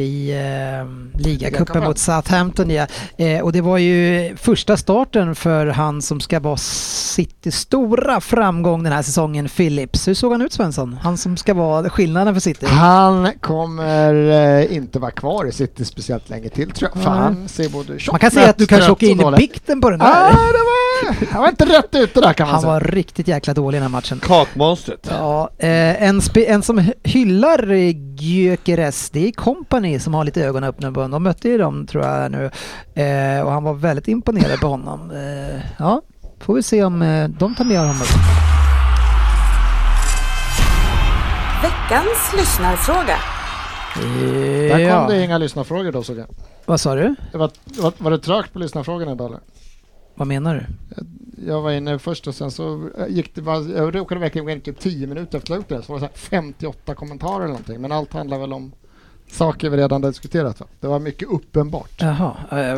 S3: i eh, ligacupen
S7: Ligacupen.
S3: mot Southampton. Ja. Eh, och det var ju första starten för han som ska vara Citys stora framgång den här säsongen, Phillips. Hur såg han ut Svensson? Han som ska vara skillnaden för City.
S7: Han kommer eh, inte vara kvar i City speciellt länge till tror jag. För
S3: Nej.
S7: han ser både tjock,
S3: Man kan säga att du
S7: mätt,
S3: kanske
S7: trött
S3: åker in
S7: och
S3: i
S7: dålig.
S3: bikten på den
S7: Nej,
S3: där.
S7: det var, han var inte rätt ute där kan man
S3: Han
S7: säga.
S3: var riktigt jäkla dålig i den här matchen.
S5: Kakmonstret.
S3: Ja, eh, en, spe- en som hy- hyllar eh, Gyökeres, det är Company som har lite ögonen öppna. på honom. De mötte ju dem tror jag nu eh, och han var väldigt imponerad på honom. Eh, ja, får vi se om eh, de tar med honom.
S2: Veckans lyssnarfråga.
S7: Där kom det
S3: Ja.
S7: inga lyssnarfrågor då såg jag.
S3: Vad sa du?
S7: Det var, var, var det trögt på lyssnarfrågorna idag eller?
S3: Vad menar du?
S7: Jag var inne först och sen så eh, gick det bara, jag råkade verkligen gå in typ 10 minuter efter jag la upp det så var det så här 58 kommentarer eller någonting men allt handlar väl om saker vi redan diskuterat. Va? Det var mycket uppenbart.
S3: Jaha,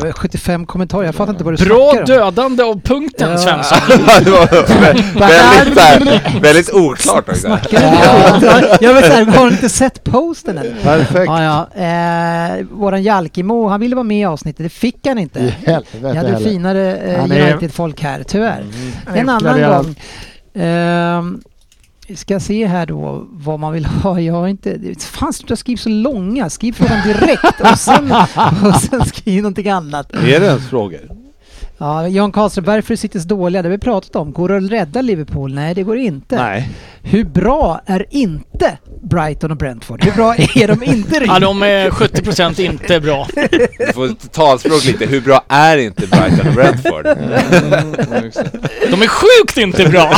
S3: eh, 75 kommentarer. Jag fattar inte vad du
S4: Bra
S3: snackar om.
S4: dödande av punkten
S3: Ja.
S4: Svensson.
S8: det var vä- väldigt, så här, väldigt oklart också.
S3: Snackar du skit? Jag var så här, har du inte sett posten än?
S7: Perfekt.
S3: Ja, ja. Eh, våran Jalkimo, han ville vara med i avsnitet. Det fick han inte.
S7: I helvete
S3: Jag hade
S7: heller.
S3: finare eh,
S7: Han är- Mm.
S3: United-folk här, tyvärr. En
S7: Enklare
S3: annan
S7: gör han.
S3: gång. Ehm, vi ska se här då vad man vill ha. Jag har inte... det- Fan, sluta skriva så långa. Skriv frågan direkt och sen, och sen skriv någonting annat.
S5: Är det ens frågor?
S3: Ja, Jan Karlström, varför Citys dåliga? Det har vi pratat om. Går det att rädda Liverpool? Nej, det går inte.
S5: Nej.
S3: Hur bra är inte Brighton och Brentford? Hur bra är de inte
S4: Ja,
S3: riktigt?
S4: de är 70% inte bra.
S8: Du får talspråk lite. Hur bra är inte Brighton och Brentford?
S4: De är sjukt inte bra!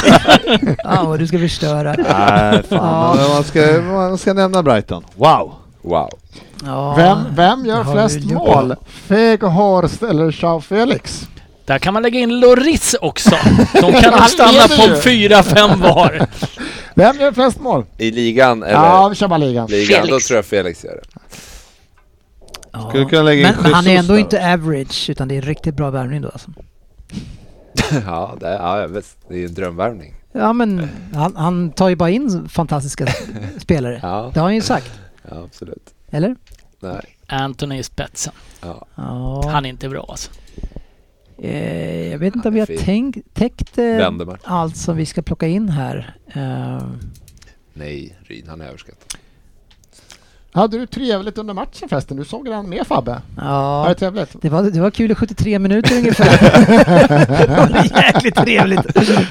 S3: Ja, och du ska förstöra.
S5: Nej,
S3: Ja.
S5: fan. Men Man, ska, man ska nämna Brighton. Wow!
S8: Wow.
S3: Ja.
S7: Vem, vem gör
S3: Det har
S7: flest
S3: vi gjort.
S7: mål? Feg Horst eller Jean Felix?
S4: Där kan man lägga in Loris också. De kan nog
S7: Han
S4: stanna
S7: leder
S4: på
S7: ju.
S4: 4-5 var.
S7: Vem gör flest mål?
S8: I ligan eller?
S7: Ja, vi kör bara ligan.
S8: ligan, då
S6: Felix.
S8: tror jag Felix gör det.
S3: Ja.
S5: Skulle kunna lägga in
S3: men, men han är
S5: Jesus
S3: ändå
S5: där.
S3: inte average, utan det är riktigt bra värvning då alltså.
S8: Ja, det, ja visst. Det är ju en drömvärvning.
S3: Ja men han, han tar ju bara in fantastiska spelare.
S8: Ja,
S3: Det har han ju sagt.
S8: ja absolut.
S3: Eller?
S8: Nej.
S4: Anthony i spetsen.
S3: Ja.
S4: Han är inte bra alltså.
S3: eh, jag vet inte
S8: Han
S3: om
S8: är
S3: vi har
S8: fin.
S3: tänkt, täckt eh,
S8: Vändermark.
S3: allt som vi ska plocka in här. Eh,
S8: Nej, Ryd, han är överskattad.
S7: Hade du trevligt under matchen förresten? Du såg den med Fabbe? Var
S3: ja.
S7: det trevligt?
S3: Det var, det var kul i 73 minuter ungefär. det var jäkligt trevligt.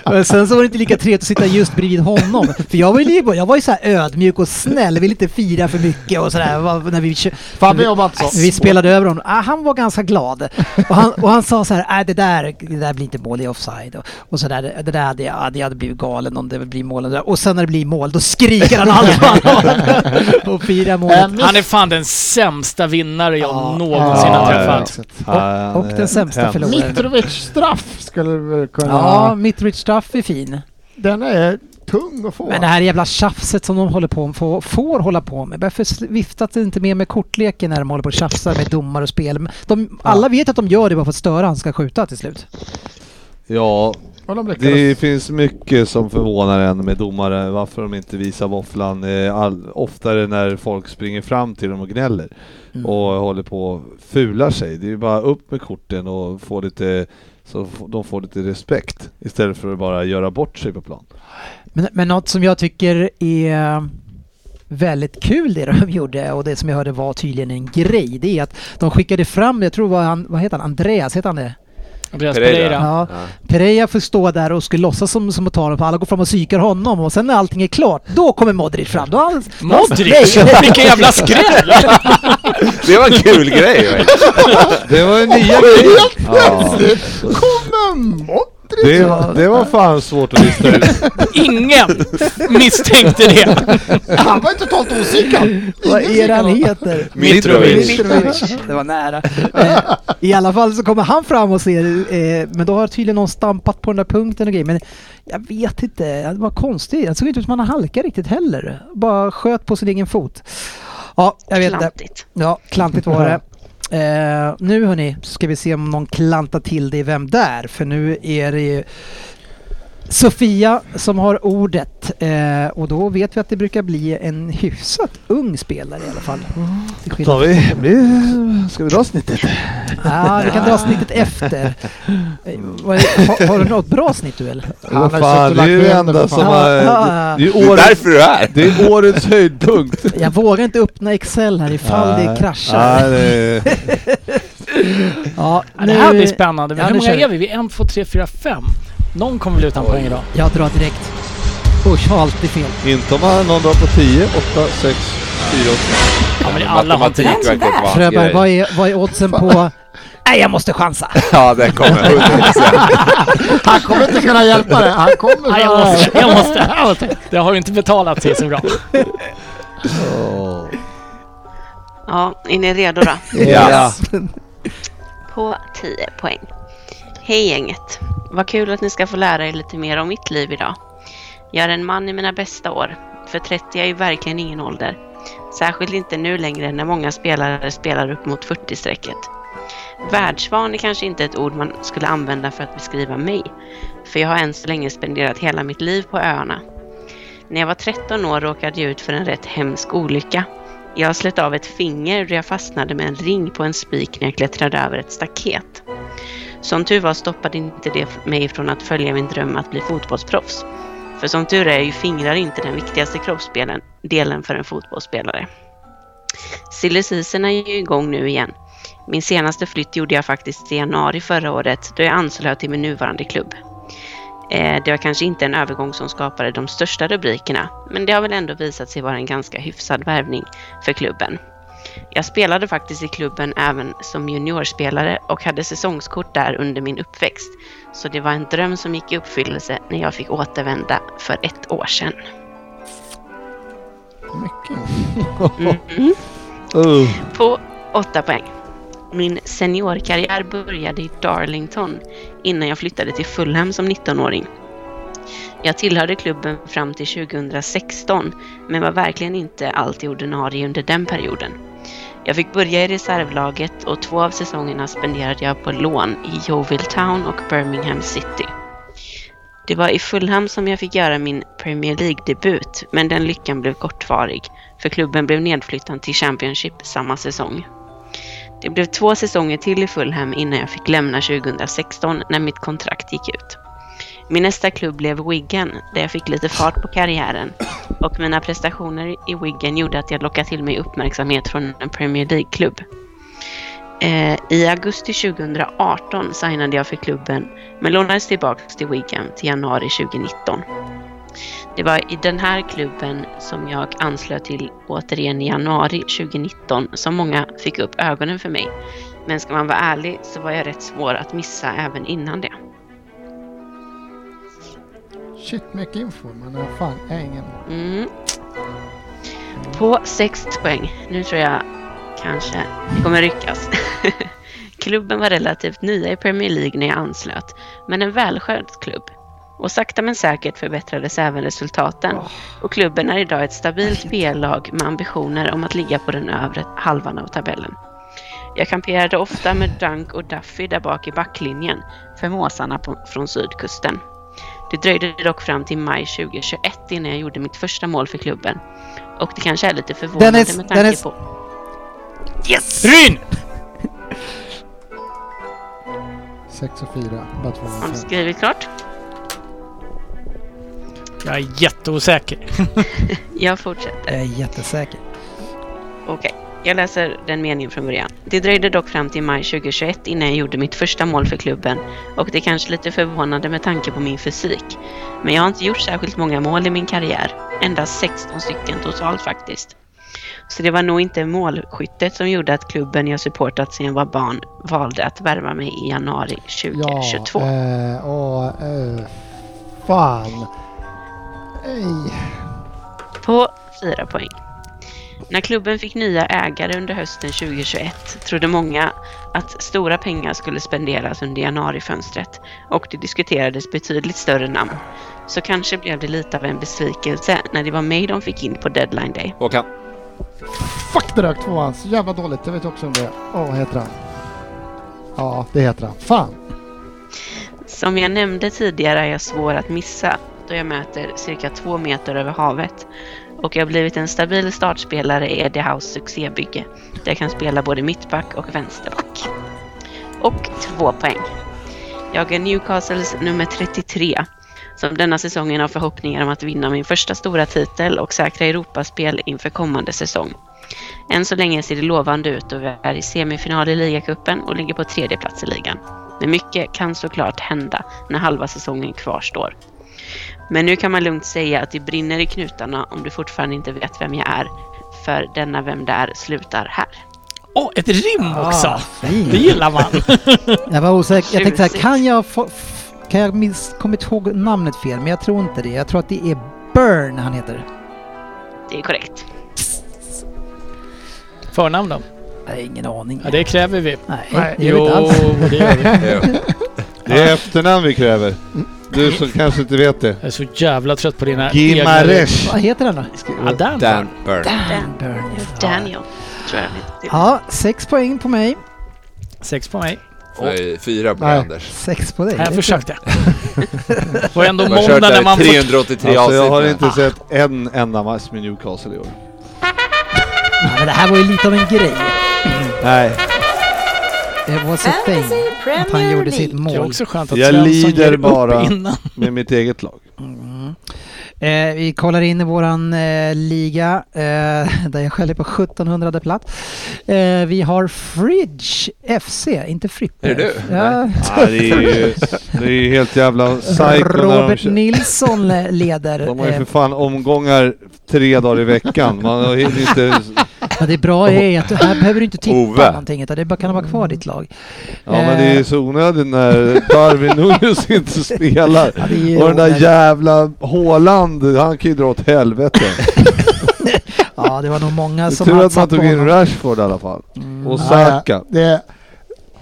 S3: Men sen så var det inte lika trevligt att sitta just bredvid honom. För jag var ju, lika- jag var ju så här ödmjuk och snäll, ville inte fira för mycket och sådär. vad- När vi, kö-
S7: Fabbe
S3: vi-
S7: jobbar inte så.
S3: Vi spelade över honom. Ah, han var ganska glad. Och han, och han sa så här, äh, det, där, det där blir inte mål, det är offside. Och, och så där, det det där hade jag, hade jag hade blivit galen om det blir mål. Och, det där. och sen när det blir mål, då skriker han allt vad han har. Och firar målet.
S4: Han
S7: En
S4: är
S7: miss-
S4: fan den sämsta vinnare jag
S3: Äh, Ja.
S4: någonsin har
S5: Ja,
S4: träffat.
S5: Han
S3: och den
S5: är
S3: sämsta
S5: hemsk.
S3: förloraren.
S7: Mitrovic straff skulle vi kunna...
S3: Ja, Mitrovic straff är fin.
S7: Den är tung att få.
S3: Men det här jävla tjafset som de håller på med, får, får hålla på med. Varför sl- viftas det inte mer med kortleken när de håller på och tjafsar med domare och spel? De, alla vet att de gör det bara för att störa han ska skjuta till slut.
S5: Ja,
S7: Och de lyckades.
S5: det finns mycket som förvånar en med domare. Varför de inte visar våfflan eh, all- oftare när folk springer fram till dem och gnäller. Och håller på och fular sig. Det är ju bara upp med korten och få lite så f- de får lite respekt istället för att bara göra bort sig på plan.
S3: Men, men något som jag tycker är väldigt kul det de gjorde och det som jag hörde var tydligen en grej. Det är att de skickade fram, jag tror var han, vad heter han, Andreas, heter han det?
S4: Andreas
S8: Pereira.
S4: Pereira.
S3: Ja.
S8: Ja.
S3: Pereira får stå där och skulle låtsas som, som att ta honom på alla går fram och psykar honom och sen när allting är klart, då kommer Modric fram. Då har han,
S4: Modric!
S3: Nej.
S4: Vilken jävla skräll!
S8: Det var en kul grej! va?
S5: Det var ju nya grejer! Ja.
S7: Kommer Modric!
S5: Det, var- det var fan svårt att lista ut.
S4: Ingen misstänkte det.
S7: Han var ju totalt osäker.
S3: vad är det han heter?
S8: Mitrovic.
S3: Det var nära. Eh, I alla fall så kommer han fram och ser, eh, men då har tydligen någon stampat på den där punkten och grejer. Men jag vet inte, det var konstigt. Det såg inte ut som att han halkade riktigt heller. Bara sköt på sin egen fot. Ja, jag vet inte.
S6: Klantigt.
S3: Ja, klantigt var det. Eh, nu hörni, ska vi se om någon klantar till det i Vem där? För nu är det ju Sofia som har ordet. Eh, och då vet vi att det brukar bli en hyfsat ung spelare i alla fall. Till skillnad
S5: Tar vi, vi- ska vi dra snittet?
S3: Ja, Ah, vi kan dra snittet efter. Eh, vad är- Har, har du något bra snitt du eller?
S7: Han har
S5: Vad
S7: ju
S5: fan,
S7: suttit
S5: det är ju det
S7: och lagt
S5: enda
S7: ner
S5: som
S3: för fan. Ja,
S5: har... Det är
S8: Det är
S5: årets,
S8: därför du är här!
S5: det är årets höjdpunkt.
S3: Jag vågar inte öppna Excel här ifall det
S5: Nej.
S3: kraschar.
S5: Nej, det,
S3: Ja,
S4: Ja, det här
S3: nu-
S4: blir spännande.
S3: Ja,
S4: Hur
S3: nu
S4: många
S3: kör vi.
S4: är vi? Vi är en, två, tre, fyra, fem. Någon kommer väl utan poäng idag.
S3: Jag drar direkt. Usch, har alltid fel.
S5: inte om man någon drar på 10, 8, 6, 4, 8.
S4: Ja, men det- alla har
S8: Matematik
S4: inte
S8: verkar inte vara en
S3: Fröberg,
S8: grej.
S3: vad är, vad är oddsen på... Nej, jag måste chansa!
S8: Ja, den kommer. 100%.
S7: Han kommer inte kunna hjälpa dig. Han kommer
S4: Nej, jag måste, jag måste. Det har ju inte betalat sig så bra.
S6: Ja, är ni redo då?
S8: Ja.
S6: På 10 poäng. Hej gänget! Vad kul att ni ska få lära er lite mer om mitt liv idag. Jag är en man i mina bästa år. För 30 är ju verkligen ingen ålder. Särskilt inte nu längre när många spelare spelar upp mot 40-strecket. Världsvan är kanske inte ett ord man skulle använda för att beskriva mig, för jag har än så länge spenderat hela mitt liv på öarna. När jag var 13 år råkade jag ut för en rätt hemsk olycka. Jag slet av ett finger då jag fastnade med en ring på en spik när jag klättrade över ett staket. Som tur var stoppade inte det mig från att följa min dröm att bli fotbollsproffs. För som tur är är ju fingrar inte den viktigaste kroppsdelen delen för en fotbollsspelare. Silly Season är ju igång nu igen. Min senaste flytt gjorde jag faktiskt i januari förra året då jag anslöt till min nuvarande klubb. Eh, Det var kanske inte en övergång som skapade de största rubrikerna, men det har väl ändå visat sig vara en ganska hyfsad värvning för klubben. Jag spelade faktiskt i klubben även som juniorspelare och hade säsongskort där under min uppväxt. Så det var en dröm som gick i uppfyllelse när jag fick återvända för ett år sedan.
S7: Mycket.
S5: Uh.
S6: På 8 poäng. Min seniorkarriär började i Darlington innan jag flyttade till Fulham som 19-åring. Jag tillhörde klubben fram till 2016 men var verkligen inte alltid ordinarie under den perioden. Jag fick börja i reservlaget och två av säsongerna spenderade jag på lån i Yeovil Town och Birmingham City. Det var i Fulham som jag fick göra min Premier League-debut, men den lyckan blev kortvarig, för klubben blev nedflyttad till Championship samma säsong. Det blev två säsonger till i Fulham innan jag fick lämna 2016 när mitt kontrakt gick ut. Min nästa klubb blev Wigan, där jag fick lite fart på karriären och mina prestationer i Wigan gjorde att jag lockade till mig uppmärksamhet från en Premier League-klubb. Eh, I augusti 2018 signade jag för klubben men lånades tillbaka till Wigan till januari 2019. Det var i den här klubben som jag anslöt till återigen i januari 2019 som många fick upp ögonen för mig. Men ska man vara ärlig så var jag rätt svår att missa även innan det.
S7: Shit, mycket info, men jag har fan ingen.
S6: Mm. På 6 poäng. Nu tror jag kanske det kommer ryckas. Klubben var relativt nya i Premier League när jag anslöt, men en välskött klubb. Och sakta men säkert förbättrades även resultaten och klubben är idag ett stabilt B-lag med ambitioner om att ligga på den övre halvan av tabellen. Jag kamperade ofta med Dunk och Duffy där bak i backlinjen för måsarna på, från sydkusten. Det dröjde dock fram till maj 2021 innan jag gjorde mitt första mål för klubben. Och det kanske är lite förvånande
S3: Dennis,
S6: med tanke
S3: Dennis.
S6: på...
S4: Ryn!
S7: 6 och 4, bara 2 och
S6: Har du
S7: 5.
S6: skrivit klart?
S4: Jag är jätteosäker.
S6: Jag fortsätter.
S3: Jag är jättesäker.
S6: Okej, jag läser den meningen från början. Det dröjde dock fram till maj 2021 innan jag gjorde mitt första mål för klubben och det är kanske lite förvånande med tanke på min fysik. Men jag har inte gjort särskilt många mål i min karriär, endast 16 stycken totalt faktiskt. Så det var nog inte målskyttet som gjorde att klubben jag supportat sedan jag var barn valde att värva mig i januari 2022.
S7: Ja, eh, åh, eh, fan. Ej.
S6: på 4 poäng. När klubben fick nya ägare under hösten 2021 trodde många att stora pengar skulle spenderas under januarifönstret och det diskuterades betydligt större namn. Så kanske blev det lite av en besvikelse när det var mig de fick in på deadline day.
S8: Håkan.
S7: Fuck det där tvåan, så jävla dåligt. Jag vet också om det. Åh, vad heter han? Ja, det heter han. Fan.
S6: Som jag nämnde tidigare är jag svår att missa då jag möter cirka två meter över havet och jag har blivit en stabil startspelare i Eddie House succébygge där jag kan spela både mittback och vänsterback. Och två poäng. Jag är Newcastles nummer 33 som denna säsongen har förhoppningar om att vinna min första stora titel och säkra Europaspel inför kommande säsong. Än så länge ser det lovande ut och vi är i semifinal i ligacupen och ligger på tredje plats i ligan. Men mycket kan såklart hända när halva säsongen kvarstår. Men nu kan man lugnt säga att det brinner i knutarna om du fortfarande inte vet vem jag är. För denna Vem det är slutar här.
S4: Åh, ett rim också!
S3: Fin.
S4: Ah, Det gillar man.
S3: Ah, Jag var osäker. Jag tänkte så här,
S6: Tjusigt.
S3: kan jag få... f- Kan jag miss, kommit ihåg namnet fel? Men jag tror inte det. Jag tror att det är Burn han heter.
S6: Det är korrekt.
S4: Förnamn då?
S3: Jag har ingen aning.
S4: Ja, det kräver vi.
S3: Nej, det
S7: Nej,
S3: gör det inte alls.
S4: det gör vi.
S8: Ja.
S5: Det är efternamn vi kräver. Du som kanske inte vet det.
S4: Jag är så jävla trött på dina
S5: Gimaresh.
S3: Vad heter den då?
S4: egna... Ah, Dan.
S8: Dan Burn.
S6: Dan.
S3: Burn.
S6: Daniel, tror jag vet. till.
S3: Ja, sex poäng på mig.
S4: Sex på mig.
S8: Nej, Fyra på
S7: Nej.
S8: Anders.
S3: Sex på dig.
S4: Jag försökte. Det var ändå
S8: De har kört
S4: måndag när
S8: det här
S4: man...
S8: i
S4: Får...
S8: 383
S5: Alltså jag
S8: avsnitt
S5: har
S8: nu.
S5: inte sett en enda match med Newcastle i år.
S3: Ja, men det här var ju lite av en grej.
S5: Nej,
S3: Det var så thing
S2: Fantasy
S3: att han
S2: Premier League.
S3: gjorde sitt
S4: Det är
S3: mål.
S4: också skönt att
S5: Jag
S4: Svensson
S5: lider
S4: ger upp
S5: bara.
S4: innan.
S5: med mitt eget lag.
S3: Eh, vi kollar in i våran eh, liga eh, där jag själv är på 1700 plats. Eh, vi har Fridge FC, inte Frippe.
S8: Är det du?
S3: Ja,
S5: Ja, det är ju det är ju helt jävla psycho när de
S3: Robert
S5: kör.
S3: Nilsson eh, leder.
S5: De har ju
S3: eh,
S5: för fan omgångar tre dagar i veckan. Man hinner inte...
S3: men det bra är att här behöver du inte tippa
S8: Ove.
S3: någonting utan det bara kan vara kvar ditt lag.
S5: Ja men det är ju så onödigt när Darwin Nunez inte spelar.
S3: Ja, det är ju
S5: Och den där
S3: onödigt.
S5: jävla Haaland, han kan ju dra åt helvete.
S3: Ja, det var nog många
S5: Det är
S3: som
S5: tur
S3: hade
S5: att man
S3: satt
S5: tog
S3: på
S5: in
S3: honom. Mm.
S5: Rashford i alla fall. Och
S7: Ja,
S5: Saka.
S7: ja. Det är,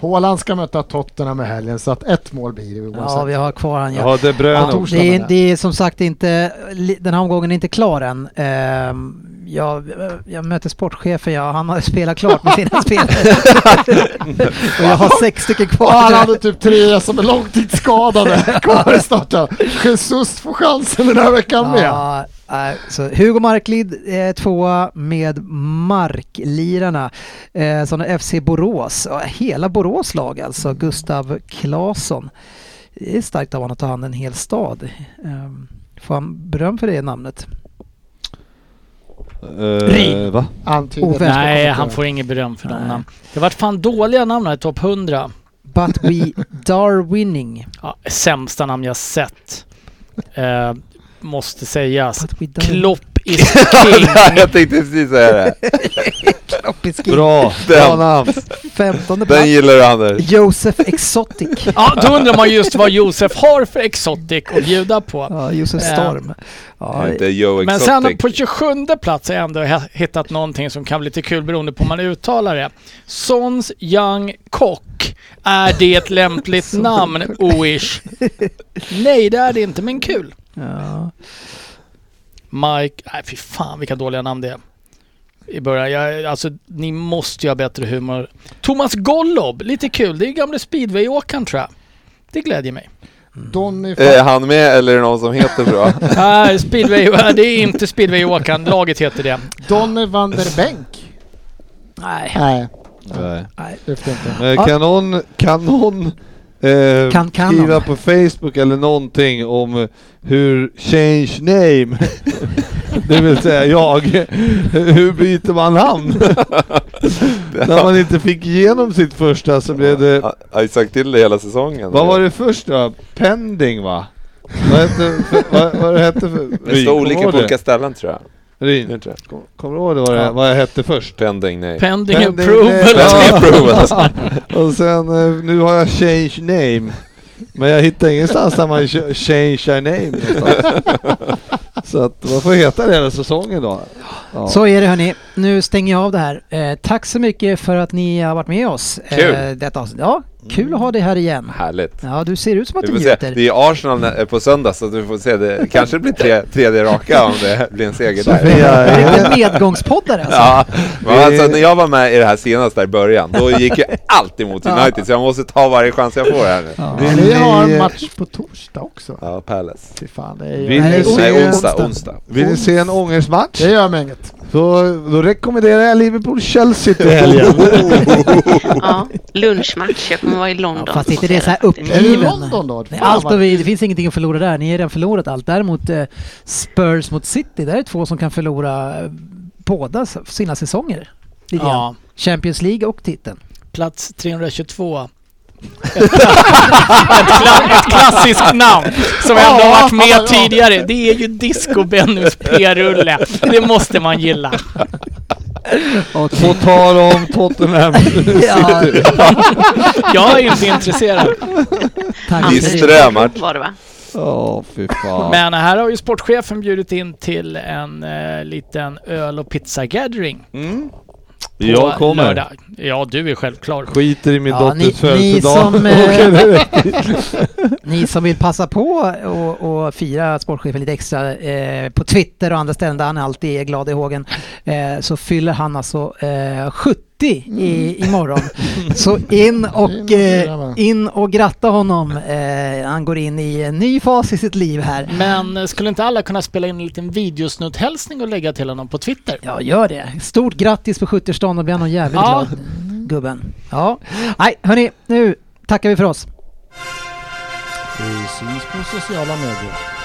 S7: Haaland ska möta Tottenham i helgen så att ett mål blir det
S3: Ja,
S7: oavsett.
S3: vi har kvar han ja.
S5: Ja, De Bruyne
S7: Ja,
S5: också.
S3: Det
S7: menar
S3: är,
S7: jag.
S3: det är som sagt inte, li- den här omgången är inte klar än. Ehm, jag, jag möter sportchefen, ja, han har spelat klart med sina spelare. och jag har sex stycken
S7: Och han
S3: kvar.
S7: hade typ tre som är långtidsskadade kvar i starten. Jesus får chansen den här veckan med.
S3: Ja, nej, så Hugo Marklid eh, tvåa med Marklirarna. Eh, sån är FC Borås, Ja, hela Borås lag alltså, Gustav Claesson. Det är starkt av honom att ta hand en hel stad. Ehm, får han beröm för det namnet?
S5: Eh, va?
S7: Antyder
S3: Ove.
S7: att jag
S4: Nej,
S7: kommer
S4: han
S7: till.
S4: får ingen beröm för de
S3: Nej.
S4: namnen. Det vart fan dåliga namn här i topp 100.
S3: But we Darwinning.
S4: Ja, sämsta namn jag sett. Eh, måste sägas.
S3: But we Darwinning.
S4: Klopp is king.
S8: Jag tänkte precis säga det.
S5: Bra, bra
S8: Den.
S5: namn.
S3: 15
S8: Den
S3: plats.
S8: gillar du Anders.
S3: Josef Exotic.
S4: Ja, då undrar man just vad Josef har för exotic att bjuda på.
S3: Ja, Josef
S4: Eh,
S3: Storm. Ja,
S8: Inte Joe
S4: Men
S8: Exotic.
S4: sen på 27 plats har jag ändå he- hittat någonting som kan bli lite kul beroende på hur man uttalar det. Sons Young Kock. Är det ett lämpligt namn, Oish? Nej, det är det inte, men kul.
S3: ja.
S4: Mike, nej fy fan vilka dåliga namn det är. I början, jag, alltså ni måste ju ha bättre humor. Thomas Gollob, lite kul. Det är ju gamle speedwayåkaren tror jag. Det glädjer mig.
S7: Donny
S5: Eh,
S8: Är Eh, han med eller är det någon som heter så?
S4: Nej, speedway, det är inte speedwayåkaren. Laget heter det.
S7: Donny van der Benk.
S3: Nej.
S7: Nej,
S5: Nej.
S7: det får inte.
S5: Men kan någon, kan någon eh,
S3: Kan- kan
S5: skriva
S3: någon?
S5: på Facebook eller någonting om eh, hur change name, det vill säga jag, hur byter man namn? När man inte fick igenom sitt första så blev det,
S8: Jag har ju sagt till det hela säsongen.
S5: vad var det första? Pending va? Vad hette, för, vad, vad det hette för
S8: Det
S5: by?
S8: står
S5: Kommer
S8: olika
S5: du
S8: på
S5: ihåg
S8: olika ställen tror jag.
S5: det?
S8: Gör
S5: Ryn,
S8: inte det?
S5: kommer du ihåg det, vad, det, vad jag hette först?
S8: Pending, nej.
S4: Pending
S5: Pending
S4: approval.
S5: name.
S8: Pending approval. alltså.
S5: Och sen, eh, nu har jag change name. Men jag hittar ingenstans där man kö- change your name någonstans. Så att man får heta det hela säsongen då. Ja.
S3: Så är det hörni. Nu stänger jag av det här. Eh, tack så mycket för att ni har varit med oss. eh,
S8: Kul.
S3: detta avsnitt. Ja, kul att ha dig här igen.
S8: Härligt.
S3: Ja, du ser ut som att
S8: Vi
S3: du
S8: får se.
S3: njuter.
S8: Det är Arsenal när- på söndag så att vi får se. Det kanske blir tre, tredje raka om det blir en seger där.
S3: Du
S5: Sofia,
S3: är en medgångspoddare alltså.
S8: Ja, men alltså när jag var med i det här senast där i början, då gick jag alltid mot United så jag måste ta varje chans jag får här nu.
S5: vill
S7: Vi har
S5: ni,
S7: match på torsdag också.
S8: Ja, Palace.
S7: Fy fan, det är ju...
S5: Vill ni
S7: Nej,
S5: se-
S8: Nej, onsdag, onsdag.
S5: vill ni se en ångermatch?
S7: Det gör mig inget.
S5: Då, då rekommenderar jag Liverpool-Chelsea till helgen.
S6: Ja, lunchmatch. Jag kommer vara i London.
S3: Ja, fast inte det är så här
S7: Är det
S3: uppgiven.
S7: London då?
S3: Nej,
S7: Fan,
S3: Allt
S7: vad-
S3: och vi, det finns ingenting att förlora där. Ni har redan förlorat allt. Däremot eh, Spurs mot City, där är det två som kan förlora eh, båda s- sina säsonger. Lite
S4: Ja,
S3: grann. Champions League och titeln.
S4: plats 322. Ett, kla- ett klassiskt namn som ändå har varit med tidigare. Det är ju Disco Bennys P-rulle. Det måste man gilla.
S5: På tal om Tottenham.
S3: Ja,
S4: Jag är inte intresserad.
S3: tack.
S8: Vi
S3: för det.
S8: strömmar.
S6: Var det va?
S5: Ja, fy fan.
S4: Men här har ju sportchefen bjudit in till en eh, liten öl och pizza gathering.
S5: Mm.
S4: på
S5: Jag kommer.
S4: lördag. Ja, du är självklar.
S5: Skiter i min
S3: Ja, ni- ni
S5: dotters födelsedag.
S3: som, eh,
S5: Åker direkt.
S3: Ni som vill passa på och, och fira sportchefen lite extra eh, på Twitter och andra ställen där han alltid är glad i hågen eh, så fyller han alltså eh, 70 i, imorgon. Så in och, eh, in och gratta honom. Eh, han går in i en ny fas i sitt liv här.
S4: Men eh, skulle inte alla kunna spela in en liten videosnutthälsning och lägga till honom på Twitter?
S3: Ja, gör det. Stort grattis på 70-årsdagen, då blir han nog jävligt
S4: Ja.
S3: glad, gubben. Ja, nej hörni, nu tackar vi för oss.
S7: Vi syns på sociala medier.